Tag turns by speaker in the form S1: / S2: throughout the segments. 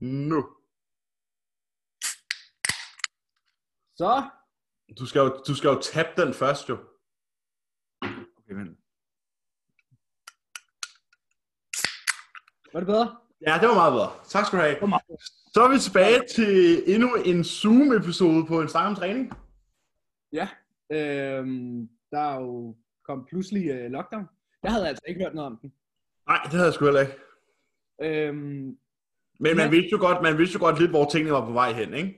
S1: Nu.
S2: Så.
S1: Du skal jo, du skal jo tabe den først, jo.
S3: Okay, men...
S2: Var det bedre?
S1: Ja, det var meget bedre. Tak skal du have.
S2: var meget
S1: Så er vi tilbage til endnu en Zoom-episode på en snak om træning.
S2: Øhm, der er jo kom pludselig øh, lockdown. Jeg havde altså ikke hørt noget om den.
S1: Nej, det havde jeg sgu heller ikke.
S2: Øhm,
S1: Men man,
S2: Ja.
S1: vidste jo godt, man vidste jo godt lidt, hvor tingene var på vej hen, ikke?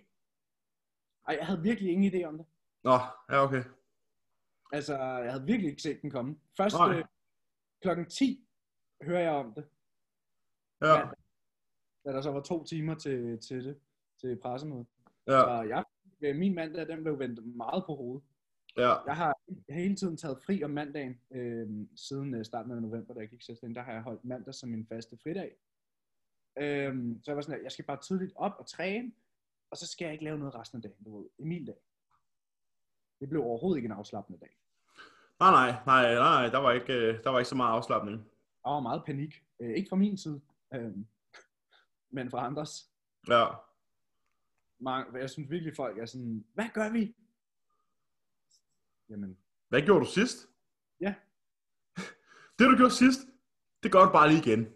S2: ej, jeg havde virkelig ingen idé om det.
S1: Nå, ja okay.
S2: Altså, jeg havde virkelig ikke set den komme. Først
S1: Nej.
S2: øh, klokken 10 hører jeg om det,
S1: Ja,
S2: Ja. da der så var to timer til, til det, til pressemødet.
S1: ja,
S2: Så jeg, øh, min mandag, den blev vendt meget på hovedet.
S1: ja.
S2: Jeg har hele tiden taget fri om mandagen, øh, siden øh, starten af november, da jeg gik selvstændig, der har jeg holdt mandag som min faste fridag. Øh, så jeg var sådan, at jeg skal bare tidligt op og træne, og så skal jeg ikke lave noget resten af dagen, du ved, Emil dag. Det blev overhovedet ikke en afslappende dag.
S1: Nej, nej, nej, nej, der var ikke, øh, der var ikke så meget afslappning.
S2: Der var meget panik, øh, ikke fra min side, øh, men fra andres.
S1: Ja,
S2: Mange, jeg synes virkelig, folk er sådan, hvad gør vi? Jamen,
S1: Hvad gjorde du sidst?
S2: Ja.
S1: Det du gjorde sidst, det gør du bare lige igen.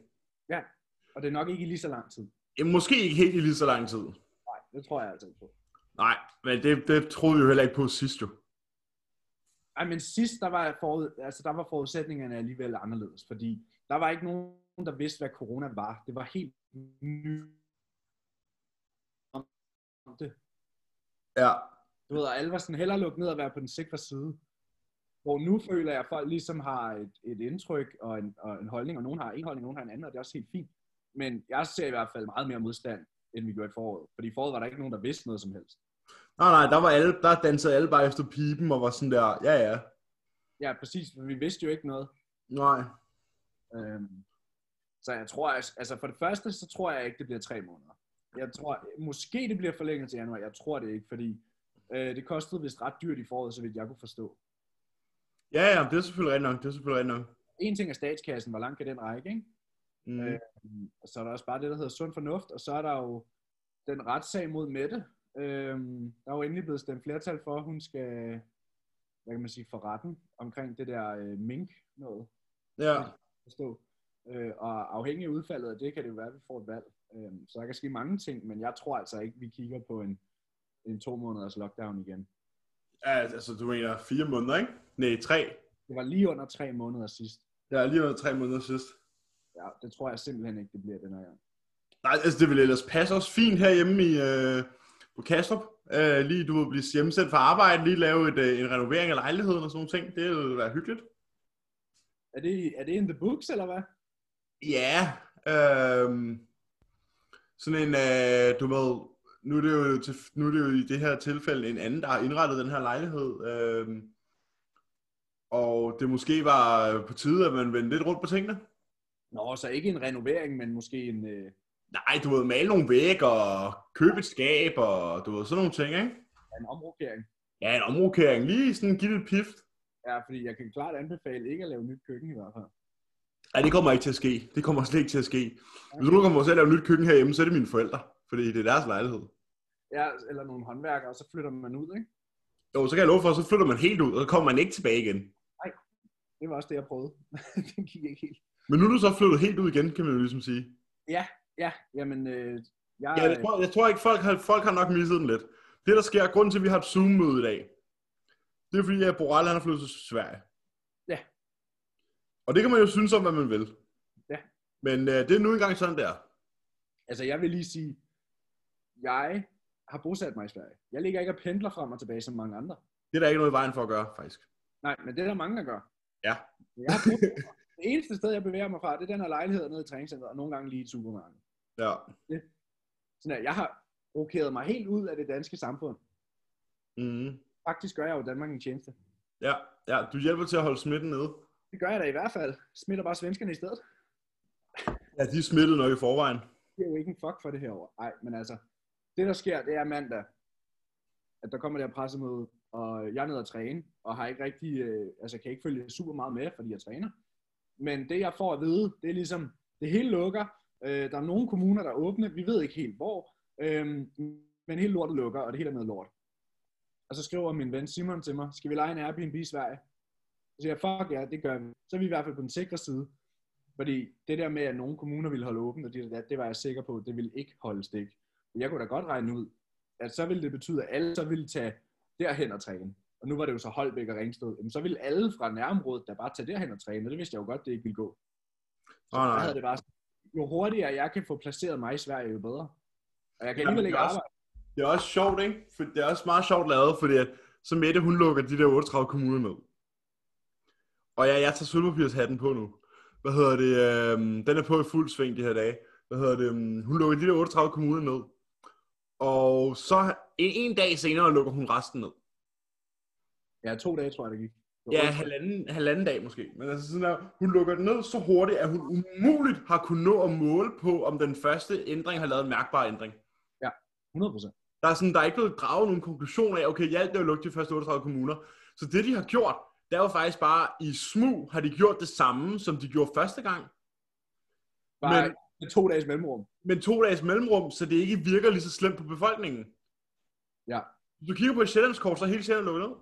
S2: og det er nok ikke i lige så lang tid.
S1: Ja, Måske ikke helt i lige så lang tid.
S2: Nej, det tror jeg altså ikke på.
S1: Nej, men det, det troede vi jo heller ikke på sidst jo.
S2: Ej, men sidst, der var, forud, altså, der var forudsætningerne alligevel anderledes, fordi der var ikke nogen, der vidste, hvad corona var. Det var helt nyt om det.
S1: Ja.
S2: Du ved, og alle var sådan hellere lukket ned og være på den sikre side. Hvor nu føler jeg, at folk ligesom har et, et indtryk og en, og en holdning, og nogen har en holdning, og nogen har en anden, og det er også helt fint. Men jeg ser i hvert fald meget mere modstand, end vi gjorde i foråret. Fordi i foråret var der ikke nogen, der vidste noget som helst.
S1: Nej, nej, der, var alle, der dansede alle bare efter pipen og var sådan der, ja ja.
S2: Ja, præcis, for vi vidste jo ikke noget.
S1: Nej.
S2: Øhm, så jeg tror, altså altså for det første, så tror jeg ikke, det bliver tre måneder. Jeg tror, måske det bliver forlænget til januar, jeg tror det ikke, fordi øh, det kostede vist ret dyrt i foråret, så vidt jeg kunne forstå.
S1: Ja, ja, det er selvfølgelig rigtigt nok, det er selvfølgelig rigtigt nok.
S2: En ting er statskassen, hvor langt kan den række, ikke?
S1: Mm.
S2: Øh. Mm, Og så er der også bare det, der hedder sund fornuft, og så er der jo den retssag mod Mette. Øhm, der er jo endelig blevet stemt flertal for, at hun skal, hvad kan man sige, for retten omkring det der øh, mink noget.
S1: Ja.
S2: forstå. Øh, og afhængig af udfaldet af det, kan det jo være, at vi får et valg. Øh, så der kan ske mange ting, men jeg tror altså ikke, vi kigger på en, en to måneders lockdown igen.
S1: ja, altså du mener fire måneder, ikke? Nej, tre.
S2: Det var lige under tre måneder sidst.
S1: Ja, lige under tre måneder sidst.
S2: Ja, det tror jeg simpelthen ikke, det bliver den her gang.
S1: Nej, altså det ville ellers passe os fint herhjemme i, øh, på Kastrup. Øh, lige du vil blive hjemsendt fra arbejde, lige lave et, øh, en renovering af lejligheden og sådan nogle ting. Det ville være hyggeligt.
S2: Er det, er det in the books, eller hvad?
S1: Ja, øh, sådan en, øh, du ved, nu er, det jo til, nu er det jo i det her tilfælde en anden, der har indrettet den her lejlighed. Øh, og det måske var øh, på tide, at man vendte lidt rundt på tingene.
S2: Nå, så ikke en renovering, men måske en... Øh,
S1: Nej, du ved, male nogle vægge og købe et skab og du ved, sådan nogle ting, ikke?
S2: en omrokering.
S1: Ja, en omrokering. Lige sådan give det et pift.
S2: Ja, fordi jeg kan klart anbefale ikke at lave nyt køkken i hvert fald.
S1: Nej, det kommer ikke til at ske. Det kommer slet ikke til at ske. Hvis du nu kommer til at lave nyt køkken herhjemme, så er det mine forældre. Fordi det er deres lejlighed.
S2: Ja, eller nogle håndværkere, og så flytter man ud, ikke?
S1: Jo, så kan jeg love for, så flytter man helt ud, og så kommer man ikke tilbage igen.
S2: Det var også det, jeg prøvede. det gik ikke helt.
S1: Men nu er du så flyttet helt ud igen, kan man jo ligesom sige.
S2: Ja, jamen... Øh, jeg,
S1: Ja, jeg, tror, jeg tror ikke, folk har, folk har nok misset den lidt. Det, der sker, grunden til, at vi har et Zoom-møde i dag, det er fordi, at Borrell han er flyttet til Sverige.
S2: Ja.
S1: Og det kan man jo synes om, hvad man vil.
S2: Ja.
S1: Men øh, det er nu engang sådan der.
S2: Altså, jeg vil lige sige, jeg har bosat mig i Sverige. Jeg ligger ikke og pendler frem og tilbage som mange andre.
S1: Det er der ikke noget i vejen for at gøre, faktisk.
S2: Nej, men det er der mange, der gør.
S1: Ja.
S2: Jeg har bosat mig. det eneste sted, jeg bevæger mig fra, det er den her lejlighed nede i træningscenteret, og nogle gange lige i supermarkedet.
S1: Ja.
S2: Sådan at jeg har rokeret mig helt ud af det danske samfund.
S1: Mm-hmm.
S2: Faktisk gør jeg jo Danmark en tjeneste.
S1: Ja, ja, du hjælper til at holde smitten nede.
S2: Det gør jeg da i hvert fald. Smitter bare svenskerne i stedet.
S1: Ja, de er smittet nok i forvejen.
S2: Det er jo ikke en fuck for det her år. Nej, men altså, det der sker, det er mandag, at der kommer det her pressemøde, og jeg er nede og træne, og har ikke rigtig, øh, altså kan ikke følge super meget med, fordi jeg træner. Men det jeg får at vide, det er ligesom, det hele lukker, Øh, der er nogle kommuner, der er åbne, vi ved ikke helt hvor, øh, men hele lortet lukker, og det hele er noget lort. Og så skriver min ven Simon til mig, skal vi lege en Airbnb i Sverige? Så siger jeg, fuck ja, det gør vi. Så er vi i hvert fald på den sikre side. Fordi det der med, at nogle kommuner ville holde åbent, og det, der, det var jeg sikker på, det ville ikke holde stik. Jeg kunne da godt regne ud, at så ville det betyde, at alle så ville tage derhen og træne. Og nu var det jo så Holbæk og Ringsted. Jamen, så ville alle fra nærområdet da bare tage derhen og træne, og det vidste jeg jo godt, det ikke ville gå. Så
S1: Åh, nej.
S2: der havde det bare sådan, jo hurtigere jeg kan få placeret mig i Sverige, jo bedre. Og jeg kan
S1: Jamen,
S2: alligevel ikke
S1: det er også-
S2: arbejde.
S1: Det er også sjovt, ikke? For det er også meget sjovt lavet, fordi at, så Mette, hun lukker de der 38 kommuner ned. Og jeg, jeg tager sølvpapirshatten på nu. Hvad hedder det? Øhm, den er på i fuld sving de her dage. Hvad hedder det? øhm, Hun lukker de der 38 kommuner ned. Og så en, en dag senere lukker hun resten ned.
S2: Ja, to dage tror jeg, det gik. Det var
S1: Ja,
S2: otte-
S1: halvanden, halvanden dag måske. Men altså sådan der, hun lukker den ned så hurtigt, at hun umuligt har kunnet nå at måle på, om den første ændring har lavet en mærkbar ændring.
S2: 100 procent.
S1: Der er, sådan, der er ikke blevet draget nogen konklusion af, okay, hjalp det at lukke de første 38 kommuner. Så det, de har gjort, det er jo faktisk bare, i smug har de gjort det samme, som de gjorde første gang,
S2: Bare
S1: Men-
S2: men, med to dages mellemrum.
S1: men to dages mellemrum, så det ikke virker lige så slemt på befolkningen.
S2: Ja.
S1: Hvis du kigger på et sjællandskort, så er hele Sjælland lukket ned.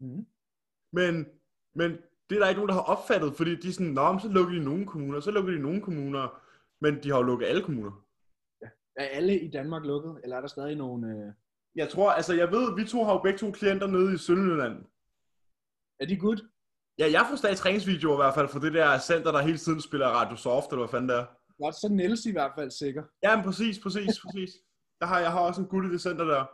S2: Mhm.
S1: Men, men det er der ikke nogen, der har opfattet, fordi de er sådan, Nå, men så lukker de nogle kommuner, så lukker de nogle kommuner, men de har jo lukket alle kommuner.
S2: Er alle i Danmark lukket, eller er der stadig nogle... Øh...
S1: Jeg tror, altså jeg ved, vi to har jo begge to klienter nede i Sønderjylland,
S2: Er de good?
S1: Ja, jeg får stadig træningsvideoer i hvert fald fra det der center, der hele tiden spiller Radio Soft, eller hvad fanden det er.
S2: Godt, så er Niels i hvert fald sikker.
S1: Ja, men præcis, præcis, præcis. Der har, jeg har også en gut i det center der.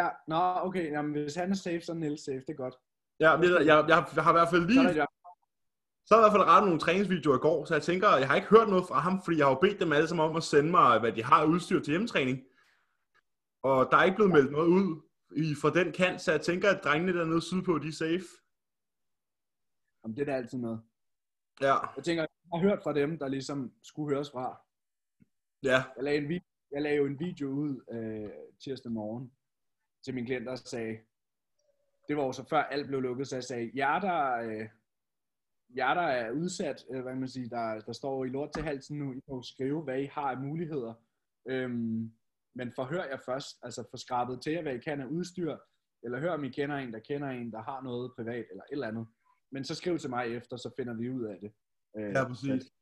S2: Ja, nå, okay, jamen, hvis han er safe, så er Niels safe, det er godt.
S1: Ja, men jeg, jeg, jeg, har- jeg har i hvert fald
S2: Så
S1: lige...
S2: er det jeg.
S1: Så har jeg i hvert fald rettet nogle træningsvideoer i går, så jeg tænker, jeg har ikke hørt noget fra ham, fordi jeg har jo bedt dem alle sammen om at sende mig, hvad de har af udstyr til hjemmetræning. Og der er ikke blevet meldt noget ud i, fra den kant, så jeg tænker, at drengene dernede sydpå, de er safe.
S2: Jamen, det er da altid noget.
S1: Ja,
S2: Jeg tænker, jeg har hørt fra dem, der ligesom skulle høres fra.
S1: ja,
S2: Jeg lagde, en video, jeg lagde jo en video ud øh, tirsdag morgen til min klient, der sagde, det var jo så før alt blev lukket, så jeg sagde, jer der, øh, jer, der er udsat, øh, hvad kan man sige, der, der står i lort til halsen nu, I må skrive, hvad I har af muligheder. Øhm, men forhør jer først, altså få skrabet til jer, hvad I kan af udstyr, eller hør om I kender en, der kender en, der har noget privat, eller et eller andet. Men så skriv til mig efter, så finder vi ud af det. Øh,
S1: ja præcis.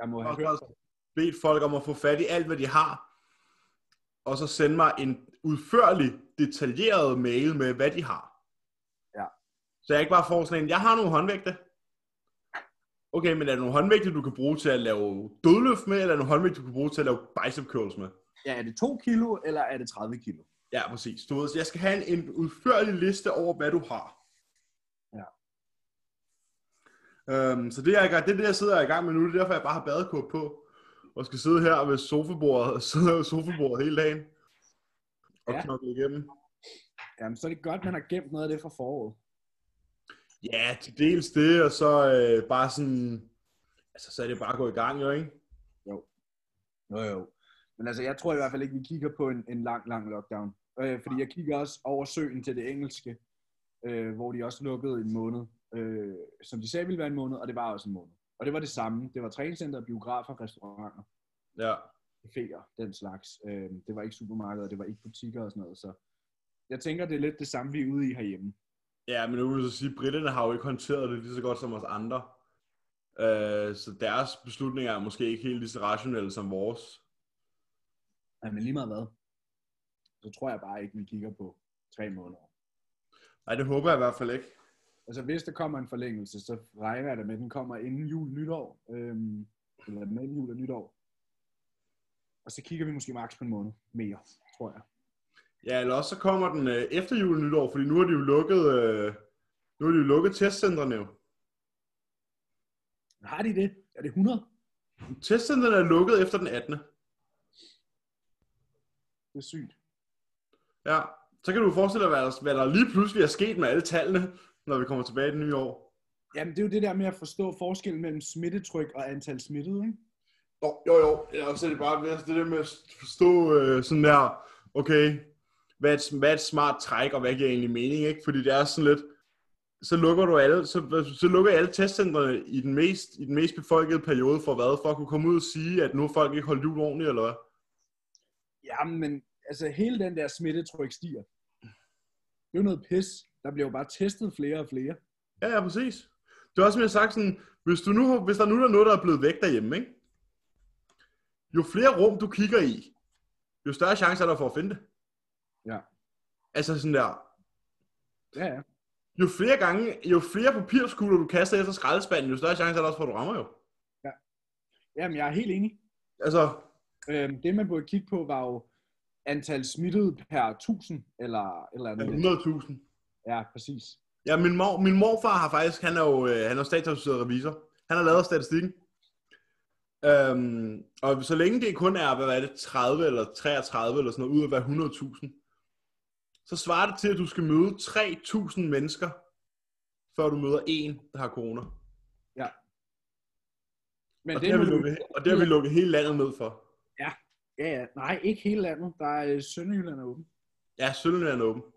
S2: Jeg må have
S1: Og så
S2: hørt
S1: har jeg bedt folk om at få fat i alt, hvad de har, og så sende mig en udførlig, detaljeret mail med, hvad de har.
S2: Ja.
S1: Så jeg ikke bare får sådan en, jeg har nogle håndvægte. Okay, men er det nogle håndvægte, du kan bruge til at lave dødløft med, eller er det nogle håndvægte, du kan bruge til at lave bicep curls med?
S2: Ja, er det 2 kilo, eller er det 30 kilo?
S1: Ja, præcis. Du ved, så jeg skal have en, en udførlig liste over, hvad du har.
S2: Ja.
S1: Øhm, så det, jeg, gør- det er det, jeg sidder i gang med nu. Det er derfor, jeg bare har badekåb på. Og skal sidde her ved sofabordet, sidde ved sofabordet hele dagen. Og ja.
S2: Ja.
S1: knokle igennem.
S2: Jamen, så er det godt, man har gemt noget af det fra foråret.
S1: Ja, til dels det, og så øh, bare sådan... Altså, så er det bare at gå i gang, jo, ikke?
S2: Jo, jo. Men altså, jeg tror i hvert fald ikke, vi kigger på en, en lang, lang lockdown. Øh, fordi jeg kigger også over søen til det engelske, øh, hvor de også lukkede en måned. Øh, som de sagde ville være en måned, og det var også en måned. Og det var det samme. Det var træningscenter, biografer, restauranter,
S1: Ja.
S2: caféer, den slags. Øh, det var ikke supermarkeder, det var ikke butikker og sådan noget. Så jeg tænker, det er lidt det samme, vi er ude i herhjemme.
S1: Ja, men nu vil jeg så sige, at britterne har jo ikke håndteret det lige så godt som os andre. Øh, så deres beslutninger er måske ikke helt lige så rationelle som vores.
S2: Ja, Men lige meget hvad, så tror jeg bare ikke, vi kigger på tre måneder.
S1: Nej, det håber jeg i hvert fald ikke.
S2: Altså hvis der kommer en forlængelse, så regner jeg da med, at den kommer inden jul nytår. Øhm, eller mellem jul og nytår. Og så kigger vi måske maks på en måned mere, tror jeg.
S1: Ja, eller også så kommer den øh, efter jul og nytår, fordi nu har de jo lukket, øh, nu har de jo lukket testcentrene jo.
S2: Men Har de det? Er det 100?
S1: Testcentrene er lukket efter den 18.
S2: Det er sygt.
S1: Ja, så kan du jo forestille dig, hvad der, hvad der lige pludselig er sket med alle tallene, når vi kommer tilbage i det nye år.
S2: Jamen det er jo det der med at forstå forskellen mellem smittetryk og antal smittede, ikke?
S1: Jo, jo, jo. Ja, så er det bare altså, det der med at forstå øh, sådan der, okay, hvad er, et, hvad er et smart træk, og hvad giver egentlig mening, ikke? Fordi det er sådan lidt, så lukker du alle, så, så lukker alle testcentrene i den, mest, i den mest befolkede periode for hvad? For at kunne komme ud og sige, at nu har folk ikke holdt jul ordentligt, eller hvad?
S2: Jamen, men altså hele den der smittetryk stiger. Det er jo noget pis. Der bliver jo bare testet flere og flere.
S1: Ja, ja, præcis. Det er også, som jeg har sagt, sådan, hvis, du nu, hvis der nu er noget, der er blevet væk derhjemme, ikke? jo flere rum du kigger i, jo større chance er der for at finde det.
S2: Ja.
S1: Altså sådan der,
S2: Ja, ja.
S1: jo flere gange, jo flere papirskugler du kaster efter skraldespanden, jo større chance er der også for, at du rammer jo.
S2: Jamen, jeg er helt enig.
S1: Altså,
S2: Øhm, det, man burde kigge på, var jo antal smittede per 1000, eller, eller
S1: ja,
S2: andet.
S1: 100.000.
S2: Ja, præcis.
S1: Ja, min, mor, min morfar har faktisk, han er jo øh, han er statsautoriseret revisor. Han har lavet statistikken. Øhm, og så længe det kun er, hvad er det, 30 eller 33 eller sådan noget, ud af hver 100.000, så svarer det til, at du skal møde 3.000 mennesker, før du møder en, der har corona. Og
S2: Men
S1: det, har vi lukket, he- og det har vi lukket hele landet ned for.
S2: Ja, ja. Nej, ikke hele landet. Der er øh, Sønderjylland er åben.
S1: Ja, Sønderjylland er åben.
S2: Ja.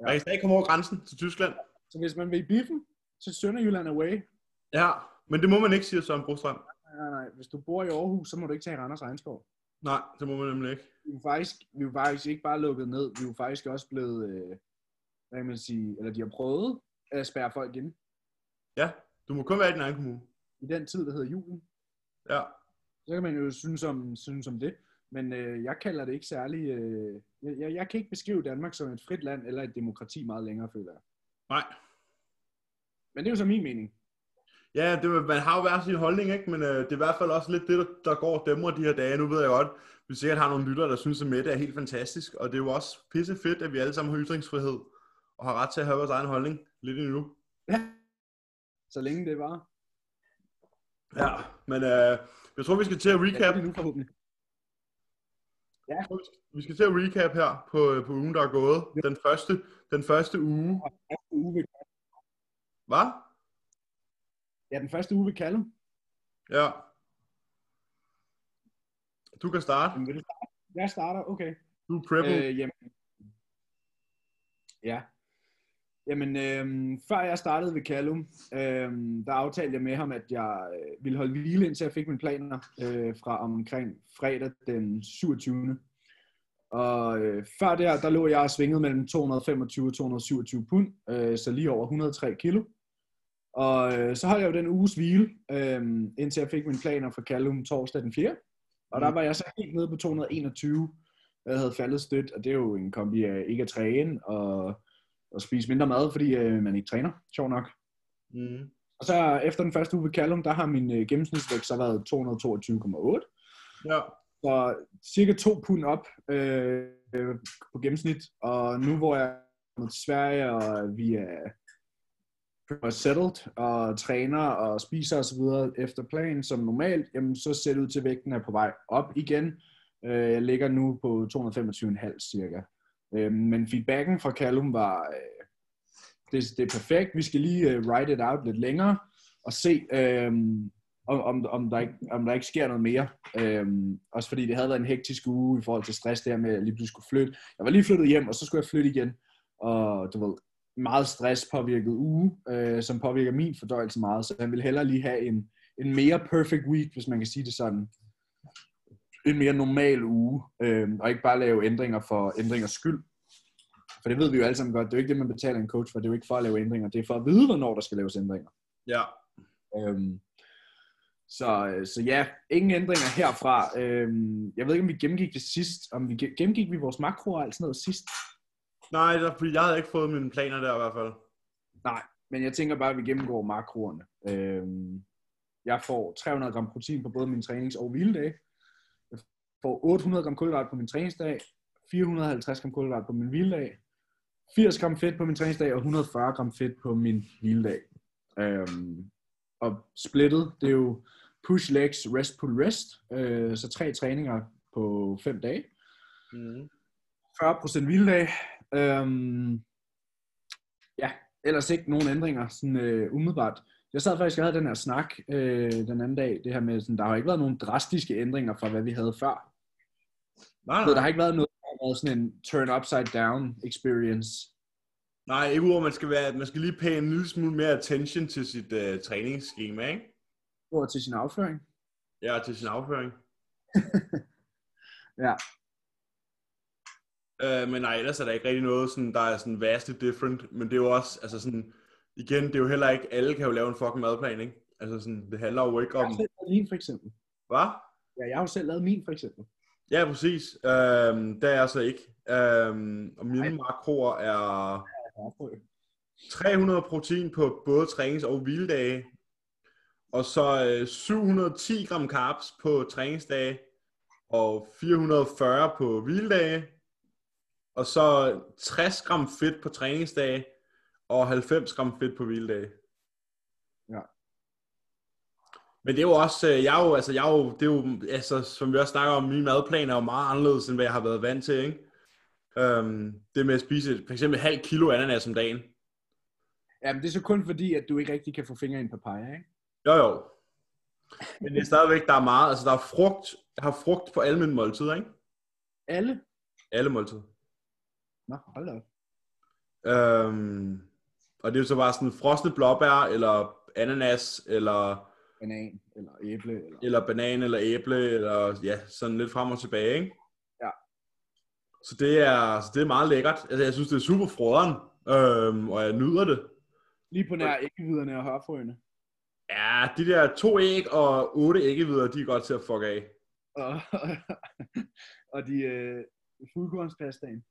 S1: Ja. Man kan stadig komme over grænsen til Tyskland.
S2: Så hvis man vil i biffen, så er Sønderjylland away.
S1: Ja, men det må man ikke, siger Søren Brostrøm.
S2: Nej, nej. Hvis du bor i Aarhus, så må du ikke tage Randers Regnskov.
S1: Nej, det må man nemlig ikke.
S2: Vi er jo faktisk, vi er jo faktisk ikke bare lukket ned. Vi er jo faktisk også blevet, øh, hvad kan man sige, eller de har prøvet at spærre folk inde
S1: Ja, du må kun være i din egen kommune.
S2: i den tid, der hedder julen.
S1: Ja.
S2: Så kan man jo synes om, synes om det. Men øh, jeg kalder det ikke særlig... Øh, jeg- jeg, jeg kan ikke beskrive Danmark som et frit land eller et demokrati meget længere, føler jeg.
S1: Nej.
S2: Men det er jo så min mening.
S1: Ja, det, man har jo hver sin holdning, ikke? men øh, det er i hvert fald også lidt det, der- der går og dæmmer de her dage. Nu ved jeg godt, vi sikkert har nogle lyttere, der synes, at Mette er helt fantastisk, og det er jo også pisse fedt, at vi alle sammen har ytringsfrihed og har ret til at have vores egen holdning lidt endnu.
S2: Ja. Så længe det var.
S1: Ja, men øh, jeg tror, vi skal til at
S2: Ja,
S1: recap.
S2: det er nu forhåbentlig.
S1: Jeg tror, vi skal- Vi skal til at recap her på, øh, på ugen, der er gået. Den første, den første uge.
S2: Og den første uge ved,
S1: Hvad?
S2: ja, den første uge ved Callum.
S1: Ja. Du kan starte.
S2: Jamen, vil du starte? Jeg starter, okay.
S1: Du er preppet.
S2: Øh, jamen. Ja. Jamen, øh, før jeg startede ved Callum, øh, der aftalte jeg med ham, at jeg øh, ville holde hvile, indtil jeg fik mine planer øh, fra omkring fredag den 27. Og øh, før der, der lå jeg og svingede mellem 225 og 227 pund, øh, så lige over 103 kilo. Og øh, så holdt jeg jo den uges hvile, øh, indtil jeg fik mine planer fra Callum torsdag den 4. Og der
S1: Mm.
S2: var jeg så helt nede på 221 jeg havde faldet stødt, og det er jo en kombi af ikke at træne og, og spise mindre mad, fordi øh, man ikke træner, sjov nok.
S1: Mm.
S2: Og så efter den første uge ved Callum, der har min øh, gennemsnitsvægt så været 222,8.
S1: Ja.
S2: Så cirka 2 pund op øh, øh, på gennemsnit, og nu hvor jeg er kommet til Sverige, og vi er pretty much settled, og træner og spiser osv. efter plan som normalt, jamen så ser det ud til, at vægten er på vej op igen. Øh, Jeg ligger nu på 225,5 cirka. Øh, Men feedbacken fra Callum var, øh, det, det er perfekt, vi skal lige øh, write it out lidt længere, og se, øh, om, om, om, der ikke, om der ikke sker noget mere. Øh, også fordi det havde været en hektisk uge i forhold til stress der med, at jeg lige pludselig skulle flytte. Jeg var lige flyttet hjem, og så skulle jeg flytte igen. Og du ved, meget stress påvirket uge, øh, som påvirker min fordøjelse meget, så han ville hellere lige have en, en mere perfect week, hvis man kan sige det sådan. En mere normal uge, øh, og ikke bare lave ændringer for ændringers skyld. For det ved vi jo alle sammen godt, det er jo ikke det, man betaler en coach for, det er jo ikke for at lave ændringer, det er for at vide, hvornår der skal laves ændringer.
S1: Ja.
S2: Øhm, så, øh, så ja, ingen ændringer herfra. Øhm, jeg ved ikke, om vi gennemgik det sidst. Om vi gen- gennemgik vi vores makroer og alt sådan noget sidst.
S1: Nej, der- fordi jeg havde ikke fået mine planer der i hvert fald.
S2: Men jeg tænker bare, at vi gennemgår makroerne. Øhm, jeg får 300 gram protein på både min trænings- og hviledag. Jeg får 800 gram kulhydrat på min træningsdag. 450 gram kulhydrat på min hviledag. 80 gram fedt på min træningsdag og 140 gram fedt på min hviledag. Øhm, og splittet, det er jo push legs, rest pull rest. Øh, så tre træninger på fem dage.
S1: Mm.
S2: 40% hviledag. Øhm, ja, ellers ikke nogen ændringer sådan øh, umiddelbart. Jeg sad faktisk og havde den her snak øh, den anden dag, det her med, sådan, der har ikke været nogen drastiske ændringer fra, hvad vi havde før.
S1: Nej,
S2: Så der
S1: nej.
S2: har ikke været noget, der har været sådan en turn upside down experience.
S1: Nej, ikke udover, man skal, være, man skal lige pæne en lille smule mere attention til sit øh, træningsschema, ikke?
S2: Og til sin afføring.
S1: Ja, til sin afføring.
S2: Ja.
S1: Øh, men nej, ellers er der ikke rigtig noget, sådan, der er sådan vastly different. Men det er jo også, altså sådan, igen, det er jo heller ikke, alle kan jo lave en fucking madplan, ikke? Altså sådan, det handler jo ikke
S2: Jeg
S1: om,
S2: har selv lavet min for eksempel.
S1: hvad?
S2: Ja, jeg har jo selv lavet min for eksempel.
S1: Ja, præcis. Øhm, det er jeg så ikke. Øhm, og mine makroer er...
S2: Ja, prøv.
S1: 300 protein på både trænings- og hviledage, og så øh, 710 gram carbs på træningsdage, og 440 på hviledage, og så 60 gram fedt på træningsdage, og 90 gram fedt på hviledage.
S2: Ja.
S1: Men det er jo også, øh, jeg er jo, altså, jeg er jo, det er jo, altså, som vi også snakker om, min madplan er jo meget anderledes, end hvad jeg har været vant til, ikke? Øhm, det med at spise for eksempel halv kilo ananas om dagen,
S2: Jamen, det er så kun fordi, at du ikke rigtig kan få fingre i en papaya, ikke?
S1: Jo, jo. Men det er stadigvæk, der er meget. Altså, der er frugt. Jeg har frugt på alle mine måltider, ikke?
S2: Alle?
S1: Alle måltider.
S2: Nå, hold da op.
S1: Øhm, og det er jo så bare sådan frosne blåbær, eller ananas, eller,
S2: Banan, eller æble, eller...
S1: eller banan, eller æble, eller ja, sådan lidt frem og tilbage, ikke?
S2: Ja.
S1: Så det er, så det er meget lækkert. Altså, jeg synes, det er super froderen, øhm, og jeg nyder det.
S2: Lige på nær æggehviderne og hørfrøene.
S1: Ja, de der to æg og otte æggevidder, de er godt til at fuck af.
S2: Og, og de øh, fuldkornspastaen.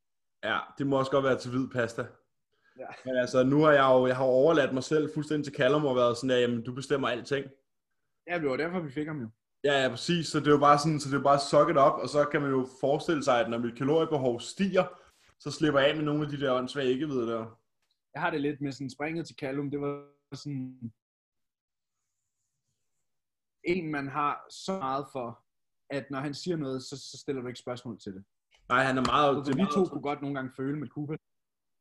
S1: Ja, det må også godt være til hvid pasta.
S2: Ja.
S1: Men altså, nu har jeg jo jeg har jo overladt mig selv fuldstændig til Callum og været sådan der, jamen du bestemmer alting.
S2: Ja, det var derfor, vi fik ham jo.
S1: Ja, ja, præcis. Så det er jo bare sådan, så det er jo bare suck it op, og så kan man jo forestille sig, at når mit kaloriebehov stiger, så slipper jeg af med nogle af de der åndssvage ikke ved der.
S2: Jeg har det lidt med sådan springet til Callum. Det var sådan... En, man har så meget for, at når han siger noget, så, så stiller du ikke spørgsmål til det.
S1: Nej, han er meget...
S2: Så
S1: det er
S2: vi to
S1: meget-
S2: kunne godt nogle gange føle med Cooper.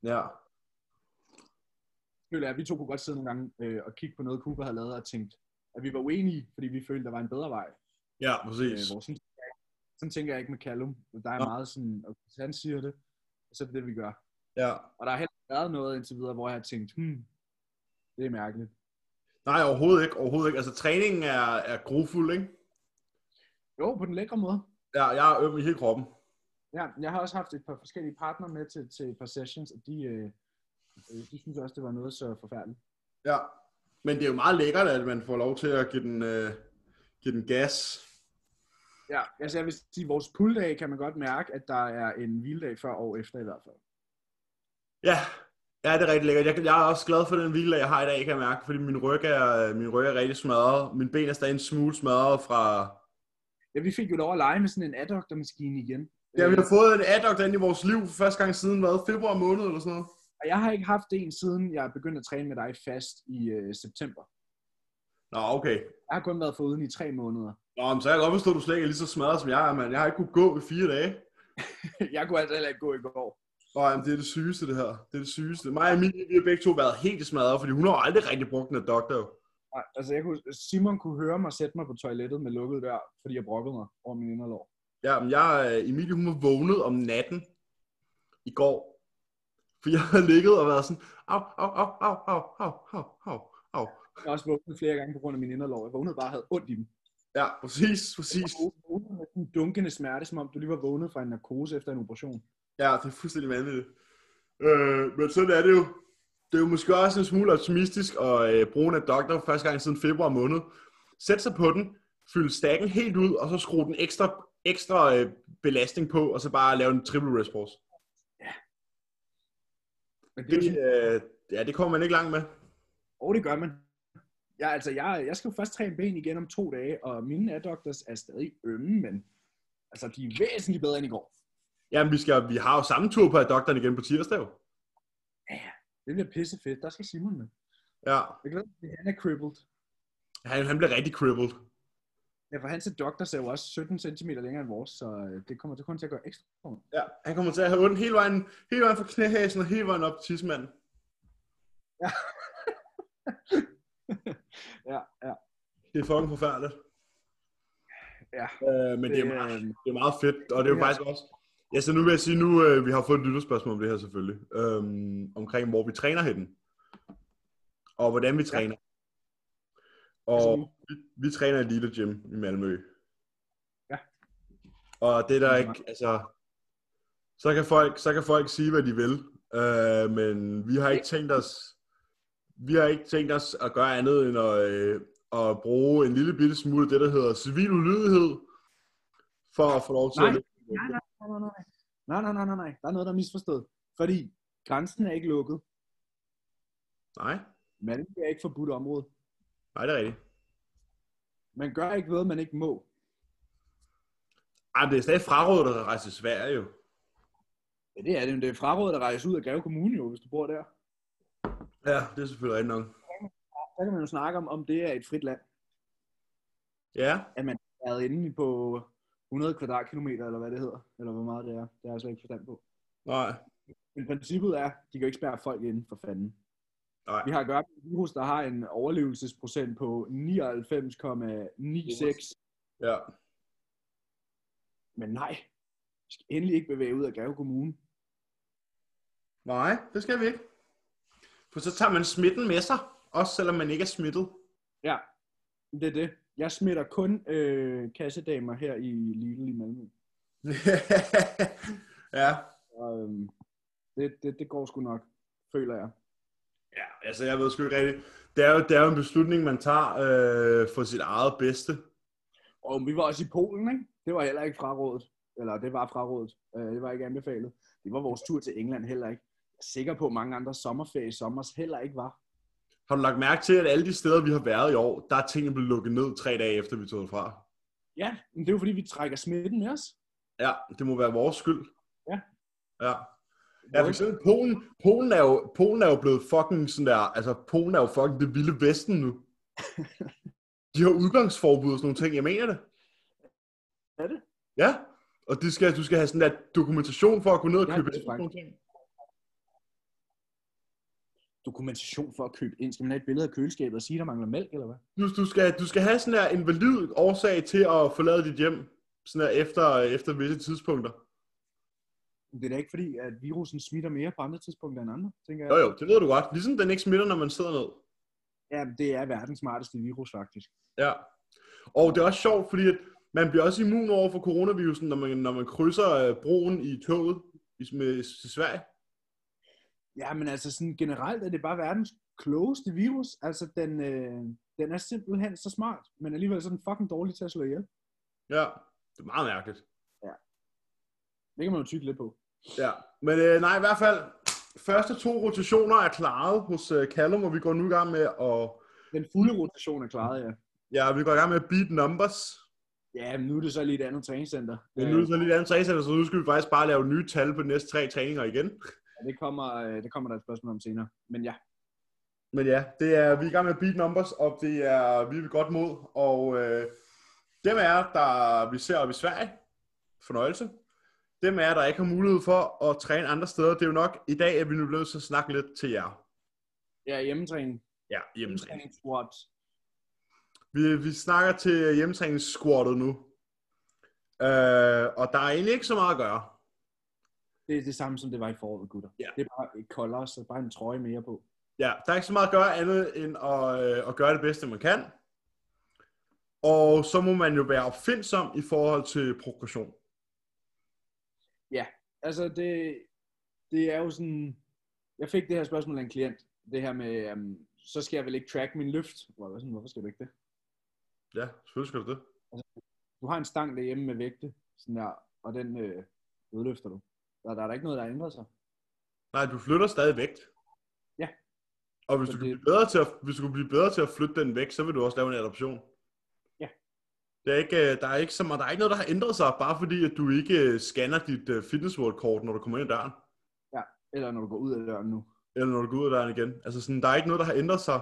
S1: Ja.
S2: Føler jeg, at vi to kunne godt sidde nogle gange øh, og kigge på noget, Cooper havde lavet og tænkt, at vi var uenige, fordi vi følte, der var en bedre vej.
S1: Ja,
S2: Øh,
S1: præcis.
S2: hvor sådan, sådan tænker jeg ikke med Callum. Der er
S1: Nå.
S2: meget sådan, og hvis han siger det, så er det det, vi gør.
S1: Ja.
S2: Og der har heller ikke været noget indtil videre, hvor jeg har tænkt, hmm, det er mærkeligt.
S1: Nej, overhovedet ikke. Overhovedet ikke. Altså, træningen er, er grofuld, ikke?
S2: Jo, på den lækre måde.
S1: Ja, jeg er øm i hele kroppen.
S2: Ja, jeg har også haft et par forskellige partner med til, til et par sessions, og de, øh, øh, de synes også, det var noget så forfærdeligt.
S1: Ja. Men det er jo meget lækkert, at man får lov til at give den, øh, give den gas.
S2: Ja, altså jeg vil sige, vores pulldag kan man godt mærke, at der er en hviledag før og efter i hvert fald.
S1: Ja, ja det er rigtig lækkert. Jeg, jeg er også glad for den hvile, jeg har i dag, kan jeg mærke, fordi min ryg er, øh, min ryg er rigtig smadret. Min ben er stadig en smule smadret fra...
S2: Ja, vi fik jo lov at lege med sådan en adoktormaskine igen. Øh,
S1: Ja, vi har fået en adduct ind i vores liv for første gang siden, hvad, februar måned eller sådan noget.
S2: Og jeg har ikke haft en, siden jeg begyndte at træne med dig fast i øh, september.
S1: Nå, okay.
S2: Jeg har kun været foruden i tre måneder.
S1: Nå, men så kan jeg godt forstå, at du slet ikke er lige så smadret som jeg er, mand. Jeg har ikke kunnet gå i fire dage.
S2: jeg kunne altså heller ikke gå i går.
S1: Nå, jamen, det er det sygeste, det her. Det er det sygeste. Mig og Emilie, vi har begge to været helt smadret, fordi hun har jo aldrig rigtig brugt en adduct, jo.
S2: Nej, Altså, jeg kunne, Simon kunne høre mig sætte mig på toilettet med lukket dør, fordi jeg brokkede mig over min inderlår.
S1: Ja, men jeg, øh, Emilie, hun var vågnet om natten i går. For jeg havde ligget og været sådan, au, au, au, au, au, au, au, au, au.
S2: Jeg har også vågnet flere gange på grund af min inderlår. Jeg vågnede bare og havde ondt i dem.
S1: Ja, præcis, præcis.
S2: Jeg vågnede med sådan en dunkende smerte, som om du lige var vågnet fra en narkose efter en operation.
S1: Ja, det er fuldstændig vanvittigt. Øh, men sådan er det jo. Det er jo måske også en smule optimistisk at øh, bruge en adductor første gang siden februar måned. Sæt sig på den, fyld stakken helt ud, og så skrue den ekstra, ekstra øh, belastning på, og så bare lave en triple wrist pause.
S2: Men det, er jo
S1: Det,
S2: sådan,
S1: øh, ja, det kommer man ikke langt med.
S2: åh, det gør man. Jeg, altså, jeg, jeg skal jo først træne ben igen om to dage, og mine addoktors er stadig ømme, men altså, de er væsentligt bedre end i går.
S1: Jamen, vi, skal, vi har jo samme tur på doktoren igen på tirsdag. jo.
S2: Det bliver pissefedt. Der skal Simon med.
S1: Ja,
S2: Jeg glæder mig, til, at han er crippled.
S1: han, han bliver rigtig crippled.
S2: Ja, for hans doktor ser jo også 17 cm længere end vores, så øh, det kommer til kun til at gøre ekstra ondt.
S1: Ja, han kommer til at have ondt hele vejen, hele vejen fra knæhæsen og hele vejen op til tidsmanden.
S2: Ja, ja,
S1: Det er fucking forfærdeligt.
S2: ja.
S1: Øh, men det er,
S2: Det,
S1: meget,
S2: øh,
S1: det er meget fedt, og det er jo
S2: det er-
S1: faktisk også, Ja, så nu vil jeg sige, nu øh, vi har fået et lytterspørgsmål om det her selvfølgelig. Øhm, omkring, hvor vi træner henne. Og hvordan vi træner. Og vi, vi træner i et lille gym i Malmø.
S2: Ja.
S1: Og det er der
S2: Ja.
S1: ikke, altså... Så kan folk, så kan folk sige, hvad de vil. Øh, men vi har ikke tænkt os... Vi har ikke tænkt os at gøre andet end at, øh, at bruge en lille bitte smule af det, der hedder civil ulydighed, for at få lov til
S2: Nej.
S1: at
S2: Nej, nej, nej, nej, nej. altså, Nej, nej, nej, nej, nej. Der er noget, der er misforstået. Fordi grænsen er ikke lukket.
S1: Nej,
S2: Malmø er ikke forbudt område.
S1: nej, det er rigtigt.
S2: Man gør ikke noget, man ikke må.
S1: Ej, men det er stadig frarådet at rejse til Sverige jo.
S2: Ja, det er det, men det er frarådet at rejse ud af Greve Kommune, jo, hvis du bor der.
S1: Ja, det er selvfølgelig rigtigt nok.
S2: Så kan man jo snakke om, om det er et frit land.
S1: Ja,
S2: Er inde på 100 kvadratkilometer, eller hvad det hedder. Eller hvor meget det er. Det har jeg slet ikke forstand på.
S1: nej.
S2: Men princippet er, de kan jo ikke spærre folk inde for fanden.
S1: Nej.
S2: Vi har at gøre med et virus, der har en overlevelsesprocent på 99,96.
S1: Ja.
S2: Men nej, vi skal endelig ikke bevæge ud af Greve Kommune.
S1: Nej, det skal vi ikke. For så tager man smitten med sig, også selvom man ikke er smittet.
S2: Ja, det er det. Jeg smitter kun øh, kassedamer her i Lidl i Malmø.
S1: ja.
S2: Og, øhm, det, det, det går sgu nok, føler jeg.
S1: Ja, altså jeg ved sgu ikke rigtigt. Det er jo, det er jo en beslutning, man tager øh, for sit eget bedste.
S2: Og vi var også i Polen, ikke? Det var heller ikke frarådet. Eller det var frarådet. Øh, det var ikke anbefalet. Det var vores tur til England heller ikke. Jeg er sikker på, at mange andre sommerferie i sommers heller ikke var.
S1: Har du lagt mærke til, at alle de steder, vi har været i år, der er tingene blevet lukket ned tre dage efter, vi tog fra?
S2: Ja, men det er jo fordi, vi trækker smitten med os.
S1: Ja, det må være vores skyld.
S2: Ja.
S1: Ja. Ja, for eksempel Polen, Polen er jo, Polen er jo blevet fucking sådan der, altså Polen er jo fucking det vilde vesten nu. De har udgangsforbud og sådan nogle ting, jeg mener det.
S2: Er det?
S1: Ja, og de skal, du skal have sådan der dokumentation for at gå ned og
S2: Ja,
S1: købe
S2: det er
S1: ind og sådan nogle ting.
S2: Dokumentation for at købe ind. Skal man have et billede af køleskabet og sige, der mangler mælk, eller hvad?
S1: Du, du, skal, du skal have sådan der en valid årsag til at forlade dit hjem, sådan der efter, efter visse tidspunkter.
S2: Men Det er da ikke fordi, at virusen smitter mere på andre tidspunkter end andre, tænker jeg.
S1: Jo jo, det ved du godt. Ligesom den ikke smitter, når man sidder ned.
S2: Ja, det er verdens smarteste virus, faktisk.
S1: Ja. Og det er også sjovt, fordi at man bliver også immun over for coronavirusen, når man, når man krydser øh, broen i toget i, med, til Sverige.
S2: Ja, men altså sådan generelt er det bare verdens klogeste virus. Altså, den, øh, den er simpelthen så smart, men alligevel så er den fucking dårlig til at slå ihjel.
S1: Ja, det er meget mærkeligt.
S2: Det kan man jo tykke lidt på.
S1: Ja, men øh, nej, i hvert fald, første to rotationer er klaret hos øh, Callum, og vi går nu i gang med at,
S2: Den fulde rotation er klaret, ja.
S1: ja, vi går i gang med at beat numbers.
S2: Ja, men nu er det så lige et andet træningscenter. Øh,
S1: Men nu er det sådan lidt andet træningscenter, så nu skal vi faktisk bare lave nye tal på de næste tre træninger igen.
S2: Øh, det, kommer, øh, det kommer der et spørgsmål om senere. Men ja,
S1: Men ja, det er, vi er i gang med Beat Numbers, og det er vi er ved godt mod. Og øh, dem er, der vi ser op i Sverige, fornøjelse. Dem er, der ikke har mulighed for at træne andre steder. Det er jo nok i dag, at vi nu er nødt til at snakke lidt til jer.
S2: ja hjemmetræning.
S1: Ja, hjemmetræning.
S2: Squat.
S1: Vi, vi snakker til hjemmetræningssquattet nu. Øh, og der er egentlig ikke så meget at gøre.
S2: Det er det samme, som det var i foråret, gutter.
S1: Ja.
S2: Det er bare koldere, så bare en trøje mere på.
S1: Ja, der er ikke så meget at gøre andet end at, øh, at gøre det bedste, man kan. Og så må man jo være opfindsom i forhold til progression.
S2: altså det, det er jo sådan, jeg fik det her spørgsmål af en klient, det her med, um, så skal jeg vel ikke track min løft? Hvor jeg var sådan, hvorfor skal du ikke det?
S1: Ja, selvfølgelig skal du det.
S2: Du har en stang derhjemme med vægte, sådan der, og den øh, udløfter du. Der, der er der ikke noget, der ændrer sig.
S1: Nej, du flytter stadig vægt.
S2: Ja.
S1: Og hvis du,
S2: Så
S1: kan
S2: det-
S1: blive bedre til at, hvis du kan blive bedre til at flytte den væk, så vil du også lave en adoption.
S2: Ja.
S1: Det er ikke, øh, der, er ikke så meget, der er ikke noget, der har ændret sig, bare fordi at du ikke øh, scanner dit øh, fitness world kort, når du kommer ind ad døren.
S2: Eller når du går ud af døren nu.
S1: Eller når du går ud af døren igen. Altså sådan, der er ikke noget, der har ændret sig.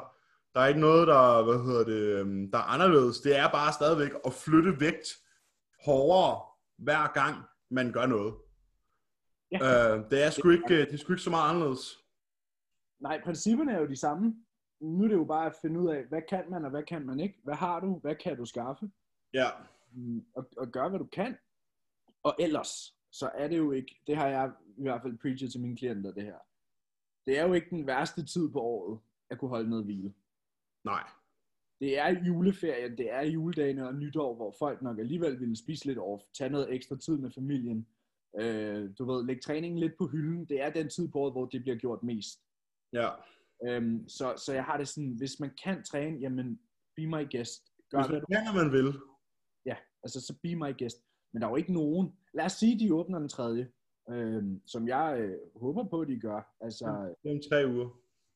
S1: Der er ikke noget, der, hvad hedder det, øhm, der er anderledes. Det er bare stadigvæk at flytte vægt hårdere, hver gang man gør noget.
S2: Ja.
S1: Øh, det, er sgu ikke, øh, det er sgu ikke så meget anderledes.
S2: Nej, principperne er jo de samme. Nu er det jo bare at finde ud af, hvad kan man, og hvad kan man ikke? Hvad har du? Hvad kan du skaffe?
S1: Ja,
S2: Mm, Og, og gøre, hvad du kan. Og ellers, så er det jo ikke, det har jeg i hvert fald preachet til mine klienter, det her. Det er jo ikke den værste tid på året, at kunne holde noget hvile.
S1: Nej.
S2: Det er juleferien, det er juledagene og nytår, hvor folk nok alligevel ville spise lidt off, tage noget ekstra tid med familien, øh, du ved, lægge træningen lidt på hylden. Det er den tid på året, hvor det bliver gjort mest.
S1: Ja.
S2: Øhm, så, så jeg har det sådan, hvis man kan træne, jamen, be my guest. Gør
S1: Hvis
S2: hvad
S1: man kan, når man vil.
S2: Altså, så be my guest. Men der er jo ikke nogen. Lad os sige, de åbner den tredje, øh, som jeg øh, håber på, de gør. Altså,
S1: Mm. Det er om tre uger.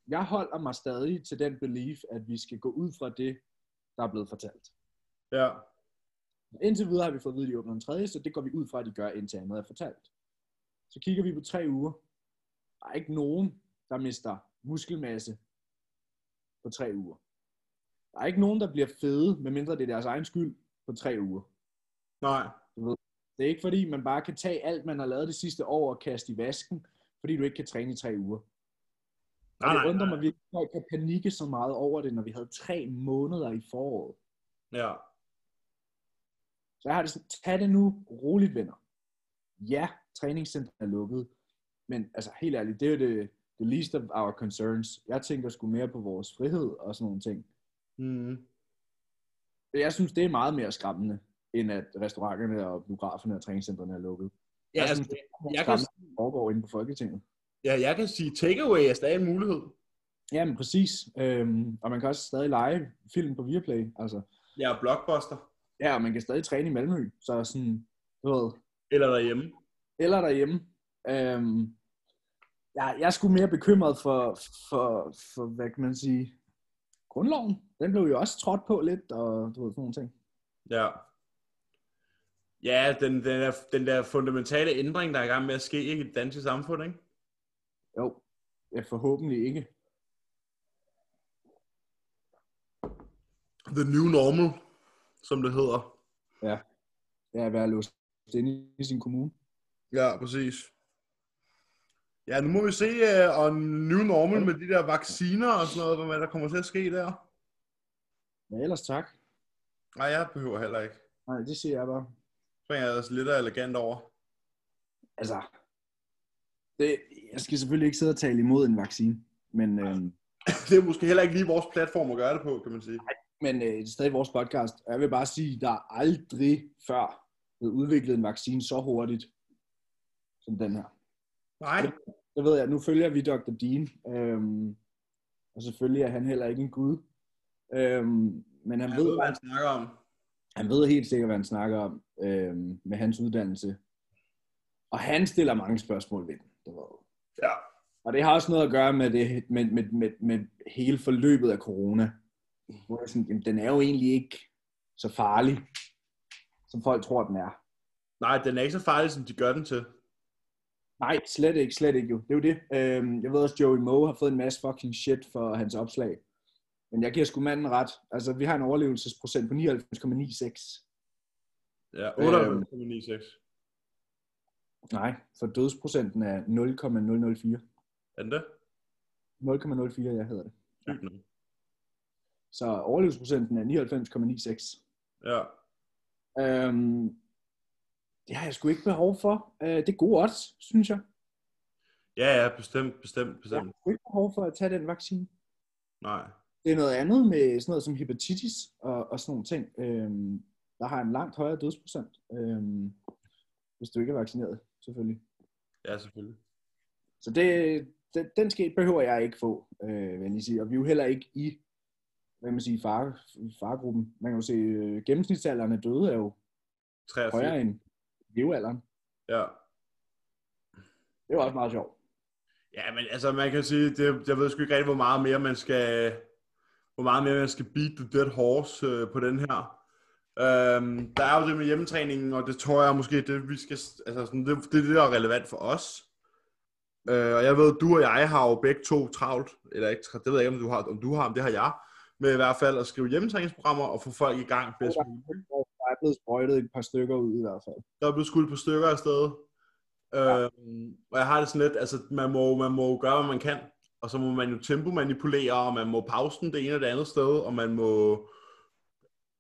S2: jeg holder mig stadig til den belief, at vi skal gå ud fra det, der er blevet fortalt.
S1: Ja.
S2: Indtil videre har vi fået at vide, at de åbner den tredje, så det går vi ud fra, at de gør, indtil andet er fortalt. Så kigger vi på tre uger. Der er ikke nogen, der mister muskelmasse på tre uger. Der er ikke nogen, der bliver fede, medmindre det er deres egen skyld, på tre uger.
S1: Nej.
S2: Det er ikke fordi, man bare kan tage alt, man har lavet det sidste år og kaste i vasken, fordi du ikke kan træne i tre uger. Og
S1: Nej,
S2: det
S1: nej.
S2: undrer mig virkelig, at folk kan panikke så meget over det, når vi havde tre måneder i foråret.
S1: Ja.
S2: Så jeg har det sådan, tag det nu roligt, venner. Ja, træningscentret er lukket, men altså helt ærligt, det er jo det, the least of our concerns. Jeg tænker sgu mere på vores frihed og sådan nogle ting.
S1: Mm.
S2: Jeg synes, det er meget mere skræmmende, end at restauranterne og biograferne og træningscentrene er lukket.
S1: Ja,
S2: Jeg
S1: altså,
S2: synes, det er
S1: jeg
S2: jeg
S1: kan,
S2: kan... foregår inde på Folketinget.
S1: ja, jeg kan sige, takeaway er stadig en mulighed.
S2: Ja, men præcis. Øhm, og man kan også stadig lege film på Viaplay. Altså.
S1: Jeg er blockbuster.
S2: Ja, og man kan stadig træne i Malmø. Så sådan, du ved,
S1: Eller derhjemme.
S2: eller derhjemme. Øhm, ja, jeg er sgu mere bekymret for, for, for, hvad kan man sige, grundloven. Den blev jo også trådt på lidt, og du ved, sådan nogle ting.
S1: Ja. Ja, den, den, der, den der fundamentale ændring, der er i gang med at ske ikke, i det danske samfund, ikke?
S2: Jo, ja, forhåbentlig ikke.
S1: The new normal, som det hedder.
S2: Det er at være låst inde i sin kommune.
S1: Ja, præcis. Ja, nu må vi se uh, on new normal med de der vacciner og sådan noget, hvad der kommer til at ske der.
S2: Men ellers tak.
S1: Nej, jeg behøver heller ikke.
S2: Nej, det siger jeg bare.
S1: Så er jeg ellers lidt elegant over.
S2: Altså, det, jeg skal selvfølgelig ikke sidde og tale imod en vaccine, men... Øhm,
S1: Det er måske heller ikke lige vores platform at gøre det på, kan man sige.
S2: men øh, det er stadig vores podcast. Og jeg vil bare sige, der er aldrig før blevet udviklet en vaccine så hurtigt som den her.
S1: Nej,
S2: Det ved jeg, nu følger vi Dr. Dean, øhm, og selvfølgelig er han heller ikke en gud. Øhm, men han
S1: jeg
S2: ved,
S1: ved, hvad han snakker om.
S2: han ved helt sikkert, hvad han snakker om øhm, med hans uddannelse. Og han stiller mange spørgsmål ved den. Du ved.
S1: Ja.
S2: Og det har også noget at gøre med, det, med, med, med, med hele forløbet af corona. Hvor jeg sådan, jamen, den er jo egentlig ikke så farlig, som folk tror, den er.
S1: Nej, den er ikke så farlig, som de gør den til.
S2: Nej, slet ikke, slet ikke jo. Det er jo det. Øhm, jeg ved også, Joey Moe har fået en masse fucking shit for hans opslag. Men jeg giver sgu manden ret. Altså, vi har en overlevelsesprocent på 99,96.
S1: Ja, 98,96.
S2: Nej, for dødsprocenten er 0,004.
S1: Er den det?
S2: 0,04, jeg hedder det.
S1: Sygt nok.
S2: Så overlevelsesprocenten er 99,96.
S1: Ja.
S2: Øhm, det har jeg sgu ikke behov for. Øh, det er gode odds, synes jeg.
S1: Ja, ja, bestemt, bestemt,
S2: Jeg
S1: bestemt.
S2: har sgu ikke behov for at tage den vaccine.
S1: Nej.
S2: Det er noget andet med sådan noget som hepatitis og, og sådan nogle ting, øhm, der har en langt højere dødsprocent, øhm, hvis du ikke er vaccineret, selvfølgelig.
S1: Ja, selvfølgelig.
S2: Så det, den, den skal, behøver jeg ikke få, øh, vil jeg lige sige. Og vi er jo heller ikke i hvad kan man sige, fare, faregruppen. Man kan jo se, øh, gennemsnitsalderen af døde er jo
S1: 83.
S2: højere end levealderen.
S1: Ja.
S2: Det var også meget sjovt.
S1: Ja, men altså, man kan sige, det, jeg ved sgu ikke rigtig, hvor meget mere man skal, hvor meget mere man skal beat the dead horse øh, på den her. Øhm, der er jo det med hjemmetræningen, og det tror jeg måske, det, vi skal, altså, sådan, det, det er det, der er relevant for os. Øh, og jeg ved, du og jeg har jo begge to travlt, eller ikke, tra- det ved jeg ikke, om du har, om du har, men det har jeg, med i hvert fald at skrive hjemmetræningsprogrammer og få folk i gang bedst muligt.
S2: Der er blevet sprøjtet et par stykker ud i hvert fald.
S1: der er blevet skudt på stykker af sted. Ja. Øhm, og jeg har det sådan lidt, altså man må, man må jo gøre, hvad man kan, og så må man jo tempo manipulere, og man må pause den det ene og det andet sted, og man må,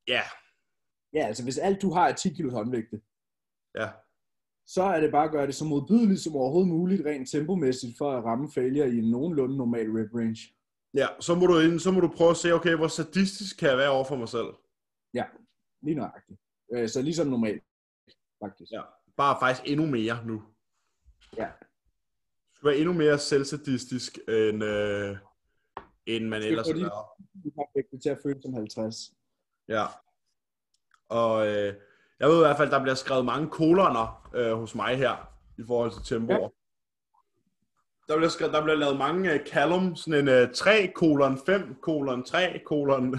S1: ja,
S2: Ja, altså hvis alt du har er 10 kilo håndvægte,
S1: ja,
S2: så er det bare at gøre det så modbydeligt som overhovedet muligt, rent tempomæssigt, for at ramme failure i en nogenlunde normal rep range.
S1: Ja, så må du, ind, så må du prøve at se, okay, hvor sadistisk kan jeg være over for mig selv?
S2: Lige nøjagtigt. Øh, så ligesom normalt, faktisk.
S1: Ja. Bare faktisk endnu mere nu.
S2: Ja.
S1: Du skal være endnu mere selvsadistisk, end, øh, end man
S2: Skal
S1: ellers
S2: få
S1: har
S2: de-
S1: været.
S2: Du har fik det til at føle som 50.
S1: Ja. Og øh, jeg ved i hvert fald, der bliver skrevet mange koloner øh, hos mig her, i forhold til tempoer. Ja.
S2: Ja.
S1: Der bliver, skrevet, der bliver lavet mange øh, Callum, sådan en øh, 3 kolon 5 kolon 3 kolon,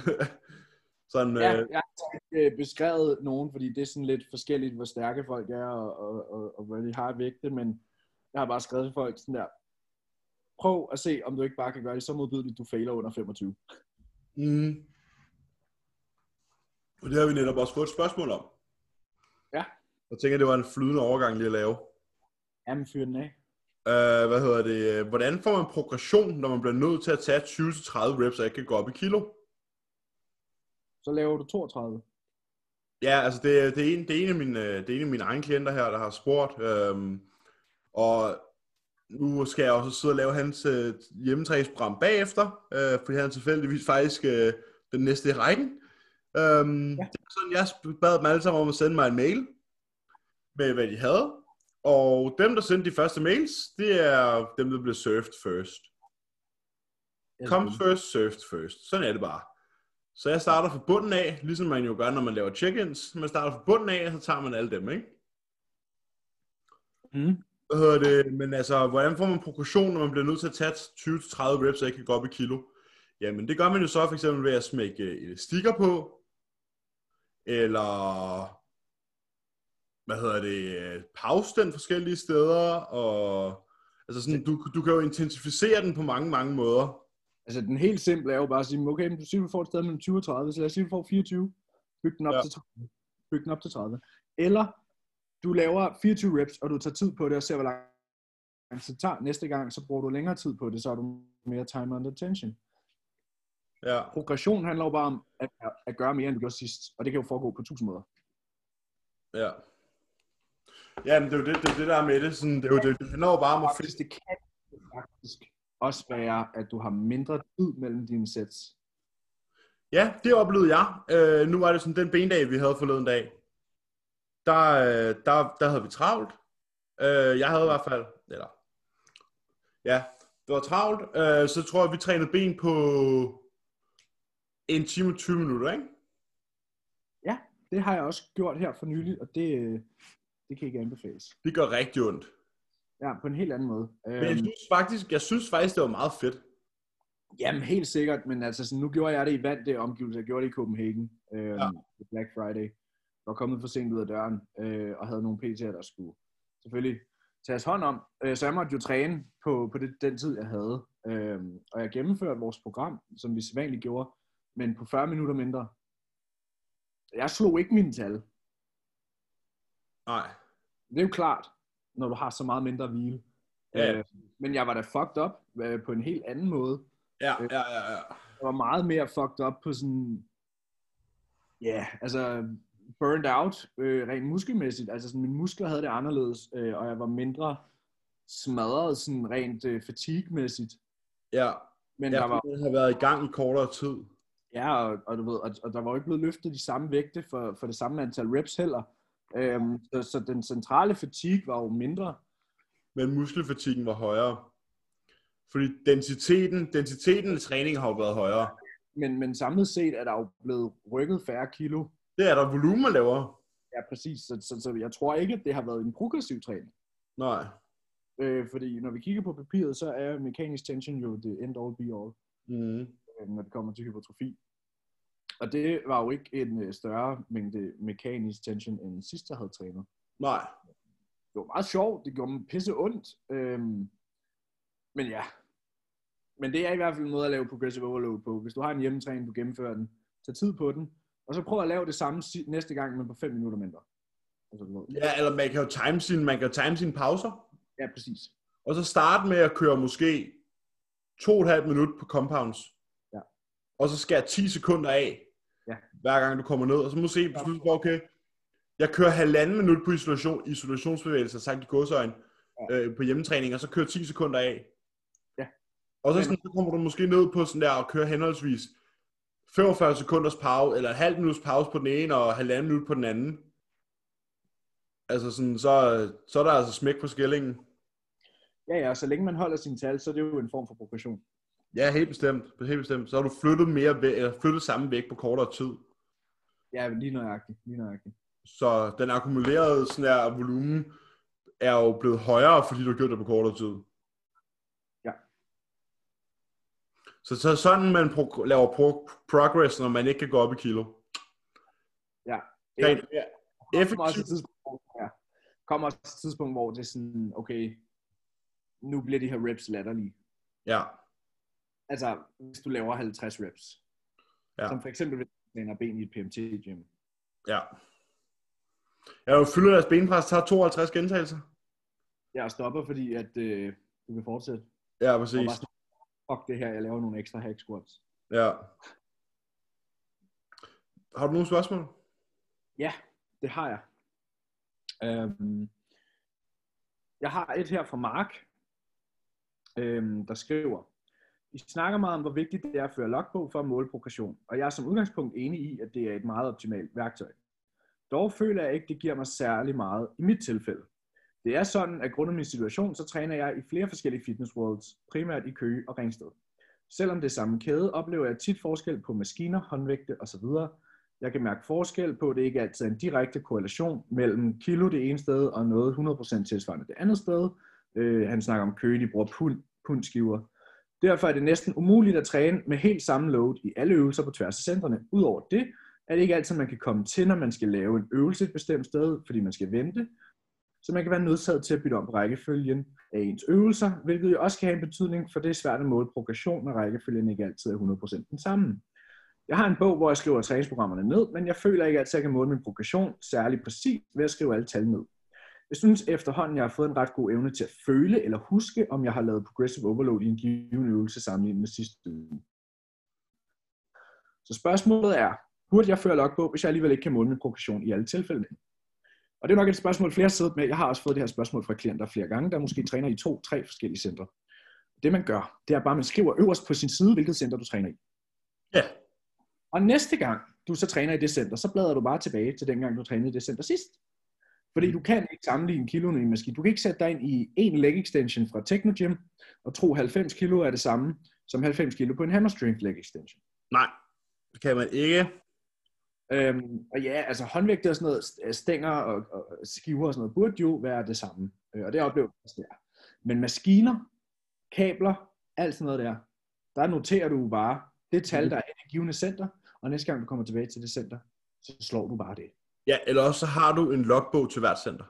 S1: sådan,
S2: Ja,
S1: ja. øh,
S2: jeg har så ikke øh, beskrevet nogen, fordi det er sådan lidt forskelligt, hvor stærke folk er, og, og, og, og hvad de har i vægte, men jeg har bare skrevet til folk sådan der, prøv at se, om du ikke bare kan gøre det så modbydeligt, du fejler under 25.
S1: mm. Og det har vi netop også fået et spørgsmål om.
S2: Ja.
S1: Jeg tænker, det var en flydende overgang lige at lave.
S2: Jamen, fyr den af.
S1: Øh, hvad hedder det? øh, Hvordan får man progression, når man bliver nødt til at tage 20-30 reps og ikke kan gå op i kilo?
S2: Så laver du 32.
S1: Ja, altså det, det, er en, det, er en af mine, øh, det er en af mine egne klienter her, der har spurgt. Øhm, og nu skal jeg også sidde og lave hans øh, hjemmetræningsprogram bagefter, øh, fordi han er tilfældigvis faktisk øh, den næste i rækken. Øhm, ja. Det var sådan, jeg sp- bad dem alle sammen om at sende mig en mail med, hvad de havde. Og dem, der sendte de første mails, det er dem, der blev surfed first. Come first, served first. Sådan er det bare. Så jeg starter fra bunden af, ligesom man jo gør, når man laver check-ins. Man starter fra bunden af, og så tager man alle dem, ikke?
S2: Mm.
S1: Hvad hedder det? Men altså, hvordan får man progression, når man bliver nødt til at tage 20-30 reps, og ikke kan gå op i kilo? Jamen, det gør man jo så for eksempel ved at smække øh, elastikker på, eller hvad hedder det, øh, pause den forskellige steder, og altså sådan, du, du kan jo intensificere den på mange, mange måder.
S2: Altså, den helt simple er jo bare at sige, okay, men du siger, du får et sted mellem 20 og 30, så lad os sige, du får 24. Byg den op,
S1: Ja.
S2: ja. til, 30. Byg den op til 30. Eller du laver 24 reps, og du tager tid på det og ser, hvor lang tid det tager. Næste gang, så bruger du længere tid på det, så har du mere time under tension.
S1: Ja.
S2: Progression handler jo bare om at, at gøre mere, end du gjorde sidst. Og det kan jo foregå på tusind måder.
S1: Ja. Ja, men det er jo det, det, er det der er med det. Sådan, det, er jo, det, det handler jo bare om at finde...
S2: Faktisk, det kan faktisk også være, at du har mindre tid mellem dine sets.
S1: Ja, det oplevede jeg. Øh, nu var det sådan den bendag, vi havde forleden dag. Der, øh, der, der havde vi travlt. Øh, jeg havde i hvert fald... Eller... Ja, det var travlt. Øh, så tror jeg, vi trænede ben på en time og 20 minutter, ikke?
S2: Det har jeg også gjort her for nylig, og det, øh, det kan ikke anbefales.
S1: Det gør rigtig ondt.
S2: Ja, på en helt anden måde.
S1: Men jeg
S2: Øhm,
S1: synes faktisk, jeg synes faktisk det var meget fedt.
S2: jamen, helt sikkert, men altså, sådan, nu gjorde jeg det i vand, det omgivelse, jeg gjorde det i Copenhagen, øhm,
S1: Ja.
S2: ja. Black Friday. Jeg var kommet for sent ud af døren, øh, og havde nogle PT'er, der skulle selvfølgelig tages hånd om. Øh, så jeg måtte jo træne på, på det, den tid, jeg havde. Øhm, og jeg gennemførte vores program, som vi sædvanligt gjorde, men på 40 minutter mindre. Jeg slog ikke mine tal.
S1: Nej.
S2: Det er jo klart, når du har så meget mindre hvile.
S1: Ja.
S2: Øh, men jeg var da fucked up øh, på en helt anden måde.
S1: Ja, ja, ja, ja.
S2: jeg var meget mere fucked up på sådan, ja, yeah, altså burned out øh, rent muskelmæssigt. Altså sådan, mine muskler havde det anderledes, øh, og jeg var mindre smadret sådan rent øh, fatigmæssigt.
S1: Ja,
S2: Men
S1: ja
S2: der var,
S1: det har været i gang i kortere tid.
S2: ja, og, og, du ved, og, og der var jo ikke blevet løftet de samme vægte for, for det samme antal reps heller. Øhm, så, så den centrale fatigue var jo mindre.
S1: men muskelfatigen var højere. Fordi densiteten, densiteten i træningen har jo været højere.
S2: Men, men samlet set er der jo blevet rykket færre kilo.
S1: Det er der volumen lavere.
S2: Ja, præcis. Så, så, så jeg tror ikke, at det har været en progressiv træning.
S1: Nej.
S2: Øh, fordi når vi kigger på papiret, så er mekanisk tension jo det end all be all,
S1: Mm.
S2: øh, når det kommer til hypertrofi. Og det var jo ikke en øh, større mængde mekanisk tension, end sidst jeg havde trænet.
S1: Nej.
S2: Det var meget sjovt, det gjorde mig pisse ondt. Øh, men ja, men det er i hvert fald en måde at lave progressive overload på. Hvis du har en hjemmetræning, du gennemfører den, tag tid på den, og så prøv at lave det samme si- næste gang, men på 5 minutter mindre. Altså, du ved.
S1: Ja, eller man kan jo time sine, man kan jo time sine pauser.
S2: ja, præcis.
S1: Og så starte med at køre måske 2,5 minut på compounds.
S2: Ja.
S1: Og så skære 10 sekunder af,
S2: Ja.
S1: hver gang du kommer ned. Og så måske beslutte, dig, okay, Jeg kører halvanden minut på isolation, isolationsbevægelser, sagt i godsøjen, ja. øh, på hjemmetræning, og så kører 10 sekunder af.
S2: Ja.
S1: Og så,
S2: Men-
S1: sådan, så kommer du måske ned på sådan der og kører henholdsvis 45 sekunders pause, eller halv minuts pause på den ene, og halvanden minut på den anden. Altså sådan, så, så er der altså smæk på skillingen.
S2: Ja, ja, og så længe man holder sine tal, så er det jo en form for progression.
S1: Ja, helt bestemt. Helt bestemt. Så har du flyttet, mere væk, eller flyttet samme væk på kortere tid.
S2: Ja, lige nøjagtigt, lige nøjagtigt.
S1: Så den akkumulerede sådan der, volumen er jo blevet højere, fordi du har gjort det på kortere tid.
S2: Ja.
S1: Så, så sådan man pro- laver pro- progress, når man ikke kan gå op i kilo.
S2: Det er-
S1: Rent
S2: kommer også et
S1: effektivt.
S2: tidspunkt, hvor, ja, kommer også et tidspunkt, hvor det er sådan, okay, nu bliver de her reps latterlige.
S1: Ja.
S2: Altså, hvis du laver 50 reps.
S1: Ja.
S2: Ja. Som for eksempel, hvis du træner ben i et PMT-gym.
S1: Ja. Jeg jo fylder deres benpres, tager 52 gentagelser.
S2: Jeg stopper, fordi at øh, du kan fortsætte.
S1: Ja,
S2: Og
S1: præcis.
S2: bare sådan, fuck det her, jeg laver nogle ekstra hack squats.
S1: Ja. Har du nogle spørgsmål?
S2: Det har jeg. Øhm, jeg har et her fra Mark, øhm, der skriver, I snakker meget om, hvor vigtigt det er at føre logbog for at måle progression, og jeg er som udgangspunkt enig i, at det er et meget optimalt værktøj. Dog føler jeg ikke, det giver mig særlig meget i mit tilfælde. Det er sådan, at grundet min situation, så træner jeg i flere forskellige fitness worlds, primært i Køge og Ringsted. Selvom det er samme kæde, oplever jeg tit forskel på maskiner, håndvægte osv., jeg kan mærke forskel på, at det ikke altid er en direkte korrelation mellem kilo det ene sted og noget 100% tilsvarende det andet sted. Øh, han snakker om køge, de bruger pund, pundskiver. Derfor er det næsten umuligt at træne med helt samme load i alle øvelser på tværs af centrene. Udover det er det ikke altid, man kan komme til, når man skal lave en øvelse et bestemt sted, fordi man skal vente. Så man kan være nødsaget til at bytte om på rækkefølgen af ens øvelser, hvilket jo også kan have en betydning, for det er svært at måle progression, når rækkefølgen ikke altid er 100% den samme. Jeg har en bog, hvor jeg skriver træningsprogrammerne ned, men jeg føler ikke altid, at jeg kan måle min progression særlig præcis ved at skrive alle tal ned. Jeg synes efterhånden, jeg har fået en ret god evne til at føle eller huske, om jeg har lavet progressive overload i en given øvelse sammenlignet med sidste uge. Så spørgsmålet er, burde jeg føre logbog, hvis jeg alligevel ikke kan måle min progression i alle tilfælde? Og det er nok et spørgsmål, flere har siddet med. Jeg har også fået det her spørgsmål fra klienter flere gange, der måske træner i to-tre forskellige centre. Det man gør, det er bare, at man skriver øverst på sin side, hvilket center du træner i.
S1: Ja.
S2: Og næste gang, du så træner i det center, så bladrer du bare tilbage til dengang, du trænede i det center sidst. Fordi du kan ikke sammenligne kiloene i en maskine. Du kan ikke sætte dig ind i en leg extension fra Technogym og tro 90 kilo er det samme som 90 kilo på en hamstring leg extension.
S1: Nej, det kan man ikke.
S2: Øhm, og ja, altså håndvægte og sådan noget, st- stænger og, og og skiver og sådan noget, burde jo være det samme. Øh, og det oplever jeg også der. Men maskiner, kabler, alt sådan noget der, der noterer du bare det tal, der er i det givende center, og næste gang du kommer tilbage til det center, så slår du bare det.
S1: Ja, eller også så har du en logbog til hvert center.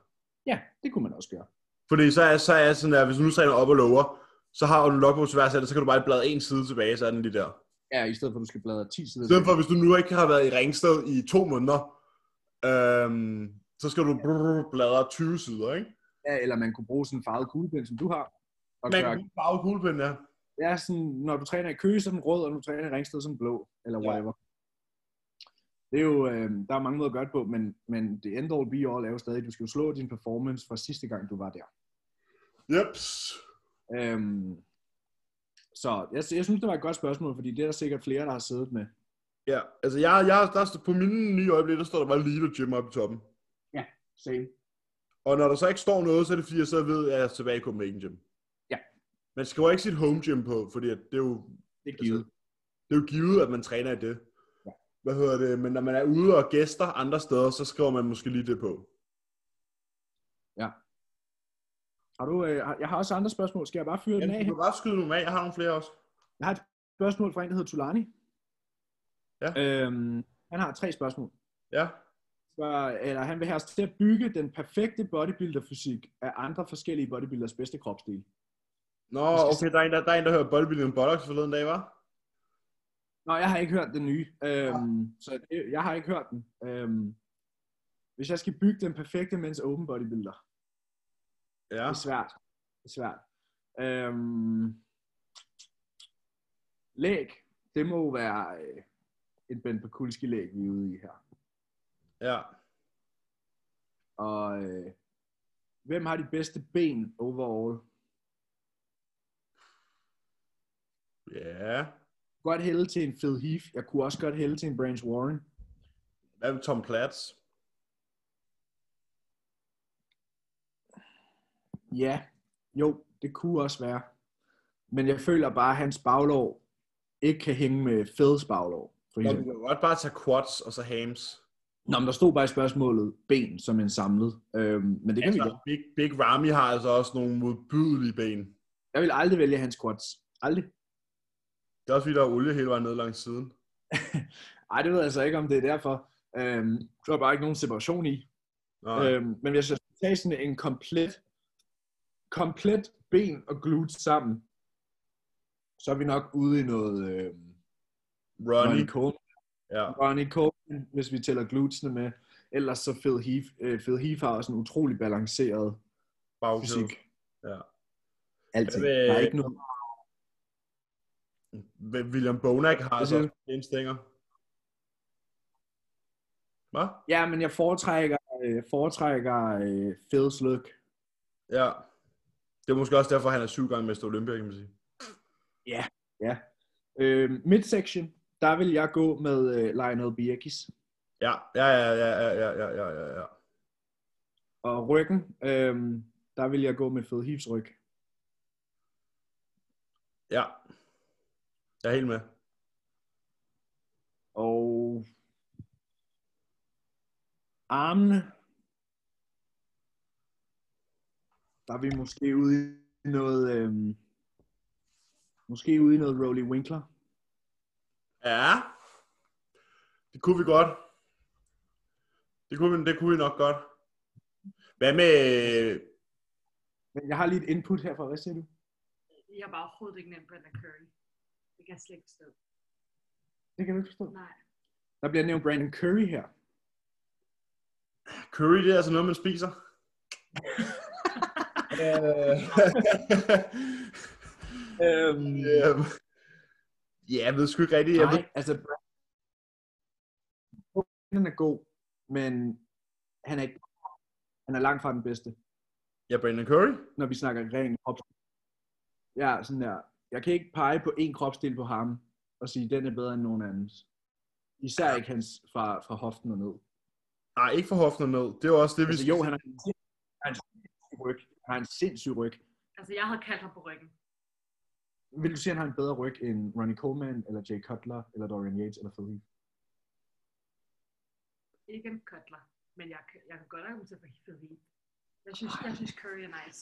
S2: Ja, det kunne man også gøre.
S1: Fordi så er, så er sådan der, hvis du nu træner op og lower, så har du en logbog til hvert center, så kan du bare bladre en side tilbage, så er den lige der.
S2: Ja, i stedet for at du skal bladre 10 sider.
S1: I stedet for, hvis du nu ikke har været i Ringsted i to måneder, øhm, så skal du brrr, bladre 20 sider, ikke?
S2: Ja, eller man kunne bruge sådan en farvet kuglepen, som du har. Og
S1: Man
S2: gøre,
S1: kan farve kuglepinden, ja.
S2: ja, sådan, når du træner i Køge, så er den rød, og når du træner i Ringsted, så er den blå, eller
S1: Ja.
S2: whatever. Det er jo, øh, der er mange måder at gøre det på, men, men det end all be all er jo stadig, du skal jo slå din performance fra sidste gang, du var der.
S1: Jeps.
S2: Øhm, så jeg, jeg synes, det var et godt spørgsmål, fordi det er der sikkert flere, der har siddet med.
S1: Ja, altså jeg, jeg, der, står- på mine nye øjeblikke, der står der bare Lido Gym oppe i toppen.
S2: Same.
S1: Og når der så ikke står noget, så er det fordi, jeg så ved, at jeg er tilbage i Copenhagen Gym.
S2: Ja.
S1: Man skriver ikke sit home gym på, fordi at det er jo
S2: Det er
S1: Altså,
S2: givet.
S1: det er jo givet, at man træner i det.
S2: Ja.
S1: Hvad hedder det? Men når man er ude og gæster andre steder, så skriver man måske lige det på.
S2: Har du, øh, har- jeg har også andre spørgsmål. Skal jeg bare fyre den
S1: Men
S2: af?
S1: du kan godt skyde nogle af. Jeg har nogle flere også.
S2: Jeg har et spørgsmål fra en, der hedder Tulani.
S1: Ja.
S2: Øhm, han har tre spørgsmål.
S1: Ja.
S2: Så, eller han vil have os til at bygge den perfekte bodybuilder-fysik af andre forskellige bodybuilders bedste kropsdele.
S1: Nå,
S2: Jeg skal
S1: okay. Der er en, der, der, er en, der hører bodybuilding bollocks forleden dag, var?
S2: Nå, jeg har ikke hørt den nye, øhm, så det, jeg har ikke hørt den. Øhm, hvis jeg skal bygge den perfekte mens open bodybuilder,
S1: Ja.
S2: det er svært. Det er svært. Øhm, læg, det må jo være øh, en Ben Pakulski-læg, vi er ude i her.
S1: ja.
S2: Og øh, hvem har de bedste ben overall?
S1: Ja.
S2: Godt hælde til en Phil Heath. Jeg kunne også godt hælde til en Branch Warren.
S1: Hvad med Tom Platz?
S2: Ja, jo, det kunne også være. Men jeg føler bare, at hans baglov ikke kan hænge med Phil's baglov. For
S1: Nå, Du
S2: eksempel.
S1: kan godt bare tage quads og så hams.
S2: Nå, men der stod bare i spørgsmålet ben som en samlet. Øhm, men det kan vi godt.
S1: Altså, Big, Big Ramy har altså også nogle modbydelige ben.
S2: Jeg vil aldrig vælge hans quads. Aldrig.
S1: Det er også fordi, der er olie hele vejen ned langs siden.
S2: Ej, det ved jeg altså ikke, om det er derfor. Øhm, der er bare ikke nogen separation i.
S1: Nej.
S2: Øhm, men hvis jeg skulle tage sådan en komplet, komplet ben og glutes sammen, så er vi nok ude i noget øhm,
S1: Ronnie.
S2: Ronnie Coleman.
S1: Ja.
S2: Ronnie Coleman, hvis vi tæller glutesene med. Ellers så Phil Heath. Øh, Phil Heath har også en utrolig balanceret
S1: Bagkæde.
S2: fysik.
S1: Ja.
S2: Alting.
S1: Jeg vil-
S2: Der er ikke noget.
S1: Hvem- William Bonac har altså
S2: siger
S1: også benstænger. Hvad?
S2: Ja, men jeg foretrækker, øh, foretrækker øh, Phil's look.
S1: Ja. Det er måske også derfor, han er syv gange mester Olympia, kan man sige.
S2: Øh, midsection, der vil jeg gå med øh, Lionel Birkis.
S1: Ja, ja, ja, ja, ja, ja, ja, ja, ja, ja.
S2: Og ryggen, øh, der vil jeg gå med Phil Heaths ryg.
S1: ja. Jeg er helt med.
S2: Og armene, der er vi måske ude i noget, øhm, måske ude i noget Rolly Winkler.
S1: Ja. Det kunne vi godt. Det kunne vi, det kunne vi nok godt. Hvad med...
S2: Men jeg har lige et input her fra, hvad siger du?
S4: Jeg var overhovedet ikke nemt Brenda Curry. Det kan jeg slet ikke forstå.
S2: Det kan du ikke forstå.
S4: Nej.
S2: Der bliver nævnt Brandon Curry her.
S1: Curry, det er altså noget, man spiser. Øh.
S2: Øhm,
S1: Øhm. Ja, jeg ved sgu ikke rigtigt. Jeg ved,
S2: Nej, altså Brandon er god, men han er, ikke, han er langt fra den bedste.
S1: ja, Brandon Curry.
S2: når vi snakker ren kropsdel. Ja, sådan der. Jeg kan ikke pege på en kropsdel på ham og sige, den er bedre end nogen andens. Især ikke hans fra, fra hoften og ned.
S1: Nej, ikke for hoften og ned. Det er jo også det, vi...
S2: Altså, jo, han har en sin- han har en sindssyg ryg. Han har en sindssyg ryg.
S4: Altså, jeg havde kaldt ham på ryggen.
S2: Vil du sige, at han har en bedre ryg end Ronnie Coleman, eller Jay Cutler, eller Dorian Yates, eller Phil Heath?
S4: Ikke en Cutler, men jeg, kan- jeg kan godt argumentere for Phil Heath. Jeg synes, jeg synes Curry er nice.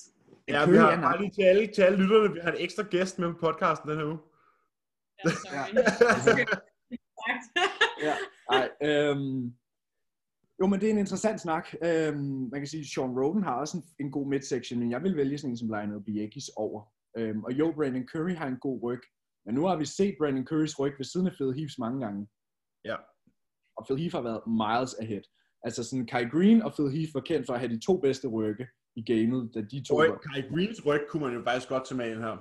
S1: Ja, vi
S2: Curry
S1: har
S2: er nok-
S1: bare lige til alle, til alle lytterne, vi har en ekstra gæst med på podcasten den her uge.
S4: Ja, sorry.
S2: Ja. Ej, øhm, jo, men det er en interessant snak. Øhm, man kan sige, at Sean Roden har også en, en god midsection, men jeg vil vælge sådan en som Lionel Biekis over. Øhm, og jo, Brandon Curry har en god ryg, men nu har vi set Brandon Currys ryg ved siden af Phil Heaths mange gange.
S1: Ja.
S2: Og Phil Heath har været miles ahead. Altså sådan Kai Green og Phil Heath var kendt for at have de to bedste rygge i gamet, da de to
S1: Ryg,
S2: var.
S1: Kai Greens ryg kunne man jo faktisk godt tage med ind her.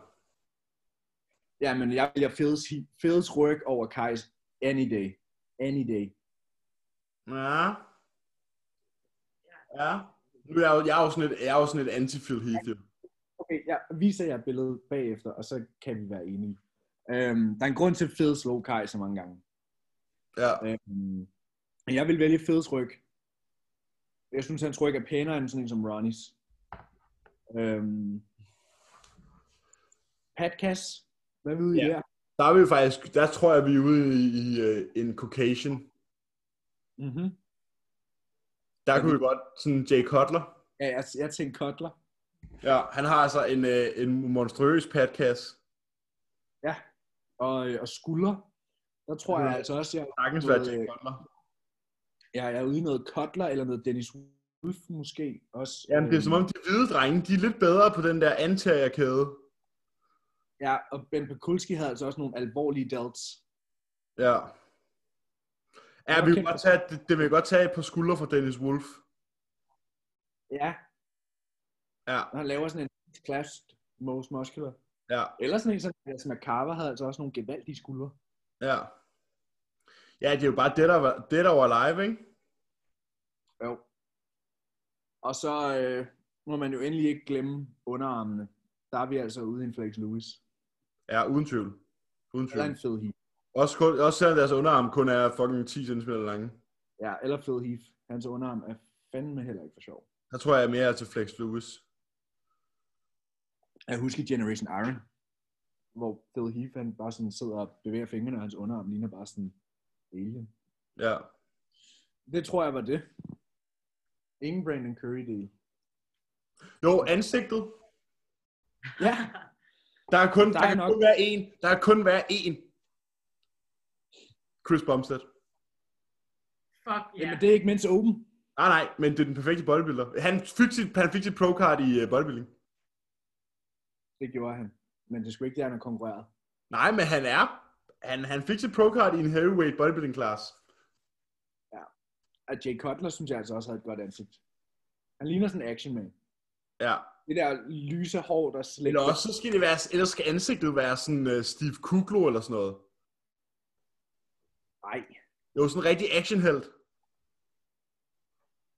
S2: Ja, men jeg vælger Phil's, He- Phil's ryg over Kais any day. Any day.
S1: Ja. Ja. Nu er jeg, jo- jeg er jo sådan et, jeg er jo sådan et anti-Phil Heath. jo.
S2: Okay, jeg viser jer billedet bagefter, og så kan vi være enige. Øhm, der er en grund til, at Fed slog Kai så mange gange.
S1: Ja.
S2: Øhm, men jeg vil vælge Feds ryg. Jeg synes, hans ryg er pænere end sådan en som Ronnies. Øhm, Patkas, hvad ved I
S1: Ja.
S2: ja. der?
S1: Der er vi jo faktisk, der tror jeg, vi er ude i, i øh, en Caucasian.
S2: Mm-hmm.
S1: Der kunne vi godt, sådan Jay Cutler.
S2: Ja, jeg, jeg tænkte Kotler.
S1: Ja, han har altså en, øh, en monstrøs patkasse.
S2: Og, og skulder. Der tror
S1: Ja.
S2: jeg altså også, jeg,
S1: Sagtens være Jay
S2: Noget, øh,
S1: Cutler.
S2: jeg er ude i noget Kotler eller noget Dennis Wolf måske også. Øhm,
S1: Jamen, det er som om de hvide drenge, de er lidt bedre på den der antagerkæde.
S2: Ja, og Ben Pekulski havde altså også nogle alvorlige delts.
S1: Ja. Ja,
S2: Han var
S1: vi kan
S2: kendt
S1: godt
S2: for-
S1: tage, det, det vil jeg godt tage et par skuldre fra Dennis Wolf.
S2: Ja,
S1: Ja,
S2: og han laver sådan en clasped most muscular.
S1: ja,
S2: Eller sådan en som Elias McCarver havde altså også nogle gevaldige skuldre.
S1: ja. Ja, det er jo bare det, der var, det, der var live, ikke?
S2: Jo. Og så øh, må man jo endelig ikke glemme underarmene. Der er vi altså ude i en Flex Lewis.
S1: Ja, uden tvivl. Uden
S2: Eller en
S1: tvivl.
S2: fed heave.
S1: Også, kun, også selvom deres underarm kun er fucking 10 cm lange.
S2: Ja, eller fed heave. Hans underarm er fandme heller ikke for sjov.
S1: Der tror jeg mere er til Flex Lewis.
S2: Jeg husker Generation Iron, hvor Phil Heath, han bare sådan sidder og bevæger fingrene, og hans underarm ligner bare sådan alien.
S1: Ja.
S2: Det tror jeg var det. Ingen Brandon Curry del.
S1: Jo, ansigtet.
S2: Ja,
S1: Der er kun, der,
S2: Der
S1: der
S2: er
S1: kan
S2: nok-
S1: kun være en. Der kan kun være en. Chris Bumstead.
S4: Fuck
S2: yeah.
S4: yeah.
S2: men det er ikke mindst åben.
S1: Nej, Ah, nej, men det er den perfekte bodybuilder. Han fik sit, han fik sit pro-card i uh, bodybuilding.
S2: Det gjorde han. Men det skulle ikke, det han har konkurreret.
S1: Nej, men han er... Han, han fik sit pro-card i en heavyweight bodybuilding class.
S2: At Jay Cutler, synes jeg altså også havde et godt ansigt. Han ligner sådan en action man.
S1: Ja.
S2: Det der lyse hår, der
S1: Eller
S2: slækker.
S1: også så skal det være... Ellers skal ansigtet være sådan uh, Steve Kuglo eller sådan noget.
S2: Nej.
S1: Jo, sådan en rigtig actionhelt.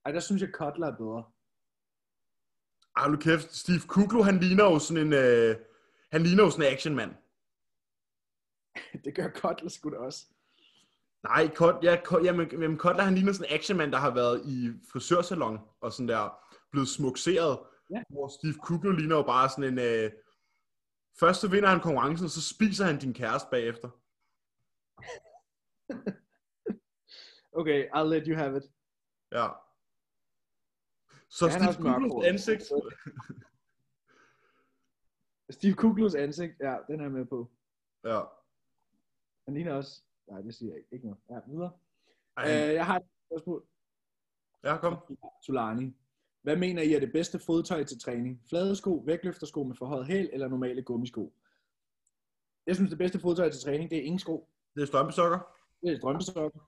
S2: Ej, der synes jeg, Cutler er bedre.
S1: Ah, nu kæft. Steve Kuglo, han ligner jo sådan en... Uh, han ligner jo sådan en actionmand.
S2: det gør Cutler sgu da også.
S1: Nej, Kot, ja, Kot, jamen, jamen, Kotler, han ligner sådan en actionmand, der har været i frisørsalon og sådan der blevet smukseret.
S2: Ja.
S1: Ja. Hvor Steve Kuglo ligner jo bare sådan en... Øh, først så vinder han konkurrencen, og så spiser han din kæreste bagefter.
S2: Okay, I'll let you have it.
S1: Ja. Så
S2: Ja, han er
S1: Steve
S2: også mørkhåret.
S1: Kuglos ansigt...
S2: Steve Kuglos ansigt, ja, den er jeg med på.
S1: Ja.
S2: Han ligner også... Nej, det siger jeg ikke. Ikke noget. Ja, videre.
S1: Ej,
S2: Øh, jeg har et spørgsmål.
S1: ja, kom.
S2: Solani. Hvad mener I er det bedste fodtøj til træning? Flade sko, vægtløftersko med forhøjet hæl eller normale gummisko? Jeg synes, det bedste fodtøj til træning, det er ingen sko.
S1: Det er strømpesokker.
S2: Det er strømpesokker.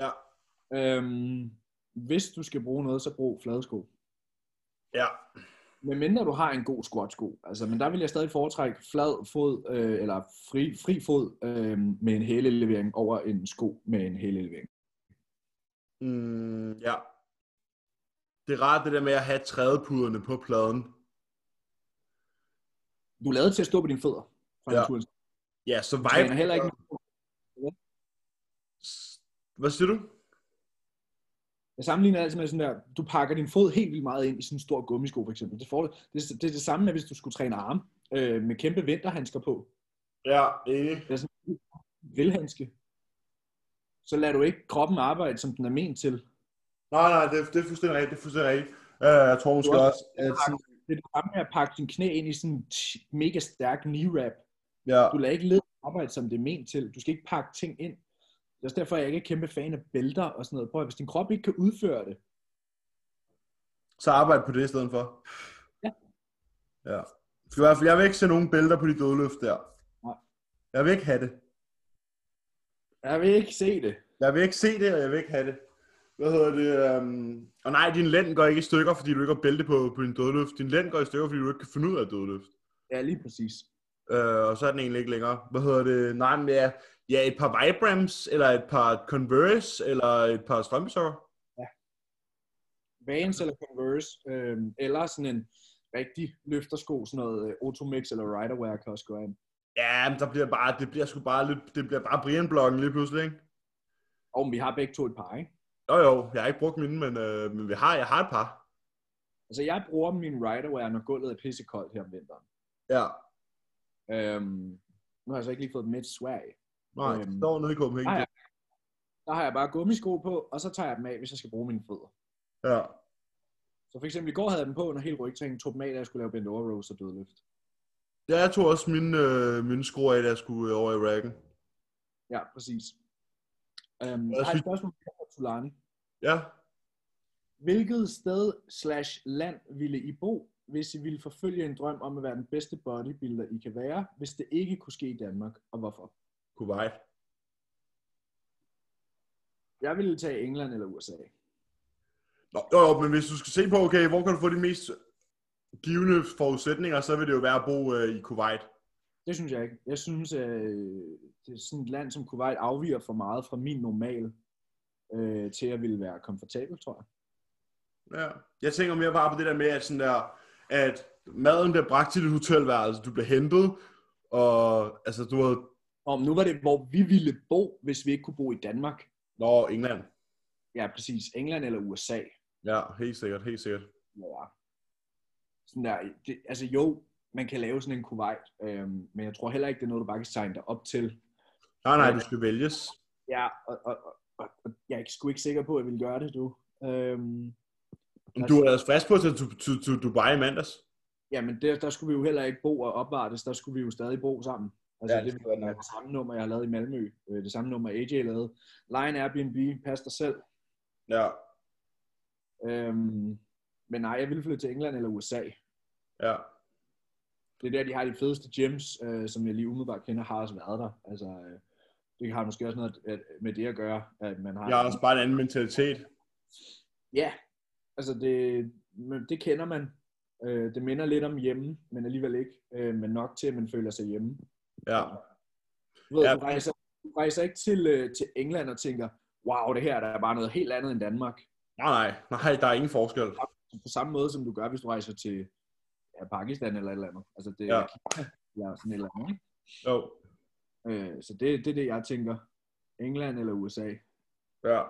S1: Ja.
S2: Øhm, hvis du skal bruge noget, så brug flade sko.
S1: Ja.
S2: Men mindre du har en god squatsko. Altså, men der vil jeg stadig foretrække flad fod, øh, eller fri, fri fod øh, med en hælelevering over en sko med en hælelevering.
S1: Mm, ja. Det er rart det der med at have trædepuderne på pladen.
S2: Du er lavet til at stå på dine fødder. Fra
S1: Ja.
S2: ja. naturen.
S1: Ja, så
S2: Du træner heller ikke
S1: Hvad siger du?
S2: Jeg sammenligner altid med sådan der, du pakker din fod helt vildt meget ind i sådan en stor gummisko for eksempel. Det, får, det, det er det samme med, hvis du skulle træne arme øh, med kæmpe vinterhandsker på.
S1: Ja, enig.
S2: Velhandske. Så lader du ikke kroppen arbejde, som den er ment til.
S1: Nej, nej, det, det er fuldstændig rigtigt. Det er fuldstændig rigtigt. Øh, jeg tror måske
S2: Du har-
S1: også, at...
S2: Det er det samme med at pakke din knæ ind i sådan en t- mega stærk knee wrap.
S1: Ja,
S2: Du lader ikke led arbejde, som det er ment til. Du skal ikke pakke ting ind. Det er også derfor, jeg ikke er kæmpe fan af bælter og sådan noget. Prøv at, hvis din krop ikke kan udføre det,
S1: så arbejde på det i stedet for.
S2: Ja.
S1: Ja. For i hvert fald, jeg vil ikke se nogen bælter på de dødløft der.
S2: Nej.
S1: Jeg vil ikke have det.
S2: jeg vil ikke se det.
S1: Jeg vil ikke se det, og jeg vil ikke have det. Hvad hedder det? Um... Og nej, din lænd går ikke i stykker, fordi du ikke har bælte på, på din dødløft. Din lænd går i stykker, fordi du ikke kan finde ud af dødløft.
S2: Ja, lige præcis.
S1: Øh, og så er den egentlig ikke længere. Hvad hedder det? Nej, men ja, ja et par Vibrams, eller et par Converse, eller et par strømpesokker.
S2: Vans eller Converse, øh, eller sådan en rigtig løftersko, sådan noget øh, Otomix eller Riderwear kan også gå an.
S1: Ja, men der bliver bare, det bliver sgu bare lidt, det bliver bare Brian-blokken lige pludselig, ikke?
S2: Og vi har begge to et par, ikke?
S1: Jo jo, jeg har ikke brugt mine, men, øh, men vi har, jeg har et par.
S2: Altså, jeg bruger min Riderwear, når gulvet er pissekoldt her om vinteren.
S1: Ja,
S2: Øhm, nu har jeg så ikke lige fået dem med til Sverige.
S1: nej,
S2: Øhm.
S1: jeg står nede i Copenhagen.
S2: Nej, Der har jeg bare gummisko på, og så tager jeg dem af, hvis jeg skal bruge mine fødder.
S1: Ja.
S2: Så for eksempel i går havde jeg dem på under hele rygtræningen, tog dem af, da jeg skulle lave bent over rows og dødløft.
S1: ja, jeg tog også mine, øh, mine skruer af, da jeg skulle øh, over i racken.
S2: Ja, præcis.
S1: Jeg
S2: Øhm, jeg har et
S1: synes-
S2: spørgsmål fra Tulani.
S1: Ja,
S2: Hvilket sted slash land ville I bo, hvis I ville forfølge en drøm om at være den bedste bodybuilder, I kan være, hvis det ikke kunne ske i Danmark, og hvorfor?
S1: Kuwait.
S2: Jeg ville tage England eller USA.
S1: Nå, jo, jo, men hvis du skal se på, okay, hvor kan du få de mest givende forudsætninger, så vil det jo være at bo øh, i Kuwait.
S2: Det synes jeg ikke. Jeg synes, øh, det er sådan et land som Kuwait afviger for meget fra min normal øh, til at ville være komfortabel, tror jeg.
S1: Ja. Jeg tænker mere bare på det der med, at, sådan der, at maden bliver bragt til dit hotelværelse, du bliver hentet, og altså, du havde...
S2: Om nu var det, hvor vi ville bo, hvis vi ikke kunne bo i Danmark.
S1: Nå, England.
S2: Ja, præcis. England eller USA.
S1: Ja, helt sikkert, helt sikkert.
S2: Ja. Sådan der, det, altså jo, man kan lave sådan en Kuwait, øhm, men jeg tror heller ikke, det er noget, du bare kan signe dig op til.
S1: Nej, nej, du skal vælges.
S2: Ja, og, og, og, og jeg er ikke- sgu ikke sikker på, at jeg ville gøre det, du. Øhm,
S1: Men Du er altså frisk på at tage til- til til Dubai i mandags.
S2: jamen, der, der skulle vi jo heller ikke bo og opvartes, der skulle vi jo stadig bo sammen. Altså,
S1: Ja,
S2: ja,
S1: det
S2: det,
S1: skulle være
S2: det er
S1: nok.
S2: det samme nummer, jeg har lavet i Malmø. Øh, Det samme nummer, AJ lavede. Line Airbnb, pas dig selv.
S1: Ja,
S2: Øhm, men nej, jeg ville flytte til England eller USA.
S1: ja.
S2: det er der, de har de fedeste gyms, øh, som jeg lige umiddelbart kender, har også været der. Altså, øh, det har måske også noget at, at, med det at gøre, at man har...
S1: Jeg har også bare en anden mentalitet.
S2: Ja, altså det, men det kender man. Øh, det minder lidt om hjemme, men alligevel ikke. Øh, men nok til, at man føler sig hjemme.
S1: Ja,
S2: Du, ved,
S1: Ja.
S2: ja. du, rejser, du rejser ikke til, øh, til England og tænker, wow, det her der er bare noget helt andet end Danmark.
S1: nej, nej, nej, der er ingen forskel.
S2: På samme måde, som du gør, hvis du rejser til ja, Pakistan eller et eller andet. Altså det,
S1: Ja.
S2: ja. eller sådan et eller andet. ikke?
S1: Jo,
S2: Øh, så det, det er det, jeg tænker. England eller USA.
S1: ja.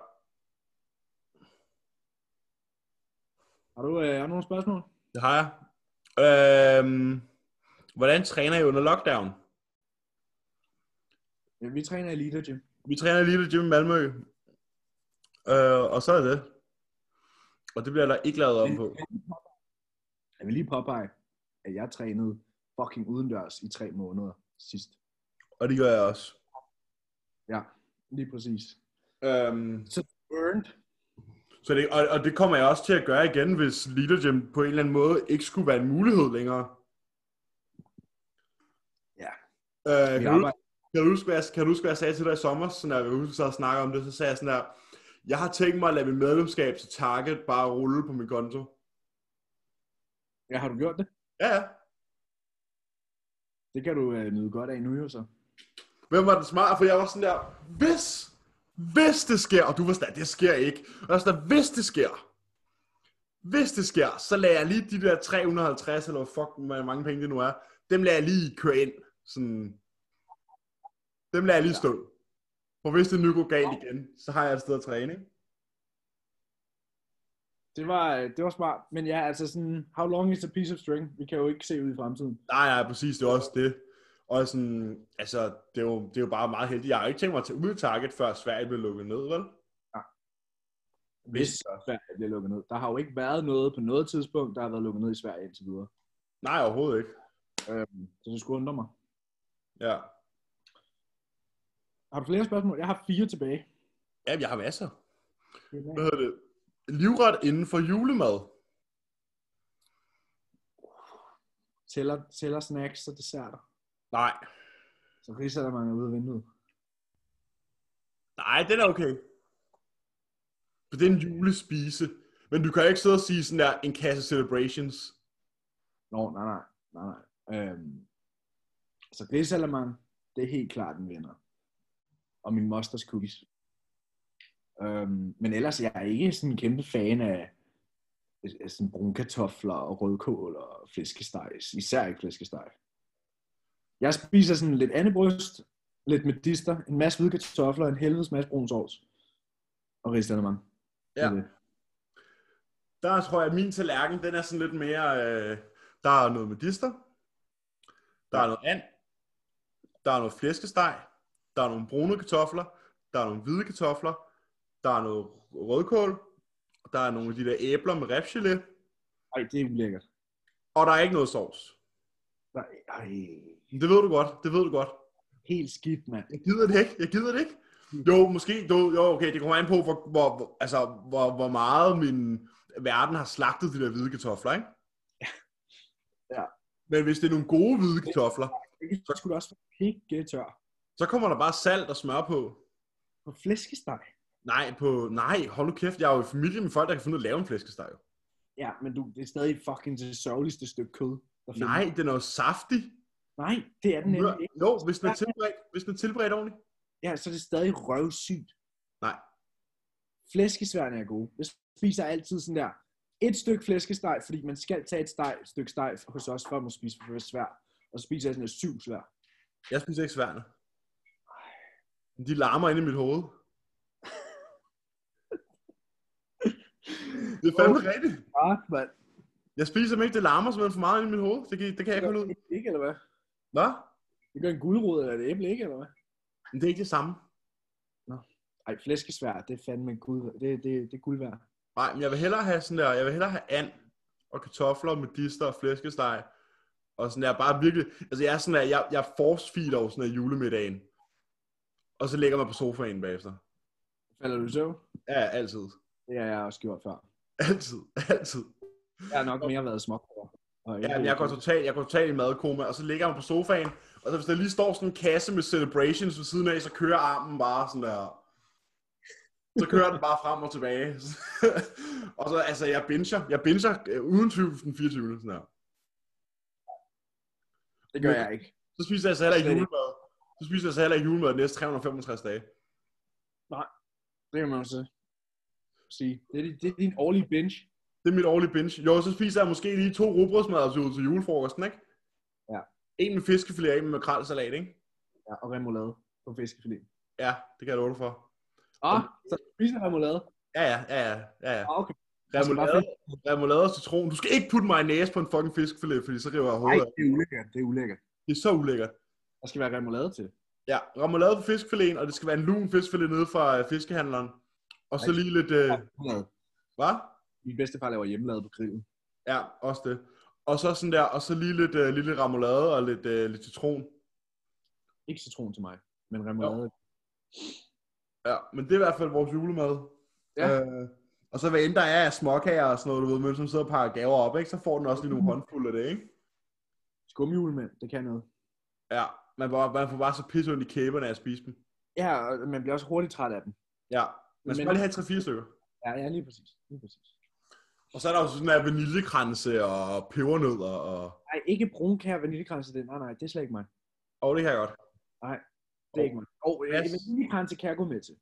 S2: Har du, øh, har du nogle spørgsmål?
S1: Det har jeg. Øhm, hvordan træner I under lockdown?
S2: Ja, vi træner i Elite Gym.
S1: Vi træner lige ved Jim i Malmø. Øh, og så er det. Og det bliver der ikke lavet om på.
S2: Jeg vil lige påpege, at jeg trænede fucking udendørs i tre måneder sidst.
S1: Og det gør jeg også.
S2: Lige præcis.
S1: Øhm,
S2: Burned.
S1: så det, og, og det kommer jeg også til at gøre igen, hvis Leader Gym på en eller anden måde ikke skulle være en mulighed længere.
S2: Ja.
S1: Øh,
S2: Vi
S1: kan, du,
S2: arbejder.
S1: kan, du huske, hvad jeg, kan du huske, hvad jeg sagde til dig i sommer, sådan der, jeg husker, så snakker om det, så sagde jeg sådan der, jeg har tænkt mig at lade mit medlemskab til Target bare rulle på min konto.
S2: Ja, har du gjort det?
S1: Ja, ja.
S2: Det kan du øh, nyde godt af nu jo så.
S1: Hvem var den smart? For jeg var sådan der, hvis, hvis det sker, og du var sådan der, det sker ikke. Og jeg var sådan der, hvis det sker, hvis det sker, så lader jeg lige de der 350, eller hvor fuck, hvor mange penge det nu er, dem lader jeg lige køre ind. Sådan, dem lader jeg lige stå. For hvis det nu går galt igen, så har jeg et sted at træne. ikke?
S2: Det var, øh, det var smart, men ja, altså sådan, how long is a piece of string? Vi kan jo ikke se ud i fremtiden.
S1: Nej, nej, præcis, det er også det. Og sådan, altså, det er jo, det er jo bare meget heldigt. Jeg har jo ikke tænkt mig at tage ud i Target, før Sverige blev lukket ned, vel?
S2: Hvis Sverige bliver lukket ned. Der har jo ikke været noget på noget tidspunkt, der har været lukket ned i Sverige indtil videre.
S1: Nej, overhovedet ikke.
S2: Øhm, så det skulle undre mig.
S1: Ja.
S2: Har du flere spørgsmål? Jeg har fire tilbage.
S1: Jamen, jeg har masser. hvad hedder det, livret inden for julemad.
S2: Tæller, tæller snacks og desserter.
S1: Nej,
S2: Så riser der mange ude af vinduet.
S1: nej, den er okay. For det er en julespise. Men du kan ikke sidde og sige sådan der, en kasse celebrations.
S2: Nå, nej, nej, nej, nej. Øhm, så grisalamande, det er helt klart en vinder. Og min mosters cookies. Øhm, men ellers, jeg er ikke sådan en kæmpe fan af, af sådan brunkartofler og rødkål og flæskesteg. Især ikke flæskesteg. Jeg spiser sådan lidt andebryst, lidt medister, en masse hvide kartofler, en helvedes masse brun sovs. Og risalamande. Det er
S1: Ja.
S2: det.
S1: Der tror jeg, at min tallerken, den er sådan lidt mere... Øh, der er noget medister. Der er noget and. Der er noget flæskesteg. Der er nogle brune kartofler. Der er nogle hvide kartofler. Der er noget rødkål. Der er nogle af de der æbler med revgelé.
S2: Ej, det er ulækkert.
S1: Og der er ikke noget sovs.
S2: Nej, Ej,
S1: Det ved du godt. Det ved du godt.
S2: helt skidt, mand.
S1: Jeg gider det ikke. Jeg gider det ikke.
S2: Hmm.
S1: Jo, måske. Jo, jo okay. Det kommer an på, hvor, hvor, hvor- altså, hvor, hvor meget min verden har slagtet de der hvide kartofler, ikke?
S2: Ja.
S1: Men hvis det er nogle gode hvide kartofler,
S2: Så skulle det også være pikke tør.
S1: så kommer der bare salt og smør på.
S2: På flæskesteg?
S1: Nej, på, nej, hold nu kæft, jeg er jo i familie med folk, der kan finde ud af at lave en flæskesteg. jo.
S2: Ja, men du, det er stadig fucking det sørgeligste stykke kød. Der findes.
S1: Nej, den er jo saftig.
S2: Nej, det er den nemlig ikke.
S1: Jo, hvis den er tilberedt, hvis den er tilberedt ordentligt.
S2: Ja, så er det stadig røvsygt.
S1: Nej.
S2: Flæskesværne er gode. Jeg spiser altid sådan der et stykke flæskesteg, fordi man skal tage et steg, et stykke steg hos os, for at man spise for det er svært. Og så spiser jeg sådan et syv svær.
S1: Jeg spiser ikke sværne. De larmer inde i mit hoved. Det er fandme rigtigt.
S2: Ah, mand.
S1: Jeg spiser simpelthen ikke, det larmer simpelthen for meget inde i mit hoved. Det kan, det kan jeg ikke holde ud.
S2: Ikke, eller hvad?
S1: Nå?
S2: Det gør en guldrod eller et æble, ikke, eller hvad?
S1: Men det er ikke det samme.
S2: Ej, flæskesvær, det er fandme guld. Det, det, det er guld værd.
S1: Nej, men jeg vil hellere have sådan der, jeg vil hellere have and og kartofler med dister og flæskesteg. Og sådan der, bare virkelig, altså jeg er sådan der, jeg, jeg force-feeder over sådan der julemiddagen. Og så lægger man på sofaen bagefter.
S2: Falder du i søvn?
S1: Ja, ja, altid.
S2: Det har jeg også gjort før.
S1: Altid, altid.
S2: Jeg har nok mere været småkår. Og
S1: Ja, men jeg går totalt jeg går total i madkoma, og så ligger jeg mig på sofaen, og så hvis der lige står sådan en kasse med celebrations ved siden af, så kører armen bare sådan der. Så kører den bare frem og tilbage. og så, altså, jeg binger, jeg binger øh, uden tvivl den 24. Sådan der.
S2: det gør jeg ikke.
S1: Så spiser jeg så heller ikke
S2: Slet ikke.
S1: julemad. Så spiser jeg så heller ikke julemad de næste 365 dage.
S2: Det kan man jo så sige. Det er, din- det er din årlige binge.
S1: Det er mit årlige binge. Jo, så spiser jeg måske lige to rugbrødsmadder til, til julefrokosten, ikke?
S2: Ja.
S1: En med fiskefilet og en med makrelsalat, ikke?
S2: Ja, og remoulade på fiskefilet.
S1: Ja, det kan jeg love dig for.
S2: Ah, så spiser jeg remoulade.
S1: Ja, ja, ja, ja, ja. ja.
S2: Ah, okay. Jeg skal bare
S1: Remoulade, Altså, remoulade og citron. Du skal ikke putte mayonnaise på en fucking fiskefilet, fordi så river jeg
S2: Nej,
S1: hovedet af.
S2: det er ulækkert. Det er ulækkert.
S1: Det er så ulækkert.
S2: Der skal være remoulade til.
S1: Ja, remoulade på fiskefileten, og det skal være en lun fiskefilet nede fra øh, fiskehandleren. Og så
S2: Ej.
S1: lige lidt... Øh,
S2: Remoulade.
S1: hvad?
S2: Min bedstefar laver hjemmelavet på grillen.
S1: Ja, også det. Og så sådan der, og så lige lidt, øh, lille remoulade og lidt, øh, lidt citron.
S2: Ikke citron til mig, men remoulade.
S1: Ja, men det er i hvert fald vores julemad.
S2: Ja.
S1: Øh, og så hvad end der er af småkager og sådan noget, du ved, men som sidder og pakker gaver op, ikke? så får den også lige
S2: Mhm.
S1: nogle håndfulde af det, ikke?
S2: Skumhjulemænd, det kan noget.
S1: Ja, man, bare, man får bare så pisse ondt i kæberne af at spise dem.
S2: Ja, og man bliver også hurtigt træt af dem.
S1: Ja, man skal
S2: Men-
S1: bare lige have 3-4 stykker.
S2: Ja, ja lige præcis. Lige præcis.
S1: Og så er der jo sådan der vaniljekranse og pebernødder og...
S2: Nej, ikke brunkær vaniljekranse, det. Nej, nej, det er slet ikke mig.
S1: Åh, oh, det kan jeg godt.
S2: Det er ikke mig. Og oh,
S1: Pas.
S2: vaniljekranse kan jeg gå med til.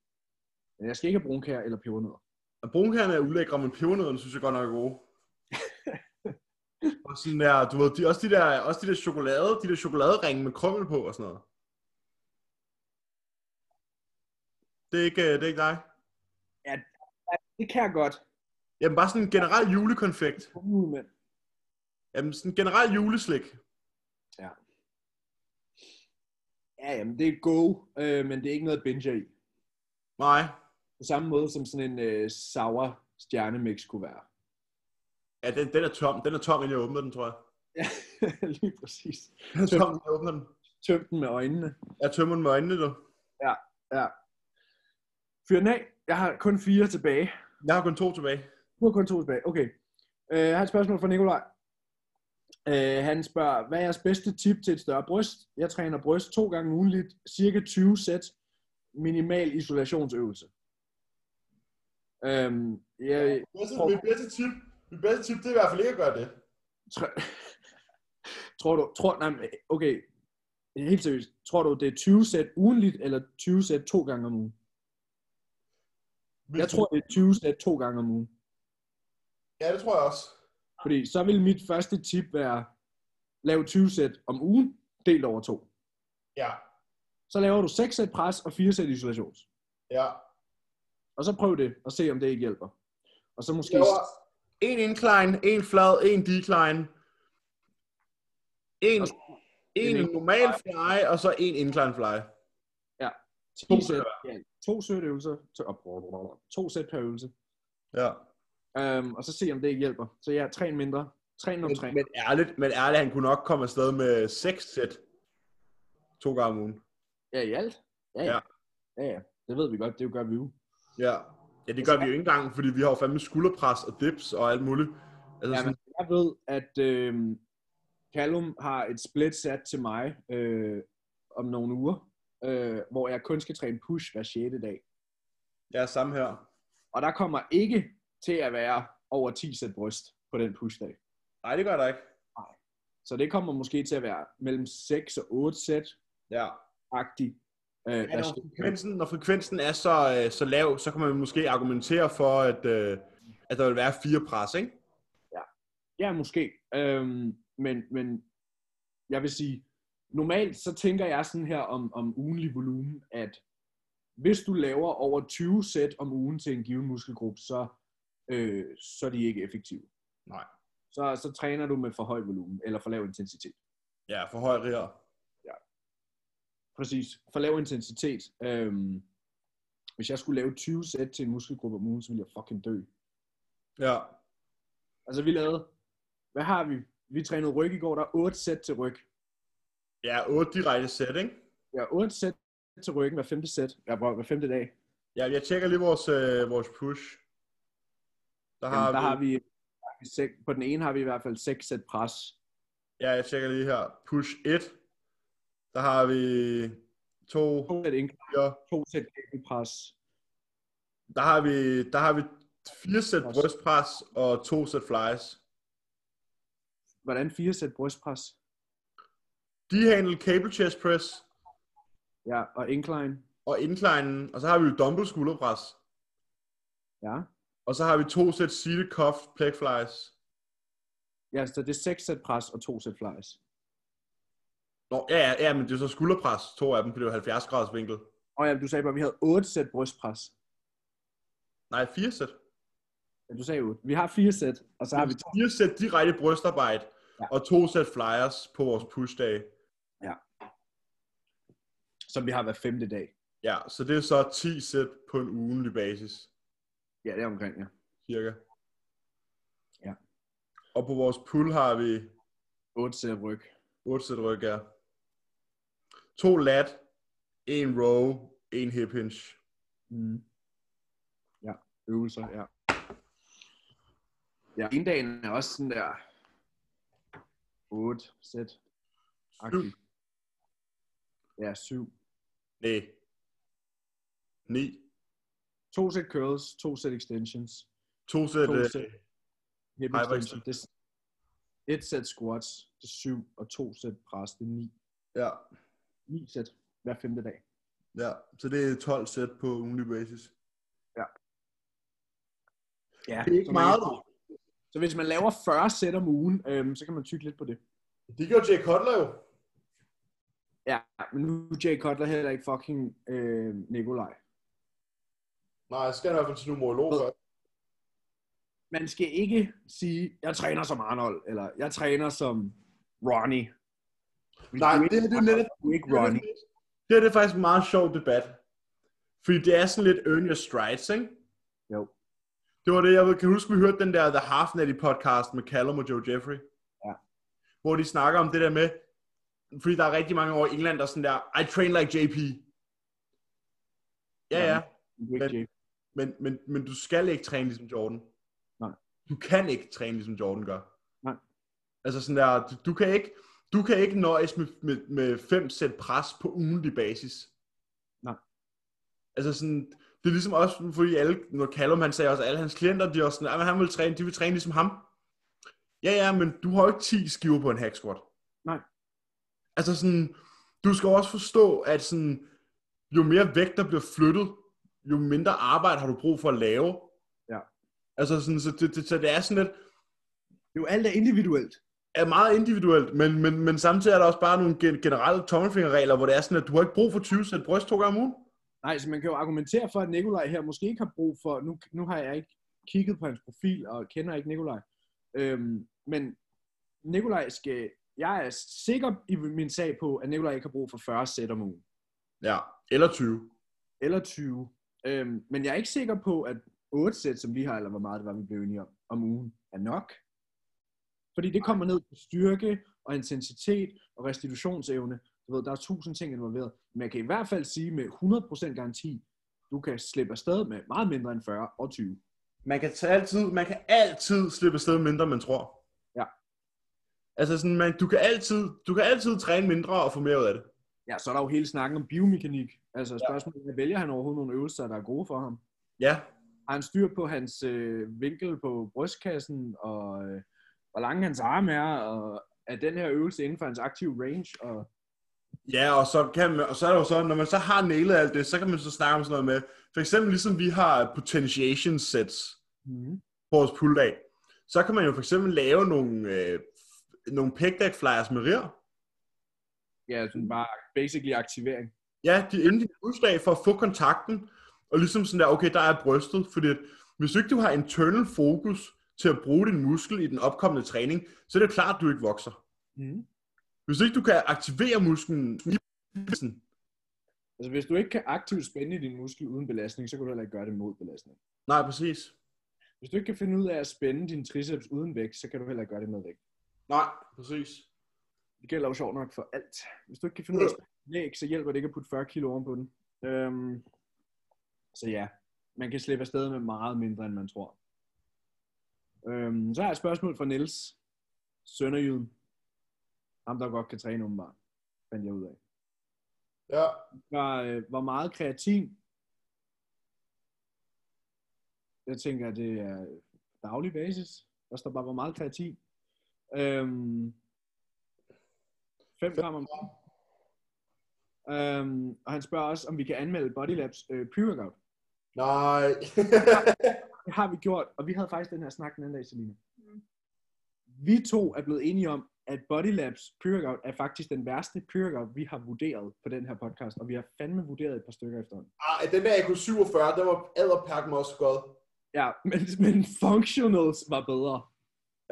S2: Men jeg skal ikke have brunkær eller pebernødder.
S1: Og brunkagerne er ulækre, men pebernødderne synes jeg godt nok er gode. og sådan der, du ved, de, også, de der, også de der chokolade, de der chokoladeringe med krummel på og sådan noget. Det er ikke, øh, det er ikke dig.
S2: Ja, det kan jeg godt.
S1: Jamen bare sådan en generel julekonfekt.
S2: Skumhjulemænd.
S1: Jamen sådan en generel juleslik.
S2: Ja, jamen det er go, øh, men det er ikke noget at binge i.
S1: Nej.
S2: På samme måde som sådan en øh, sour stjernemix kunne være.
S1: Ja, den, den er tom. Den er tom, inden jeg åbner den, tror jeg.
S2: Ja, lige præcis.
S1: Den er tom, inden jeg åbner den.
S2: Tøm den med øjnene.
S1: Jeg tømmer den med øjnene, du.
S2: Fyr den af. Jeg har kun fire tilbage.
S1: Jeg har kun to tilbage.
S2: Du har kun to tilbage. Okay. Øh, jeg har et spørgsmål fra Nikolaj. Øh, han spørger, hvad er jeres bedste tip til et større bryst? Jeg træner bryst to gange ugenligt, cirka 20 sæt, minimal isolationsøvelse. Øhm, jeg, tror-
S1: Mit bedste tip, mit bedste tip, det er i hvert fald ikke at gøre det.
S2: Tr- tror du, tror, nej, men, okay, helt seriøst, tror du, det er 20 sæt ugenligt, eller 20 sæt to gange om ugen?
S1: Mit
S2: Jeg tror, det er 20 sæt to gange om ugen.
S1: Ja, det tror jeg også.
S2: Fordi så vil mit første tip være, lav 20 sæt om ugen, delt over to.
S1: Ja,
S2: Så laver du 6 sæt pres og 4 sæt isolation.
S1: ja.
S2: Og så prøv det, og se om det ikke hjælper. Og så måske...
S1: En incline, en flad, en decline. En, en
S2: Og Altså, en
S1: normal fly, og så en incline fly.
S2: 10
S1: to
S2: sæt,
S1: sæt.
S2: ja, to sæt øvelser, to, to sæt per øvelse.
S1: Ja.
S2: Øhm, og så se om det ikke hjælper. Så jeg ja, træn mindre. Træn om
S1: Men,
S2: træn.
S1: men, ærligt, men ærligt, han kunne nok komme afsted med seks sæt. To gange om ugen.
S2: Ja, i alt. Ja, ja.
S1: Ja.
S2: ja, ja. Det ved vi godt, det gør vi jo.
S1: Ja. Ja, det gør vi jo ikke engang, fordi vi har jo fandme skulderpres og dips og alt muligt. Altså,
S2: Ja,
S1: sådan,
S2: men jeg ved, at øh, Callum har et split sat til mig øh, om nogle uger, øh, hvor jeg kun skal træne push hver 6. dag.
S1: ja, samme her.
S2: Og der kommer ikke til at være over 10 sæt bryst på den push-dag.
S1: Nej, det gør der ikke.
S2: Så det kommer måske til at være mellem 6 og 8 sæt-agtigt.
S1: Ja.
S2: Øh,
S1: Ja,
S2: hver
S1: når,
S2: sjette dag.
S1: frekvensen, når frekvensen er så, øh, så lav, så kan man måske argumentere for, at, øh, at der vil være fire pres, ikke?
S2: Ja, måske. Øhm, men, men jeg vil sige, normalt så tænker jeg sådan her om, om ugenlig volumen, at hvis du laver over 20 sæt om ugen til en given muskelgruppe, så, øh, så er de ikke effektive.
S1: Nej.
S2: Så, så træner du med for høj volumen, eller for lav intensitet.
S1: Ja, for høj riger.
S2: Præcis. For lav intensitet. Øhm, hvis jeg skulle lave 20 sæt til en muskelgruppe om ugen, så ville jeg fucking dø.
S1: Ja.
S2: Altså vi lavede, hvad har vi? Vi trænede ryg i går, der er 8 sæt til ryg.
S1: Ja, 8 direkte sæt, ikke?
S2: Ja, 8 sæt til ryggen hver femte sæt. Ja, bro, hver femte dag.
S1: Ja, jeg tjekker lige vores, øh, vores push. Der har,
S2: Jamen, der
S1: vi,
S2: har vi, der har vi sek- på den ene har vi i hvert fald 6 sæt pres.
S1: Ja, jeg tjekker lige her. Push 1. Der har vi 2,
S2: To sæt, inkl-
S1: 4.
S2: to sæt gabelpres.
S1: Der har vi, der har vi 4 sæt brystpres og 2 sæt flies.
S2: Hvordan fire sæt brystpres?
S1: D-handle, cable chest press
S2: Ja, og incline.
S1: og inclinen. Og så har vi jo dumbbell skulderpres.
S2: Ja.
S1: Og så har vi to sæt seated cuff pleg flies.
S2: Ja, så det er 6 sæt pres og to sæt flies.
S1: Nå, ja, ja, ja, men det er så skulderpres. To af dem, for det er jo 70 graders vinkel.
S2: Og ja, du sagde bare, at vi havde 8 sæt brystpres.
S1: Nej, fire sæt.
S2: Ja, du sagde 8. Vi har fire sæt, og så har vi to.
S1: Fire sæt direkte brystarbejde,
S2: Ja.
S1: ja. og to sæt flyers på vores pushdag.
S2: som vi har hver femte dag.
S1: Ja, så det er så 10 sæt på en ugenlig basis,
S2: Ja, det er omkring, ja.
S1: cirka.
S2: Ja.
S1: Og på vores pull har vi
S2: 8 sæt ryg.
S1: 8 sæt ryg, ja. To lat, en row, en hip hinge.
S2: Mm. Ja, øvelser, ja. Ja, inddagen er også sådan der 8 sæt.
S1: Syv.
S2: agtigt. Ja, 7.
S1: Nej. Ni.
S2: To sæt curls, to sæt extensions,
S1: To sæt,
S2: to
S1: øh,
S2: sæt hip
S1: hyper
S2: extensions. Det, et sæt squats, det er 7, og to sæt pres, det er 9.
S1: ja,
S2: 9 sæt hver femte dag.
S1: ja. Så det er 12 sæt på ugenlig basis.
S2: Ja,
S1: Det er ikke
S2: så man-
S1: meget, dog.
S2: Så hvis man laver 40 sæt om ugen, øhm, så kan man tykke lidt på det.
S1: Det gjorde Jake Cutler jo.
S2: Ja, men nu er Jay Cutler heller ikke fucking øh, Nikolaj.
S1: Nej, jeg skal i hvert fald til numerolog. først.
S2: Man skal ikke sige, jeg træner som Arnold, eller jeg træner som Ronnie.
S1: Nej, det her det er jo netop
S2: Du er ikke Ronnie.
S1: Det her det er faktisk en meget sjov debat. Fordi det er sådan lidt earn your strides, ikke?
S2: Jo.
S1: Det var det, jeg ved- kan huske, vi hørte den der The Half Natty podcast med Callum og Joe Jeffrey.
S2: Ja.
S1: Hvor de snakker om det der med, fordi der er rigtig mange over i England, der er sådan der, I train like JP. Ja, ja.
S2: Du er ikke
S1: Men-
S2: Jay.
S1: Men, men, men du skal ikke træne ligesom Jordan.
S2: Nej.
S1: Du kan ikke træne ligesom Jordan gør.
S2: Nej.
S1: Altså sådan der, du, du kan ikke, du kan ikke nøjes med, med, med fem sæt pres på ugentlig basis.
S2: Nej.
S1: Altså sådan, det er ligesom også, fordi alle, når Callum han sagde også, at alle hans klienter, de er også sådan, at han vil træne, de vil træne ligesom ham. Ja, ja, men du har jo ikke 10 skiver på en hack squat.
S2: Nej.
S1: Altså sådan, du skal også forstå, at sådan, jo mere vægt, der bliver flyttet, jo mindre arbejde har du brug for at lave.
S2: Ja.
S1: Altså sådan, så det, det, så det er sådan lidt,
S2: Det er jo alt er individuelt.
S1: er meget individuelt, men, men, men samtidig er der også bare nogle gen- generelle tommelfingerregler, hvor det er sådan, at du har ikke brug for 20 sæt bryst to gange om ugen.
S2: Nej, så man kan jo argumentere for, at Nikolaj her måske ikke har brug for, nu, nu har jeg ikke kigget på hans profil og kender ikke Nikolaj, øhm, men Nikolaj skal, jeg er sikker i min sag på, at Nikolaj ikke har brug for 40 sæt om ugen.
S1: Ja, eller 20.
S2: eller 20. Øhm, men jeg er ikke sikker på, at 8 sæt, som vi har, eller hvor meget det var, vi blev enige om, om ugen, er nok. Fordi det kommer ned på styrke og intensitet og restitutionsevne. Du ved, der er tusind ting involveret. Men jeg kan i hvert fald sige med 100% garanti, du kan slippe afsted med meget mindre end 40 og 20.
S1: Man kan, tage altid, man kan altid slippe afsted mindre, man tror.
S2: Ja.
S1: Altså sådan, man, du, kan altid, du kan altid træne mindre og få mere ud af det.
S2: Ja, så er der jo hele snakken om biomekanik. Altså spørgsmålet er, vælger han overhovedet nogle øvelser, der er gode for ham?
S1: Ja,
S2: Har han styr på hans øh, vinkel på brystkassen, og øh, hvor lange hans arme er, og er den her øvelse inden for hans aktive range? Og,
S1: Ja, og så, kan man, og så er det jo så, når man så har nailet alt det, så kan man så snakke om sådan noget med, for eksempel ligesom vi har potentiation sets
S2: mm.
S1: på vores pull-dag, Så kan man jo for eksempel lave nogle, øh, nogle pegdag flyers med rir.
S2: Ja, sådan bare basically aktivering.
S1: Ja, de endelig udslag for at få kontakten, og ligesom sådan der, okay, der er brystet, fordi at hvis ikke du har internal fokus til at bruge din muskel i den opkommende træning, så er det klart, at du ikke vokser.
S2: Mm.
S1: Hvis ikke du kan aktivere musklen i bristen,
S2: Altså hvis du ikke kan aktivt spænde i din muskel uden belastning, så kan du heller ikke gøre det mod belastning.
S1: nej, præcis.
S2: Hvis du ikke kan finde ud af at spænde din triceps uden vægt, så kan du heller ikke gøre det med vægt.
S1: Nej, præcis.
S2: Det gælder jo sjovt nok for alt. Hvis du ikke kan finde ud af at spænde dit læg, så hjælper det ikke at putte 40 kilo oven på den. Øhm, så ja, man kan slippe afsted med meget mindre, end man tror. Øhm, så har jeg et spørgsmål fra Niels Sønderjyden. Ham, der godt kan træne åbenbart, fandt jeg ud af.
S1: Ja.
S2: Hvor, øh, hvor meget kreatin? Jeg tænker, det er daglig basis. Der står bare, hvor meget kreatin. Øhm, 5 gram om dagen. Øhm, og han spørger også, om vi kan anmelde Bodylabs øh, pre-workout.
S1: Nej.
S2: Det har vi gjort, og vi havde faktisk den her snak den anden dag, Selina.
S4: Mm.
S2: Vi to er blevet enige om, at Bodylabs pre-workout er faktisk den værste pre-workout, vi har vurderet på den her podcast, og vi har fandme vurderet et par stykker efterhånden.
S1: Ej, den der AK47, den var æderpakken med også godt.
S2: Ja, men, men functionals var bedre.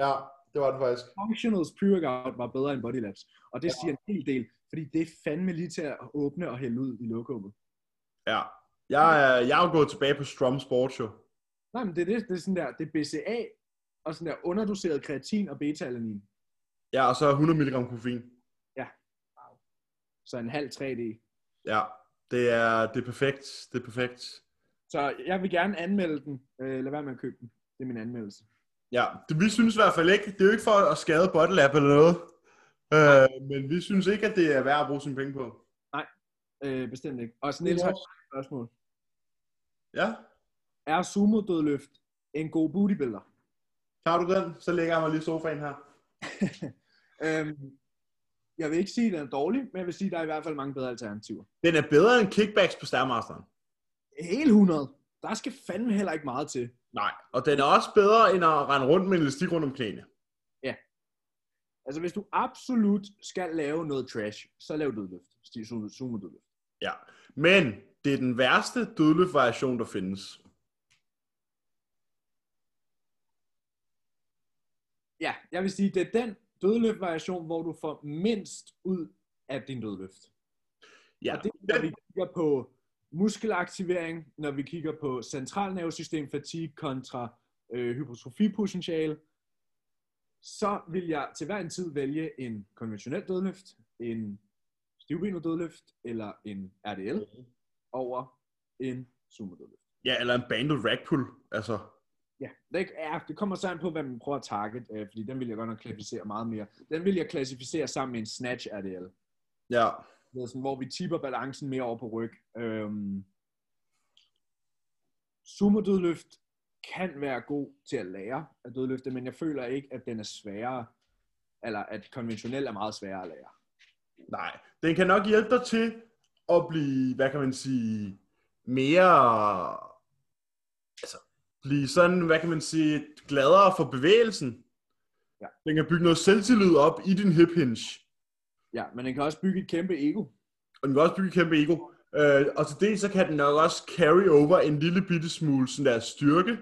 S1: Ja, det var den faktisk.
S2: Functionals pre-workout var bedre end Body Labs. Og det
S1: Ja.
S2: ja. siger en hel del, fordi det er fandme lige til at åbne og hælde ud i lokummet.
S1: Ja. Jeg, er- jeg er jo gået tilbage på Strom Sports, jo.
S2: Nej, men det er det, det er sådan der, det er BCA og sådan der underdoseret kreatin og beta-alanin.
S1: Ja, og så 100 mg koffein.
S2: Så en halv 3D.
S1: Ja, det er, det er perfekt. Det er perfekt.
S2: Så jeg vil gerne anmelde den. Øh, lad være med at købe den. Det er min anmeldelse.
S1: Ja, det, vi synes i hvert fald ikke, det er jo ikke for at skade Bottlap eller noget. Øh, men vi synes ikke, at det er værd at bruge sine penge på.
S2: Øh, bestemt ikke. Og så Niels har et spørgsmål.
S1: Ja,
S2: Er sumo-dødløft en god bodybuilder?
S1: tager du den, så lægger jeg mig lige i sofaen her.
S2: Øhm, jeg vil ikke sige, at den er dårlig, men jeg vil sige, at der er i hvert fald mange bedre alternativer.
S1: Den er bedre end kickbacks på Stærmasteren.
S2: Hele 100. Der skal fandme heller ikke meget til.
S1: Nej, og den er også bedre end at rende rundt med en elastik rundt om knæene.
S2: Altså, hvis du absolut skal lave noget trash, så lav dødløft. Stig sumo sumo dødløft.
S1: Ja, men det er den værste dødløft-variation, der findes.
S2: Ja, jeg vil sige, det er den dødløft-variation, hvor du får mindst ud af din dødløft.
S1: Ja,
S2: Og det er, når vi kigger på muskelaktivering, når vi kigger på centralnervesystem fatigue kontra øh, hypertrofipotentiale, så vil jeg til hver en tid vælge en konventionel dødløft, en stivbenet dødløft eller en RDL over en sumo dødløft.
S1: ja eller en bandet rack pull. Altså,
S2: Ja, det, ikke- ja, det kommer så an på, hvad man prøver at target, øh, fordi den vil jeg godt nok klassificere meget mere. Den vil jeg klassificere sammen med en snatch RDL,
S1: ja.
S2: Det er sådan, hvor vi tipper balancen mere over på ryg. Øhm, Sumo-dødløft kan være god til at lære at dødløfte, men jeg føler ikke, at den er sværere, eller at konventionel er meget sværere at lære.
S1: Nej, den kan nok hjælpe dig til at blive, hvad kan man sige, mere, altså, blive sådan, hvad kan man sige, gladere for bevægelsen.
S2: Ja.
S1: Den kan bygge noget selvtillid op i din hip hinge.
S2: Ja, men den kan også bygge et kæmpe ego.
S1: Og den kan også bygge et kæmpe ego. Øh, og til det, så kan den nok også carry over en lille bitte smule sådan der styrke.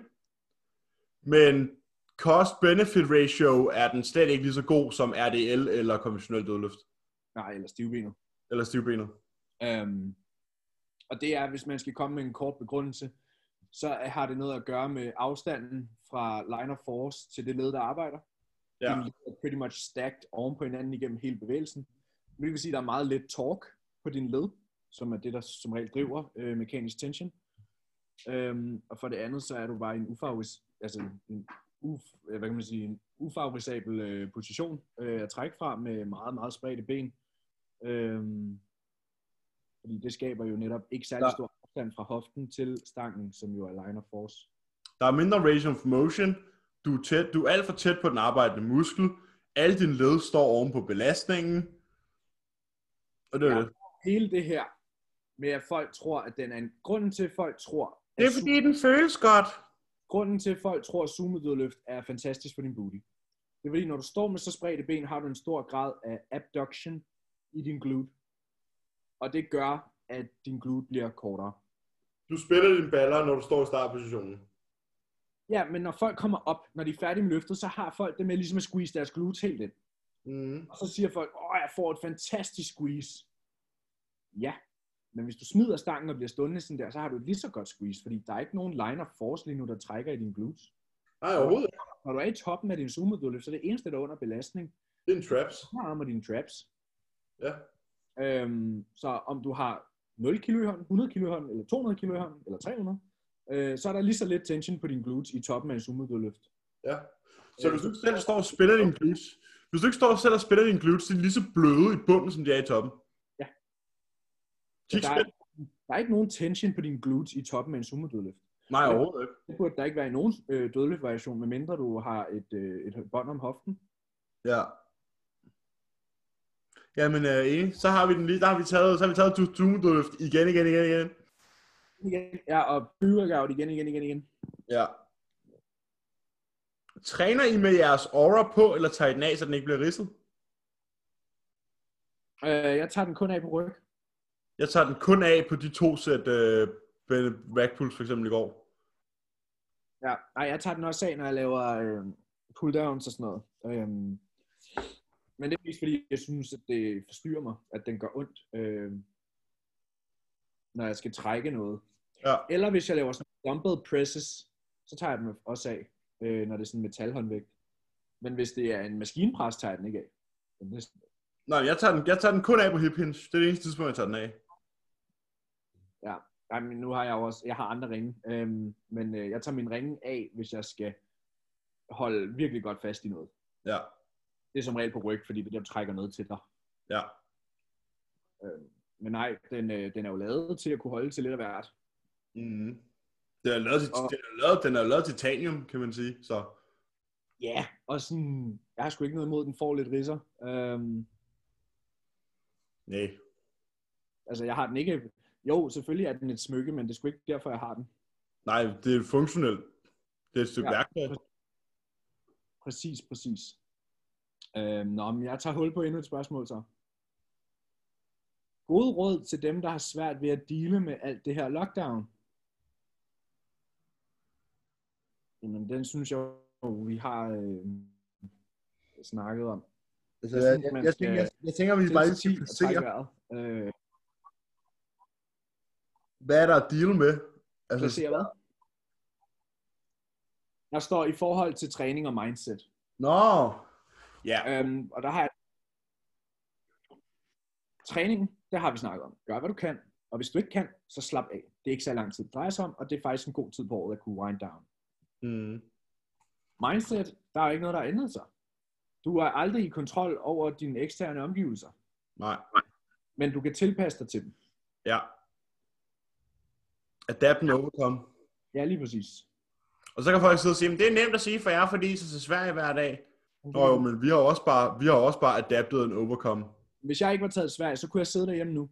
S1: Men cost-benefit ratio er den slet ikke lige så god som RDL eller konventionel dødløft.
S2: Nej, eller stivbenet.
S1: Eller stivbenet.
S2: Øhm, og det er, hvis man skal komme med en kort begrundelse, så har det noget at gøre med afstanden fra line of force til det led, der arbejder.
S1: Ja.
S2: De er pretty much stacked oven på hinanden igennem hele bevægelsen. Det vil sige, at der er meget lidt torque på din led, som er det, der som regel driver øh, mekanisk tension. Øhm, og for det andet, så er du bare i en ufavoris, altså en uf, øh, hvad kan man sige, en ufavorisabel øh, position øh, at trække fra med meget, meget spredte ben. Øhm, fordi det skaber jo netop ikke særlig
S1: Ja.
S2: stor afstand fra hoften til stangen, som jo er line of force.
S1: Der er mindre range of motion. Du er, tæt, du er alt for tæt på den arbejdende muskel. Alle dine led står oven på belastningen. Og det er
S2: Ja.
S1: ja. det.
S2: Hele det her med, at folk tror, at den er en grund til, at folk tror, at
S1: Det er fordi, den føles godt.
S2: Grunden til, at folk tror, at sumodødløft er fantastisk for din booty, det er fordi, når du står med så spredte ben, har du en stor grad af abduction i din glute. Og det gør, at din glute bliver kortere.
S1: Du spiller dine baller, når du står i startpositionen.
S2: Ja, men når folk kommer op, når de er færdige med løftet, så har folk det med ligesom at squeeze deres glutes helt ind.
S1: Mm.
S2: Og så siger folk, åh, jeg får et fantastisk squeeze. Ja, men hvis du smider stangen og bliver stående sådan der, så har du et lige så godt squeeze, fordi der er ikke nogen line of force lige nu, der trækker i din glutes.
S1: Nej, overhovedet ikke.
S2: Når du er i toppen af din sumo så er det eneste, der er under belastning,
S1: Det er en traps.
S2: du har med dine traps.
S1: Ja.
S2: Øhm, så om du har 0 kilo i hånden, 100 kilo i hånden, eller 200 kilo i hånden, eller 300, øh, så er der lige så lidt tension på din glutes i toppen af en sumo
S1: Ja. Så hvis du ikke selv står og spiller din glutes, hvis du ikke står selv og spiller din glutes, de er lige så bløde i bunden, som de er i toppen.
S2: Ja.
S1: Kig
S2: Der er, der er ikke nogen tension på dine glutes i toppen af en sumo
S1: Nej, overhovedet ikke.
S2: Det burde der ikke være i nogen øh, dødløftvariation, medmindre du har et, øh, et bånd om hoften.
S1: Ja. Jamen, øh, enig. så har vi den lige, der har vi taget, så har vi taget du- dumodøft igen, igen, igen, igen.
S2: Igen. Ja, og pre-workout igen, igen, igen, igen.
S1: Ja. Træner I med jeres aura på, eller tager I den af, så den ikke bliver ridset?
S2: Øh, jeg tager den kun af på ryg.
S1: Jeg tager den kun af på de to sæt øh, Ben- backpulls for eksempel i går.
S2: Ja, nej, jeg tager den også af, når jeg laver øh, pull-downs og sådan noget. Øh, men det er mest fordi, jeg synes, at det forstyrrer mig, at den gør ondt, øh, når jeg skal trække noget.
S1: Ja.
S2: Eller hvis jeg laver sådan dumbbell presses, så tager jeg dem også af, øh, når det er sådan metalhåndvægt. Men hvis det er en maskinpres, tager jeg den ikke af. Men det er sådan-
S1: Nej, jeg tager, den, jeg tager den kun af på hip hinge. Det er det eneste tidspunkt, jeg tager den af.
S2: Ej, men nu har jeg jo også, jeg har andre ringe, øhm, men øh, jeg tager min ringe af, hvis jeg skal holde virkelig godt fast i noget.
S1: Ja,
S2: Det er som regel på ryg, fordi det der trækker noget til dig.
S1: ja.
S2: Øhm, men nej, den, øh, den er jo lavet til at kunne holde til lidt af hvert.
S1: Mm. Den er lavet til,
S2: Og-
S1: den er lavet, den er lavet til titanium, kan man sige. Så
S2: Ja, yeah. og sådan, jeg har sgu ikke noget imod, at den får lidt ridser. Øhm,
S1: nej.
S2: altså, jeg har den ikke, jo, selvfølgelig er den et smykke, men det er sgu ikke derfor, jeg har den.
S1: Nej, det er funktionelt. Det er et stykke ja.
S2: Ja.
S1: værktøj.
S2: Præcis, præcis. Øhm, nå, men jeg tager hul på endnu et spørgsmål så. Gode råd til dem, der har svært ved at dele med alt det her lockdown. Jamen, den synes jeg, jo, vi har øh, snakket om.
S1: Altså,
S2: Jeg
S1: jeg,
S2: synes,
S1: jeg,
S2: man
S1: jeg,
S2: skal-
S1: tænker, jeg, jeg tænker, vi bare lige skal
S2: Tiltid og
S1: placere,
S2: trække vejret. Øh,
S1: hvad er der at deal med. Altså,
S2: placere hvad? Jeg står i forhold til træning og mindset.
S1: Nå, ja,
S2: Øhm, og der har jeg... Træning, det har vi snakket om. Gør, hvad du kan. Og hvis du ikke kan, så slap af. Det er ikke så lang tid, det drejer sig om, og det er faktisk en god tid på året at kunne wind down.
S1: mm.
S2: Mindset, der er jo ikke noget, der har ændret sig. Du er aldrig i kontrol over dine eksterne omgivelser,
S1: nej,
S2: men du kan tilpasse dig til dem.
S1: ja. Adapt and overcome.
S2: Ja, lige præcis.
S1: Og så kan folk sidde og sige, "Men det er nemt at sige for jer, fordi I tager til Sverige hver dag. Nå jo, men vi har også bare, vi har også bare adaptet en overcome.
S2: Hvis jeg ikke var taget til Sverige, så kunne jeg sidde derhjemme nu.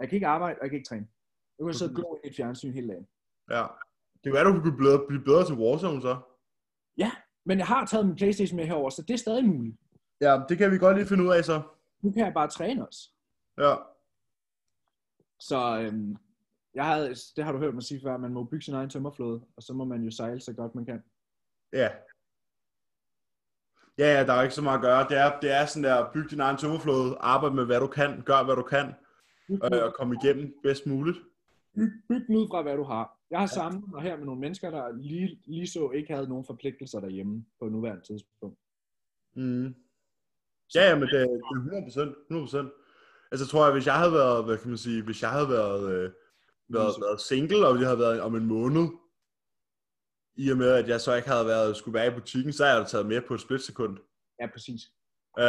S2: Jeg kan ikke arbejde, og jeg kan ikke træne. Jeg kunne sidde og glo i et fjernsyn hele dagen.
S1: Ja. Det kan være, du kunne blive bedre, blive bedre til Warzone så.
S2: Men jeg har taget min Playstation med herover, så det er stadig muligt.
S1: Ja, det kan vi godt lige finde ud af så.
S2: Nu kan jeg bare træne også.
S1: Ja.
S2: Så øhm, jeg havde, det har du hørt mig sige før, man må bygge sin egen tømmerflåde, og så må man jo sejle så godt man kan.
S1: Ja. Ja, ja, der er jo ikke så meget at gøre. Det er, det er sådan der, byg din egen tømmerflåde, arbejde med hvad du kan, gør hvad du kan, øh, og kom igennem bedst muligt.
S2: Byg den ud fra, hvad du har. Jeg har samlet mig her med nogle mennesker, der lige, lige så ikke havde nogen forpligtelser derhjemme på nuværende tidspunkt.
S1: Mm. Ja, ja, men det, det er 100 100 Altså tror jeg, hvis jeg havde været, hvad kan man sige, hvis jeg havde været, øh, været, været single, og det havde været om en måned, i og med, at jeg så ikke havde været, skulle være i butikken, så havde jeg taget mere på et splitsekund.
S2: Ja, præcis.
S1: Øh,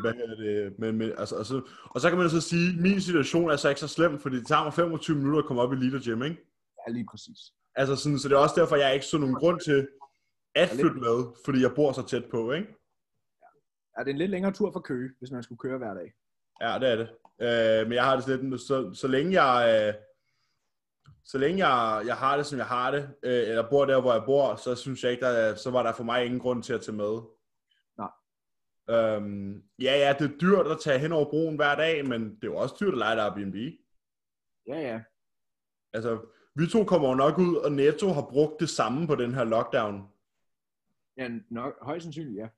S1: hvad hedder det? Men, men, altså, altså, og så kan man jo så sige, at min situation er så ikke så slem, fordi det tager mig 25 minutter at komme op i Leader Gym, ikke?
S2: Ja, lige præcis.
S1: Altså sådan, så det er også derfor, jeg ikke så nogen grund til at flytte med, fordi jeg bor så tæt på, ikke?
S2: Ja, det er en lidt længere tur fra Køge, hvis man skulle køre hver dag.
S1: Ja, det er det. Øh, men jeg har det sådan lidt, så, så længe jeg... Øh, så længe jeg, jeg har det, som jeg har det, øh, eller bor der, hvor jeg bor, så synes jeg ikke, der, er- så var der for mig ingen grund til at tage med.
S2: Nej.
S1: Øhm, ja, ja, det er dyrt at tage hen over broen hver dag, men det er jo også dyrt at lege et Airbnb.
S2: Ja, ja.
S1: Altså, vi to kommer jo nok ud, og Netto har brugt det samme på den her lockdown.
S2: ja nok, højst sandsynligt, ja.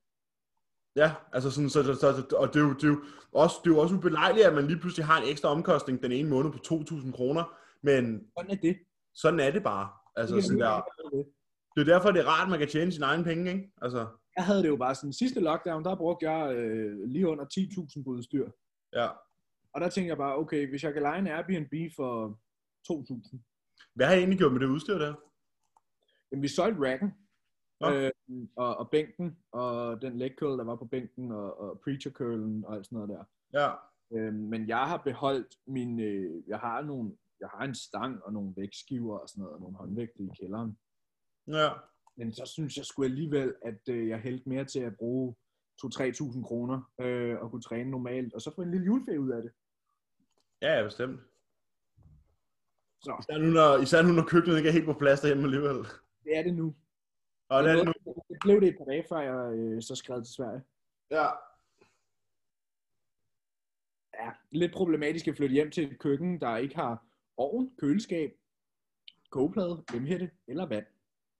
S1: Ja, altså sådan, så, så, så og det er, jo, det, er jo også, det er jo også ubelejligt, at man lige pludselig har en ekstra omkostning den ene måned på 2.000 kroner, men
S2: Sådan er det.
S1: sådan er det bare. Altså,
S2: Det kan
S1: sådan
S2: man
S1: der,
S2: ikke gøre ved.
S1: det er derfor, det er rart, at man kan tjene sine egne penge, ikke? Altså,
S2: Jeg havde det jo bare sådan, sidste lockdown, der brugte jeg øh, lige under 10.000 på udstyr.
S1: ja.
S2: Og der tænkte jeg bare, okay, hvis jeg kan lege en Airbnb for 2.000,
S1: Hvad har I egentlig gjort med det udstyr der?
S2: Jamen, vi solgte racken.
S1: Nå.
S2: Øh, og, og bænken, og den leg curl, der var på bænken, og, og preacher curlen, og alt sådan noget der.
S1: Ja,
S2: Øh, men jeg har beholdt min, øh, jeg har nogle, jeg har en stang og nogle vægtskiver og sådan noget, og nogle håndvægte i kælderen.
S1: ja.
S2: Men så synes jeg sgu alligevel, at øh, jeg hældte mere til at bruge 2-3.000 kroner øh, og kunne træne normalt, og så få en lille juleferie ud af det.
S1: Ja, ja, bestemt.
S2: Så
S1: Især nu, når, især nu, når køkkenet ikke er helt på plads derhjemme alligevel.
S2: det er det nu.
S1: Og det er det nu.
S2: nu. Det blev det et par dage, før jeg øh, så skred til Sverige.
S1: Ja.
S2: ja, lidt problematisk at flytte hjem til et køkken, der ikke har ovn, køleskab, kogeplade, emhætte eller vand.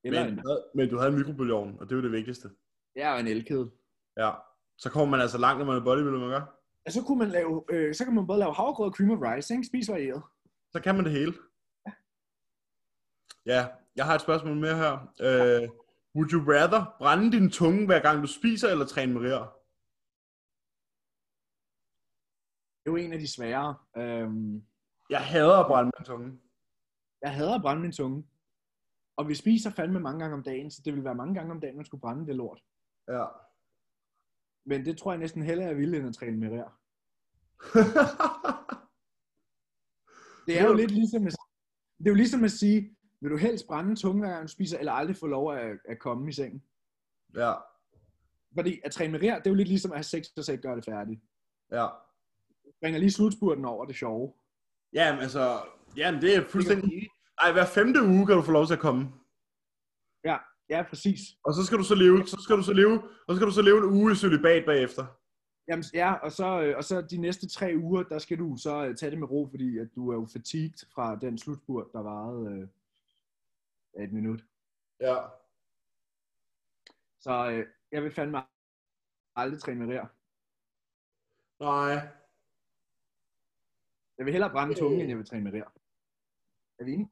S2: Eller
S1: Men,
S2: en,
S1: men du havde en mikrobølgeovn, og det er jo det vigtigste.
S2: ja, og en elkedel.
S1: Ja. Så kommer man altså langt, når man er bodybuilder, man gør.
S2: Og så, kunne man lave, øh, så kan man både lave havregrød og cream of rice, ikke? Spis varieret.
S1: Så kan man det hele. Ja, jeg har et spørgsmål mere her. Øh, would you rather brænde din tunge, hver gang du spiser, eller træne med rier?
S2: Det er jo en af de svære. Øhm,
S1: Jeg hader at brænde min tunge.
S2: jeg hader at brænde min tunge. Og vi spiser fandme mange gange om dagen, så det ville være mange gange om dagen, man skulle brænde det lort.
S1: Ja.
S2: Men det tror jeg næsten hellere er vildt, end at træne med rær. Det er jo lidt ligesom at, det er jo ligesom at sige, vil du helst brænde tunge, hver gang du spiser, eller aldrig få lov at, at komme i sengen?
S1: ja,
S2: Fordi at træne med rær, det er jo lidt ligesom at have sex, og så ikke gøre det færdigt.
S1: ja.
S2: Bringer lige slutspurten over det sjove.
S1: Jamen altså, jamen det er fuldstændig enig. Ej, hver femte uge kan du få lov til at komme.
S2: Ja, præcis.
S1: Og så skal du så leve, så skal du så leve, og så skal du så leve en uge i celibat bagefter.
S2: Jamen, ja, og så, øh, og så de næste tre uger, der skal du så øh, tage det med ro, fordi at du er jo fatigt fra den slutspurt, der varede øh, ja, et minut.
S1: Ja.
S2: Så øh, jeg vil fandme aldrig træne med rær.
S1: Nej.
S2: Jeg vil hellere brænde tunge, end jeg vil træne med rær. Er vi enige?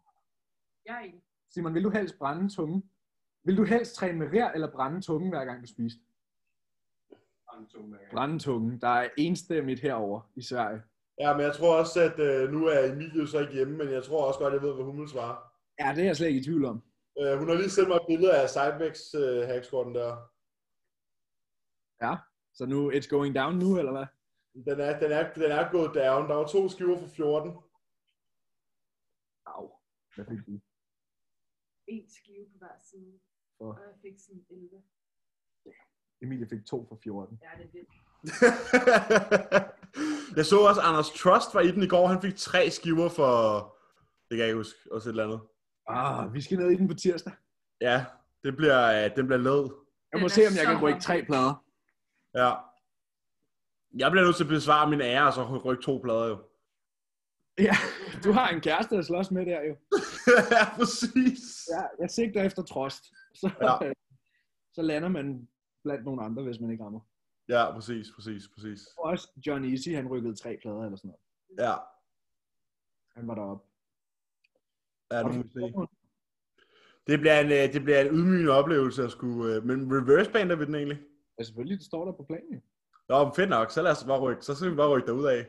S4: Jeg er enig.
S2: Simon, vil du helst brænde tunge? Vil du helst træne med rær, eller brænde tunge, hver gang du spiser? Brænde tunge. Der er enstemmigt herover i Sverige.
S1: Ja, men jeg tror også, at øh, nu er Emilie jo så ikke hjemme, men jeg tror også godt, jeg ved, hvad hun vil svare.
S2: Ja, det er jeg slet ikke i tvivl om.
S1: Øh, hun har lige sendt mig et billede af Cybex øh, hackskorten der.
S2: Så nu, it's going down nu, eller hvad?
S1: Den er, den, er, den er gået down. Der var to skiver for 14.
S2: Au. Hvad fik du?
S4: En skive på hver side.
S2: Åh.
S4: Og jeg fik sådan 11.
S2: Emilie fik to for 14.
S4: Ja, det er vildt.
S1: jeg så også, Anders Trust var i den i går. Han fik tre skiver for... Det kan jeg ikke huske. Også et eller andet.
S2: Ah, vi skal ned i den på tirsdag.
S1: Ja, det bliver, øh, den bliver led.
S2: Jeg
S4: Den
S2: må
S4: er
S2: se, om jeg
S4: så
S2: kan rykke tre
S4: håndfuld.
S2: plader.
S1: Ja. Jeg bliver nødt til at besvare min ære, og så rykke to plader jo.
S2: Ja, du har en kæreste at slås med der jo.
S1: ja, præcis.
S2: Ja, jeg sigter efter trost. Så,
S1: Ja.
S2: ja. så lander man blandt nogle andre, hvis man ikke rammer.
S1: Ja, præcis, præcis, præcis.
S2: Og også John Easy, han rykkede tre plader eller sådan noget.
S1: Ja,
S2: Han var deroppe.
S1: ja
S2: Har
S1: nu
S2: du
S1: må vi
S2: fået
S1: se.
S2: spørgsmål?
S1: Det bliver en, øh, det bliver en ydmygende oplevelse at skulle... øh, Men reverse bander vi den egentlig?
S2: Ja, selvfølgelig, det står der på planen. jo.
S1: Nå, men fedt nok. Så lad os bare rykke. Så skal vi bare rykke derud af.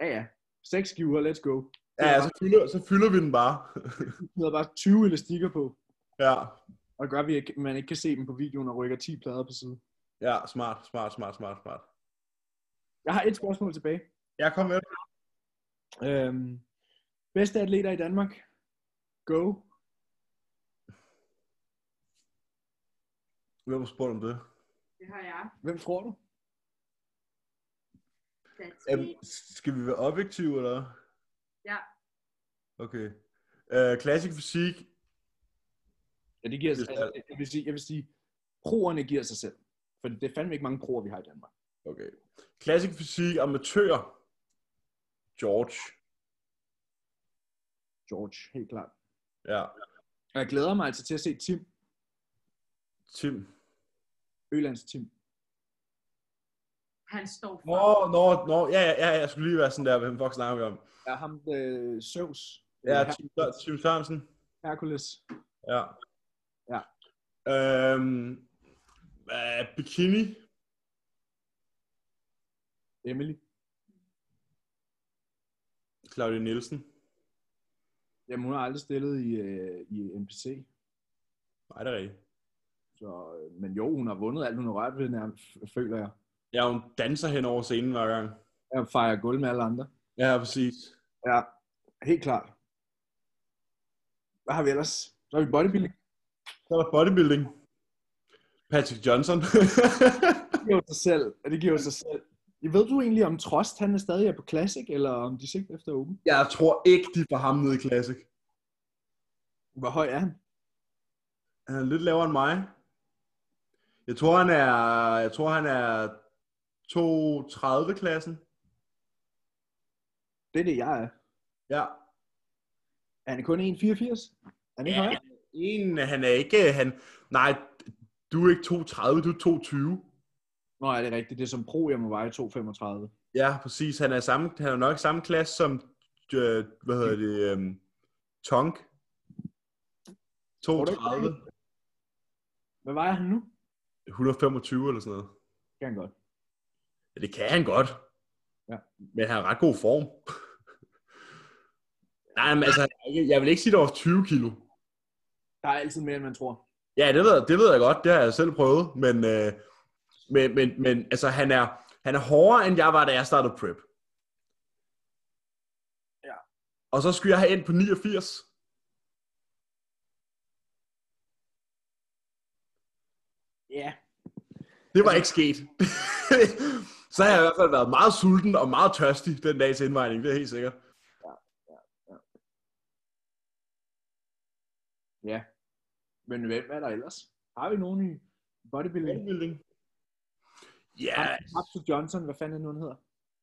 S2: Ja, ja. Seks skiver, let's go.
S1: Ja, så fylder, så fylder vi den bare.
S2: Vi smider bare 20 elastikker på,
S1: ja,
S2: og gør, at vi ikke- man ikke kan se dem på videoen og rykker 10 plader på side.
S1: ja, smart, smart, smart, smart, smart.
S2: Jeg har et spørgsmål tilbage.
S1: Jeg kom med.
S2: Øhm, bedste atleter i Danmark? Go.
S1: Hvem har spurgt om det?
S4: Det har jeg.
S2: Hvem tror du?
S4: That's
S1: Øhm,
S4: it.
S1: skal vi være objektive, eller? hvad?
S4: Ja.
S1: Okay. Øh, klassisk fysik,
S2: Ja, det giver sig,
S1: Det er
S2: altså, jeg- jeg, vil sige, jeg vil sige, proerne giver sig selv. For det er fandme ikke mange proer, vi har i Danmark.
S1: okay. Klassisk fysik, amatør, George.
S2: George, helt klart.
S1: Ja,
S2: Og jeg glæder mig altså til at se Tim,
S1: Tim.
S2: Ølands Tim.
S4: Han står for.
S1: Nå, nå, nå, ja, ja, ja, jeg skulle lige være sådan der, hvem fuck snakker vi om?
S2: Er ham øh, Søvs.
S1: Ja,
S2: Her-
S1: Tim, Sør- Tim Sørensen.
S2: Hercules.
S1: Ja.
S2: Ja.
S1: Øhm, øh, bikini,
S2: Emily.
S1: Claudia Nielsen.
S2: Jamen, hun har aldrig stillet i, øh, i NPC.
S1: Nej, det er rigtigt.
S2: Så, øh, men jo, hun har vundet alt, hun har rørt ved, nærmest, f- føler jeg.
S1: Ja, hun danser hen over scenen hver gang.
S2: Jeg fejrer gulv med alle andre.
S1: Ja, præcis.
S2: Ja, helt klart. Hvad har vi ellers? Så har vi bodybuilding.
S1: Så er der bodybuilding. Patrick Johnson.
S2: Det giver jo sig selv. Ja, det giver jo sig selv. Ved du egentlig, om Trost han er stadig er på Classic, eller om de sigter efter Open?
S1: jeg tror ikke, de får ham ned i Classic.
S2: Hvor høj er han?
S1: Han er lidt lavere end mig. Jeg tror, han er, jeg tror, han er 230-klassen.
S2: Det er det, jeg er.
S1: Ja.
S2: Er han kun 1,84? Er han ikke
S1: Ja.
S2: højere?
S1: En, han er ikke... Han, nej, du er ikke 230, du er 220.
S2: Nå, er det rigtigt. Det er som pro, jeg må veje 2,35.
S1: Ja, præcis. Han er, samme, han er nok i samme klasse som, øh, hvad hedder det, øh, Tonk.
S2: du ikke,
S1: 230.
S2: Hvad vejer han nu?
S1: 125 eller sådan noget.
S2: Det kan han godt.
S1: Ja, det kan han godt.
S2: Ja.
S1: Men han har ret god form. Nej, men altså, jeg- jeg vil ikke sige, det var 20 kilo.
S2: Der er altid mere, end man tror.
S1: Ja, det ved, det ved jeg godt. Det har jeg selv prøvet. Men, øh, men, men, men altså, han er, han er hårdere, end jeg var, da jeg startede prep.
S2: Ja.
S1: Og så skulle jeg have ind på 89.
S2: Ja.
S1: Det var ikke sket. så har jeg i hvert fald været meget sulten og meget tørstig den dags indvejning. Det er helt sikkert.
S2: Men hvem er der ellers? Har vi nogen i bodybuilding?
S1: Bodybuilding. Ja,
S2: Ham- Absolut Johnson, hvad fanden er det nu, han hedder?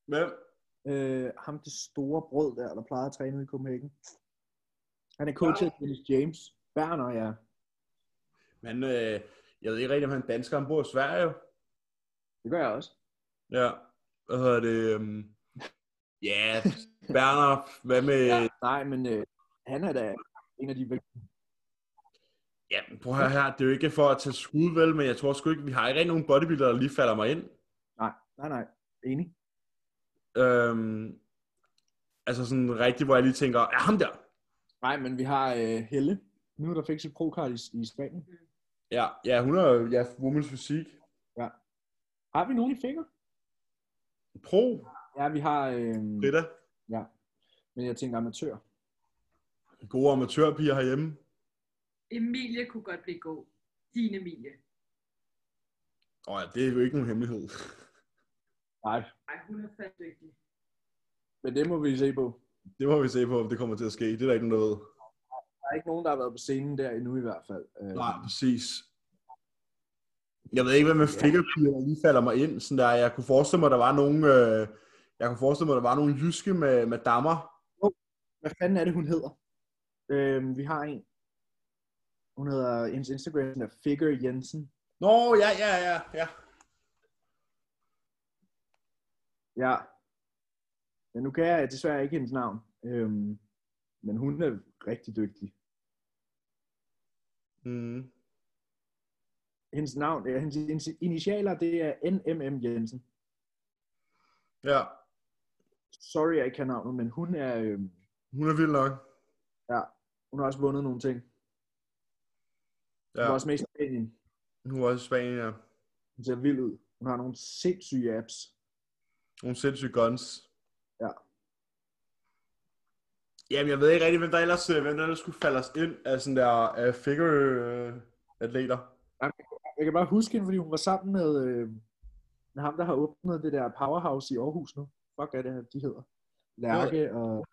S1: hvem?
S2: Øh, ham det store brød der, der plejer at træne ude i Copenhagen. Han er coach af Dennis James. Berner, ja.
S1: Men øh, jeg ved ikke rigtig, om han er dansker. Han bor i Sverige.
S2: Det gør jeg også.
S1: Ja. Hvad hedder det? øhm, Ja, Berner. Hvad med...
S2: Nej, men øh, han er da en af de vel-
S1: Ja, prøv at høre her. Det er jo ikke for at tage skud, vel? Men jeg tror sgu ikke, vi har ikke rigtig nogen bodybuilder, der lige falder mig ind.
S2: Nej, nej, nej. Enig.
S1: Øhm, altså sådan rigtigt, hvor jeg lige tænker, ja, ham der.
S2: Nej, men vi har øh, Helle. Nu der fik sit pro-card i, i Spanien.
S1: Ja, ja, hun er ja, women's fysik.
S2: Har vi nogen i finger?
S1: Pro,
S2: Ja, vi har... Øh,
S1: Britta.
S2: men jeg tænker amatør.
S1: Gode amatørpiger herhjemme.
S4: Emilie kunne godt blive god. Din Emilie.
S1: Åh ja, det er jo ikke nogen hemmelighed.
S2: Nej,
S4: Ej, hun er fandme dygtig.
S2: men det må vi se på.
S1: Det må vi se på, om det kommer til at ske. Det er der ikke nogen, der ved.
S2: Der er ikke nogen, der har været på scenen der endnu i hvert fald. Øh,
S1: Nej, præcis. Jeg ved ikke, hvad med figurpiger, der lige falder mig ind. Sådan der, jeg kunne forestille mig, der var nogle, øh, jeg kunne forestille mig, der var nogle jyske med, med dammer.
S2: Hvad fanden er det, hun hedder? Øh, vi har en. Hun hedder, hendes Instagram er Figure Jensen.
S1: Nå, ja, ja, ja, ja.
S2: Ja. Men nu kan jeg desværre ikke hendes navn. Øh, men hun er rigtig dygtig.
S1: Mm.
S2: Hendes navn, øh, hendes hendes initialer, det er NMM Jensen.
S1: Ja,
S2: Sorry, jeg ikke kan navnet, men hun er, øh,
S1: hun er vild nok.
S2: hun har også vundet nogle ting. Ja.
S1: Ja,
S2: Hun var også med i Spanien.
S1: hun var også i Spanien, ja.
S2: Hun ser vild ud. Hun har nogle sindssyge apps.
S1: Nogle sindssyge guns.
S2: Ja.
S1: Jamen, jeg ved ikke rigtig, hvem der ellers, øh, hvem der ellers skulle falde os ind af sådan der uh, figure-atleter.
S2: Jeg kan bare huske hende, fordi hun var sammen med, øh, med ham, der har åbnet det der powerhouse i Aarhus nu. Fuck er det, de hedder. Lærke og...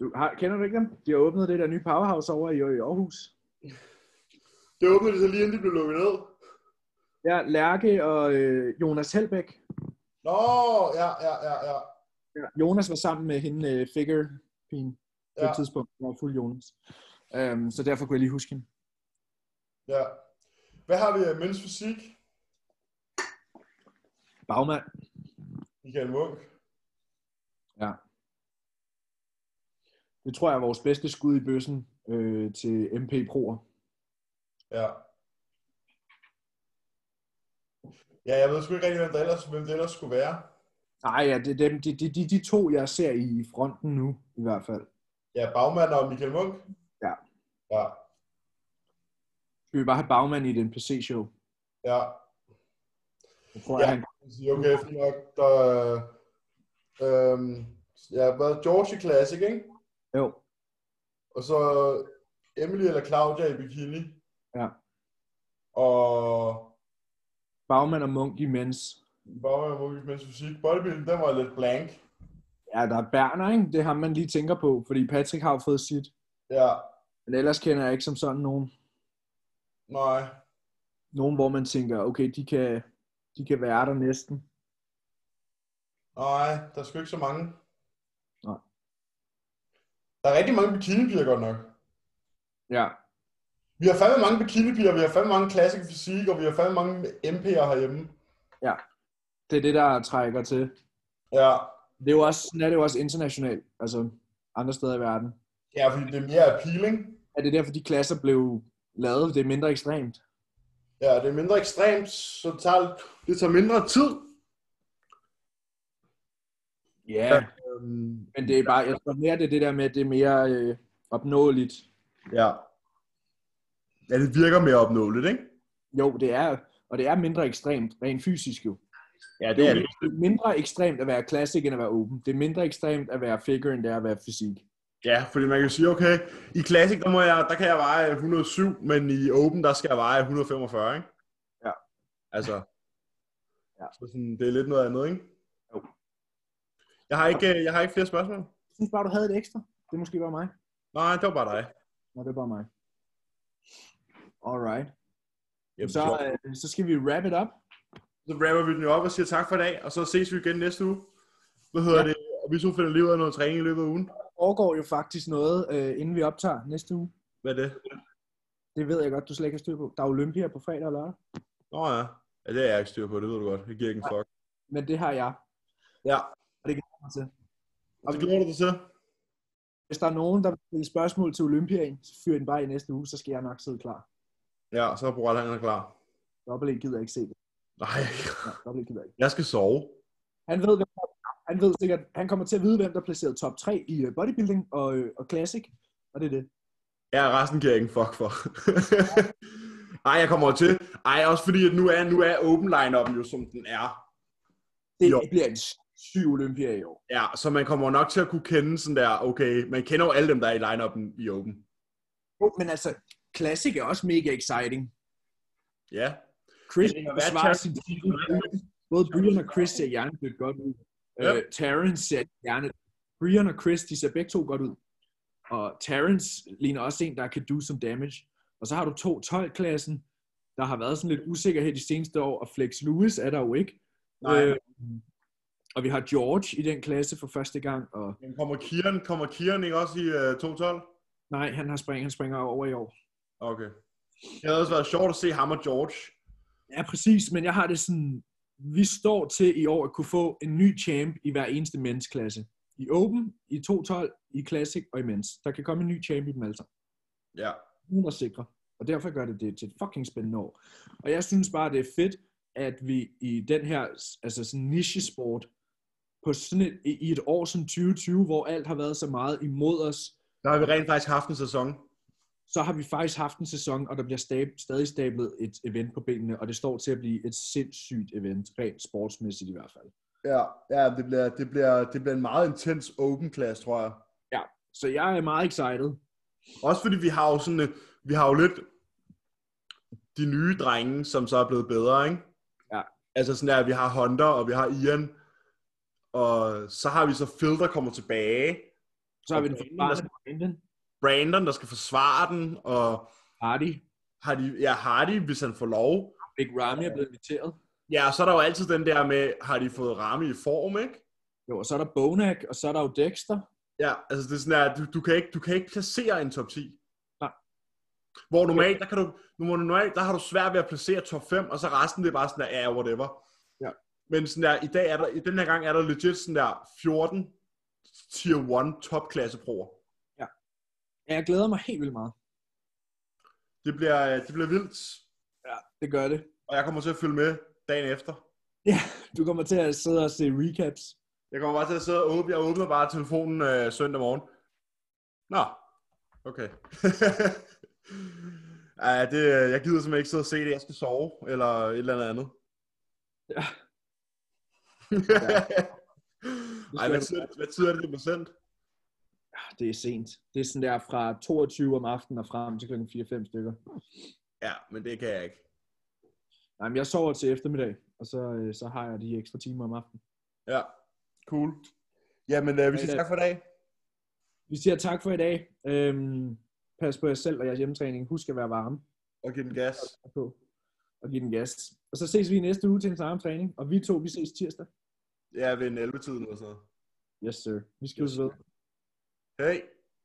S2: Du, har, kender du ikke dem? De har åbnet det der nye powerhouse over i, i Aarhus.
S1: Det åbnede det så lige inden det blev lukket ned.
S2: Ja, Lærke og øh, Jonas Helbæk.
S1: Nå, ja, ja, ja, ja.
S2: Ja. Jonas var sammen med hende øh, figure pigen på ja.
S1: Ja.
S2: et tidspunkt. Hun var fuld Jonas. Øhm, så derfor kunne jeg lige huske hende.
S1: ja. Hvad har vi af mænds fysik?
S2: Bagmand.
S1: Michael Munk.
S2: Det tror jeg er vores bedste skud i bøssen øh, til MP Pro'er.
S1: Ja. Ja, jeg ved sgu ikke rigtig, hvem det ellers, hvem det ellers skulle være.
S2: Nej, ja, det er dem, de, de, de, de to, jeg ser i fronten nu, i hvert fald.
S1: Ja, Bagmand og Michael Munk.
S2: Ja.
S1: Ja,
S2: Skal vi bare have bagmand i et NPC-show?
S1: ja.
S2: Jeg tror,
S1: Ja.
S2: ja. han,
S1: Jeg siger, Okay, fint nok. Der, øhm, ja, hvad George i Classic, ikke?
S2: jo,
S1: Og så Emily eller Claudia i bikini.
S2: Ja.
S1: Og
S2: bagmand og munk imens.
S1: Bare med Munk mens fysik. Bodybuilding, den var lidt blank.
S2: Ja, der er Berner, ikke? Det har man lige tænker på, fordi Patrick har jo fået sit.
S1: Ja,
S2: Men ellers kender jeg ikke som sådan nogen,
S1: nej.
S2: nogen hvor man tænker, okay, de kan, de kan være der næsten.
S1: Nej, der er sgu ikke så mange.
S2: Nej.
S1: Der er rigtig mange bikinipiger godt nok.
S2: Ja,
S1: Vi har fandme mange bikinipiger, vi har fandme mange klassisk fysik, og vi har fandme mange MP'er herhjemme.
S2: det er det, der trækker til.
S1: Ja.
S2: Det er jo også, sådan er det jo også internationalt, altså andre steder i verden.
S1: Ja, fordi det er mere appealing.
S2: Er det derfor, de klasser blev lavet? Det er mindre ekstremt.
S1: Ja, det er mindre ekstremt, så det tager, det tager mindre tid.
S2: Ja,
S1: Ja.
S2: yeah.
S1: Øhm,
S2: men det er bare, jeg tror mere, det er det der med, at det er mere øh, opnåeligt.
S1: ja. Ja, det virker mere opnåeligt, ikke?
S2: Jo, det er, og det er mindre ekstremt, rent fysisk jo.
S1: Ja,
S2: Det er jo lidt mindre ekstremt at være classic end at være open. Det er mindre ekstremt at være figure end det er at være fysik.
S1: Ja, fordi man kan sige, okay, i Classic, der, må jeg, der kan jeg veje 107, men i Open, der skal jeg veje 145, ikke?
S2: Ja.
S1: Altså,
S2: Ja.
S1: ja. Så sådan, det er lidt noget andet, ikke?
S2: Jo.
S1: Jeg har ikke, øh, jeg har ikke flere spørgsmål.
S2: Jeg synes bare, du havde et ekstra. Det måske var mig.
S1: Nej, det var bare dig.
S2: Nå, det var mig. Alright.
S1: Jamen,
S2: Så, øh, så skal vi wrap it up.
S1: så rapper vi den jo op og siger tak for i dag, og så ses vi igen næste uge. Hvad hedder
S2: Ja.
S1: ja. det? Og vi to finder lige ud af noget træning i løbet af ugen.
S2: Der foregår jo faktisk noget, øh, inden vi optager næste uge.
S1: Hvad er det?
S2: Det ved jeg godt, du slet ikke har styr på. Der er Olympia på fredag og lørdag.
S1: Nå ja. ja, det er jeg ikke styr på, det ved du godt. Jeg giver ikke en fuck.
S2: Men det har jeg.
S1: Ja,
S2: mig til.
S1: og det glæder du dig til.
S2: Hvis der er nogen, der vil stille spørgsmål til Olympia, så fyr den bare i næste uge, så skal jeg nok sidde klar.
S1: Ja, så er programmet klar.
S2: Dobbelt ikke gider ikke se det.
S1: Nej,
S2: Nej, dobbelt ikke gider ikke.
S1: jeg skal sove.
S2: Han ved, hvem der, han ved sikkert, han kommer til at vide, hvem der placerede top 3 i øh, bodybuilding og, øh, og classic. Og det er det.
S1: Ja, resten giver jeg ikke en fuck for. Ej, jeg kommer til. Ej, også fordi, at nu er, nu er open line jo, som den er.
S2: Det
S1: Jo.
S2: jo. bliver en syg Olympia i år.
S1: Ja, så man kommer nok til at kunne kende sådan der, okay, man kender jo alle dem, der er i line i open.
S2: Jo, men altså, classic er også mega exciting.
S1: Ja.
S2: Chris
S1: Det kan være,
S2: forsvarer
S1: Terrence-
S2: sin titel. Både Brian og Chris ser hjernedødt godt ud.
S1: Ja.
S2: Øh, Terrence ser hjernedødt. Brian og Chris, de ser begge to godt ud. Og Terrence ligner også en, der kan do some damage. Og så har du to 12-klassen, der har været sådan lidt usikkerhed de seneste år, og Flex Lewis er der jo ikke.
S1: Nej.
S2: Øh, og vi har George i den klasse for første gang, og
S1: Men kommer Kieran, kommer Kieran ikke også i øh, 212?
S2: nej, han har spring, han springer over i år.
S1: Okay. Det havde også været sjovt at se ham og George.
S2: Ja, præcis, men jeg har det sådan, vi står til i år at kunne få en ny champ i hver eneste mensklasse. I Open, i 212, i Classic og i mens. Der kan komme en ny champ i dem altså.
S1: Ja.
S2: Uden at sikre. Og derfor gør det det til et fucking spændende år. Og jeg synes bare, det er fedt, at vi i den her altså sådan niche-sport, på sådan et, i i et år som 2020, hvor alt har været så meget imod os,
S1: Der har vi rent faktisk haft en sæson.
S2: så har vi faktisk haft en sæson, og der bliver stab, stadig stablet et event på benene, og det står til at blive et sindssygt event, rent sportsmæssigt i hvert fald.
S1: Ja, ja det, bliver, det, bliver, det bliver en meget intens open class, tror jeg.
S2: Så jeg er meget excited.
S1: Også fordi vi har jo sådan, øh, vi har jo lidt de nye drenge, som så er blevet bedre, ikke?
S2: Ja.
S1: Altså sådan der, at vi har Hunter, og vi har Ian, og så har vi så Phil, der kommer tilbage,
S2: Så har vi den forsvarende Brandon.
S1: Brandon, der skal forsvare den, og
S2: Hardy.
S1: har de, ja, Hardy, hvis han får lov.
S2: Big Ramy er blevet inviteret.
S1: Ja, og så er der jo altid den der med, har de fået ramme i form, ikke?
S2: Jo, og så er der Bonak, og så er der jo Dexter.
S1: Ja, altså det er sådan, at du, du, kan ikke, du kan ikke placere en top 10.
S2: Nej.
S1: Hvor normalt, der, kan du, hvor normalt, der har du svært ved at placere top 5, og så resten det er bare sådan der, ja, whatever.
S2: Ja.
S1: Men sådan der, i dag er der, i den her gang er der legit sådan der 14 tier 1 topklasse proer.
S2: Ja, jeg glæder mig helt vildt meget.
S1: Det bliver, øh, det bliver vildt,
S2: Ja, det gør det.
S1: og jeg kommer til at følge med dagen efter.
S2: Ja, du kommer til at sidde og se recaps.
S1: Jeg kommer bare til at sidde og åbne, jeg åbner bare telefonen øh, søndag morgen. Nå, okay. Ej, det, øh, jeg gider simpelthen ikke sidde og se det, jeg skal sove, eller et eller andet andet.
S2: Ja.
S1: Ej, hvad tid, hvad tid er det, det er sendt?
S2: Ja, Ah, Det er sent. Det er sådan der fra 22 om aftenen og frem til klokken 4-5 stykker.
S1: Ja, men det kan jeg ikke.
S2: Nej, men jeg sover til eftermiddag, og så, øh, så har jeg de ekstra timer om aftenen.
S1: Ja, cool. Jamen, øh, vi siger
S2: Fredag.
S1: tak for i dag.
S2: Vi siger tak for i dag. Øhm, pas på jer selv og jeres hjemmetræning. Husk at være varme
S1: Og giv den gas.
S2: og på og give den gas. Og så ses vi i næste uge til en samme træning, og vi to, vi ses tirsdag.
S1: Ja, ved en 11-tiden eller sådan noget.
S2: Yes, sir. Vi skrives ved.
S1: Hej.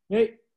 S2: Hej!